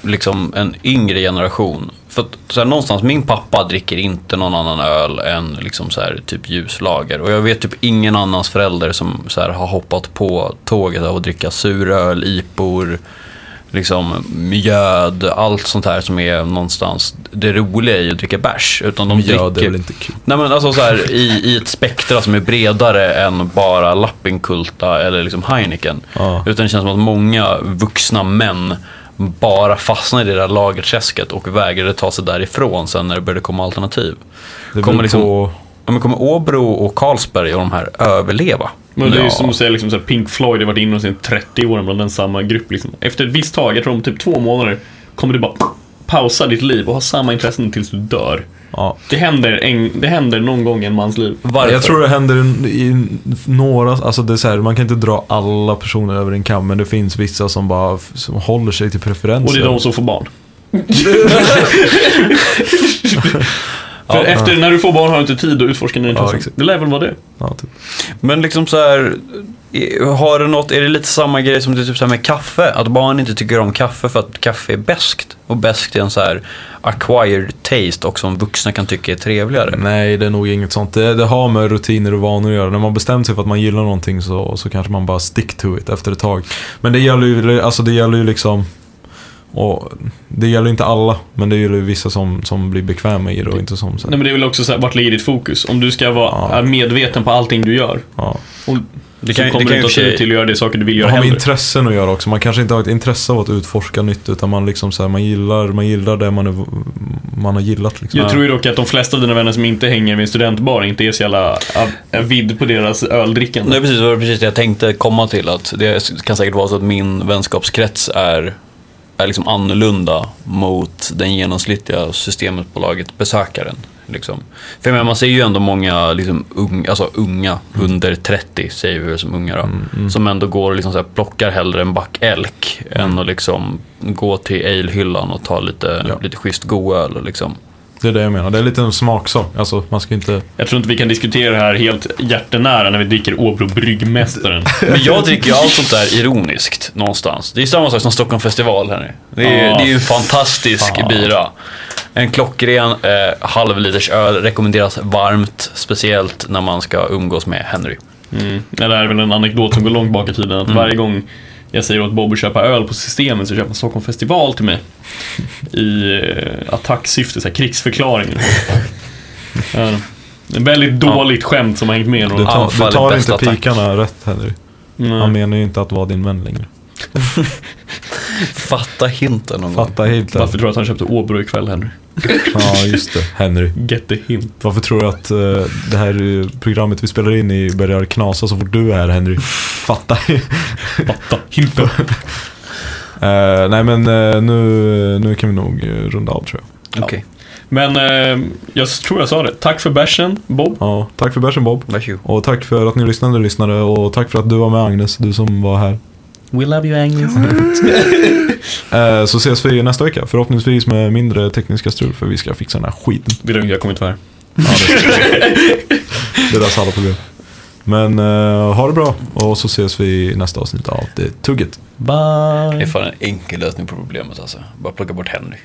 Speaker 4: liksom en yngre generation, för att så här, någonstans, min pappa dricker inte någon annan öl än liksom så här, typ ljuslager och jag vet typ ingen annans förälder som så här, har hoppat på tåget av att dricka suröl, ipor, liksom mjöd, allt sånt här som är någonstans det roliga i att dricka bärs. Utan de
Speaker 2: ja, det är
Speaker 4: dricker
Speaker 2: väl inte kul.
Speaker 4: Nej men alltså så här, i, i ett spektra som är bredare än bara Lappinkulta eller liksom Heineken.
Speaker 2: Ja.
Speaker 4: Utan det känns som att många vuxna män bara fastnar i det där lagerträsket och vägrade ta sig därifrån sen när det började komma alternativ.
Speaker 2: Det beror
Speaker 4: Kommer, liksom,
Speaker 2: på-
Speaker 4: ja, men kommer Åbro och Carlsberg och de här överleva?
Speaker 3: Men det är ju
Speaker 4: Ja.
Speaker 3: som att säga liksom, så här, Pink Floyd har varit inne hos sin 30 år bland den samma grupp. Liksom. Efter ett visst tag, jag tror om typ två månader, kommer du bara pausa ditt liv och ha samma intressen tills du dör.
Speaker 2: Ja.
Speaker 3: Det händer, en, det händer någon gång i en mans liv.
Speaker 4: Varför?
Speaker 2: Jag tror det händer i- i några, alltså det är så här, man kan inte dra alla personer över en kam men det finns vissa som bara f- som håller sig till
Speaker 3: Och
Speaker 2: preferenser.
Speaker 3: det är de som får barn. För efter, när du får barn har du inte tid att utforska dina intressen.
Speaker 2: exakt.
Speaker 3: det lär väl vara det.
Speaker 2: ja, typ.
Speaker 4: Men liksom så här, eh, har det något, är det lite samma grej som det är typ så här med kaffe? Att barn inte tycker om kaffe för att kaffe är beskt Och beskt är en så här acquired taste och som vuxna kan tycka är trevligare.
Speaker 2: Nej, det är nog inget sånt. Det, det har med rutiner och vanor att göra. När man bestämt sig för att man gillar någonting så, så kanske man bara stick to it efter ett tag. Men det gäller ju, alltså det gäller ju liksom och det gäller ju inte alla, men det gäller ju vissa som, som blir bekväma i det och inte som så.
Speaker 3: Nej, men det är väl också så här, vart ligger ditt fokus? Om du ska vara
Speaker 2: Ja.
Speaker 3: medveten på allting du gör.
Speaker 2: Ja.
Speaker 3: Och
Speaker 4: Det
Speaker 3: det kan,
Speaker 4: kan-
Speaker 3: så
Speaker 4: det
Speaker 3: kommer
Speaker 4: kan
Speaker 3: du inte
Speaker 4: ju i och
Speaker 3: att
Speaker 4: för sig-
Speaker 3: se till att göra det saker du vill
Speaker 2: Det
Speaker 3: göra
Speaker 2: har med
Speaker 3: heller.
Speaker 2: intressen att göra också. Man kanske inte har ett intresse av att utforska nytt utan man liksom så här, man gillar, man gillar det man, är, man har gillat liksom.
Speaker 3: Jag tror ju dock att de flesta av dina vänner som inte hänger vid en studentbar inte är så jävla av- avid på deras öldrickande.
Speaker 4: Nej, precis, det var precis det jag tänkte komma till. Att det kan säkert vara så att min vänskapskrets är, är liksom annorlunda mot den genomsnittliga systemet bolaget besökaren. Liksom. För jag menar, man ser ju ändå många liksom, unga, alltså unga under 30, säger vi väl som unga då, som ändå går och liksom så här plockar hellre en back elk än att liksom gå till alehyllan och ta lite,
Speaker 2: Ja.
Speaker 4: lite schysst god öl. Liksom.
Speaker 2: Det är det jag menar. Det är lite en smaksak. Alltså man ska inte...
Speaker 3: Jag tror inte vi kan diskutera det här helt hjärtenära när vi dricker Åbro Bryggmästaren.
Speaker 4: Men jag dricker ju allt sånt där ironiskt någonstans. Det är samma sak som Stockholm festival här nu. Det är,
Speaker 3: Ja.
Speaker 4: det är ju en fantastisk bira. En klockren eh, halvliters öl rekommenderas varmt, speciellt när man ska umgås med Henry.
Speaker 3: Det där är väl en anekdot som går långt bak i tiden. Att varje gång jag säger åt Bob att köpa öl på systemet så köper han Stockholm festival till mig. I eh, attacksyfte, så här krigsförklaring. Ja. En väldigt dåligt skämt som har hängt med.
Speaker 2: Du
Speaker 3: Då.
Speaker 2: tar,
Speaker 4: Anfall
Speaker 2: du
Speaker 4: är
Speaker 2: tar
Speaker 4: bästa
Speaker 2: inte
Speaker 4: attack.
Speaker 2: pikarna rätt Henry.
Speaker 3: Mm.
Speaker 2: Han menar ju inte att vara din vän längre.
Speaker 4: Fatta hinten någon gång.
Speaker 2: Fatta helt
Speaker 3: Varför tror du att han köpte Åbro ikväll Henry?
Speaker 2: Ja, just det. Henry.
Speaker 3: Get the hint.
Speaker 2: Varför tror du att eh, det här eh, programmet vi spelar in i börjar knasa så fort du är här Henry? Fatta.
Speaker 3: Fatta hinten.
Speaker 2: Eh, nej men eh, nu, nu kan vi nog eh, runda av tror jag.
Speaker 4: Okej,
Speaker 3: Men eh, jag tror jag sa det. Tack för bärsen Bob.
Speaker 2: Ja, tack för bärsen Bob.
Speaker 4: varsågod.
Speaker 2: Och tack för att ni lyssnade lyssnare och tack för att du var med Agnes, du som var här.
Speaker 3: We love you Agnes.
Speaker 2: Eh, så ses vi nästa vecka, förhoppningsvis med mindre tekniska strul för vi ska fixa den här skiten.
Speaker 3: Det är lugnt, jag kommer inte vara här.
Speaker 2: Ja, det, det där alla problem. Men eh, ha det bra och så ses vi i nästa avsnitt av Det Tugget.
Speaker 3: Bye.
Speaker 4: Det är fan en enkel lösning på problemet alltså. Bara plocka bort Henry.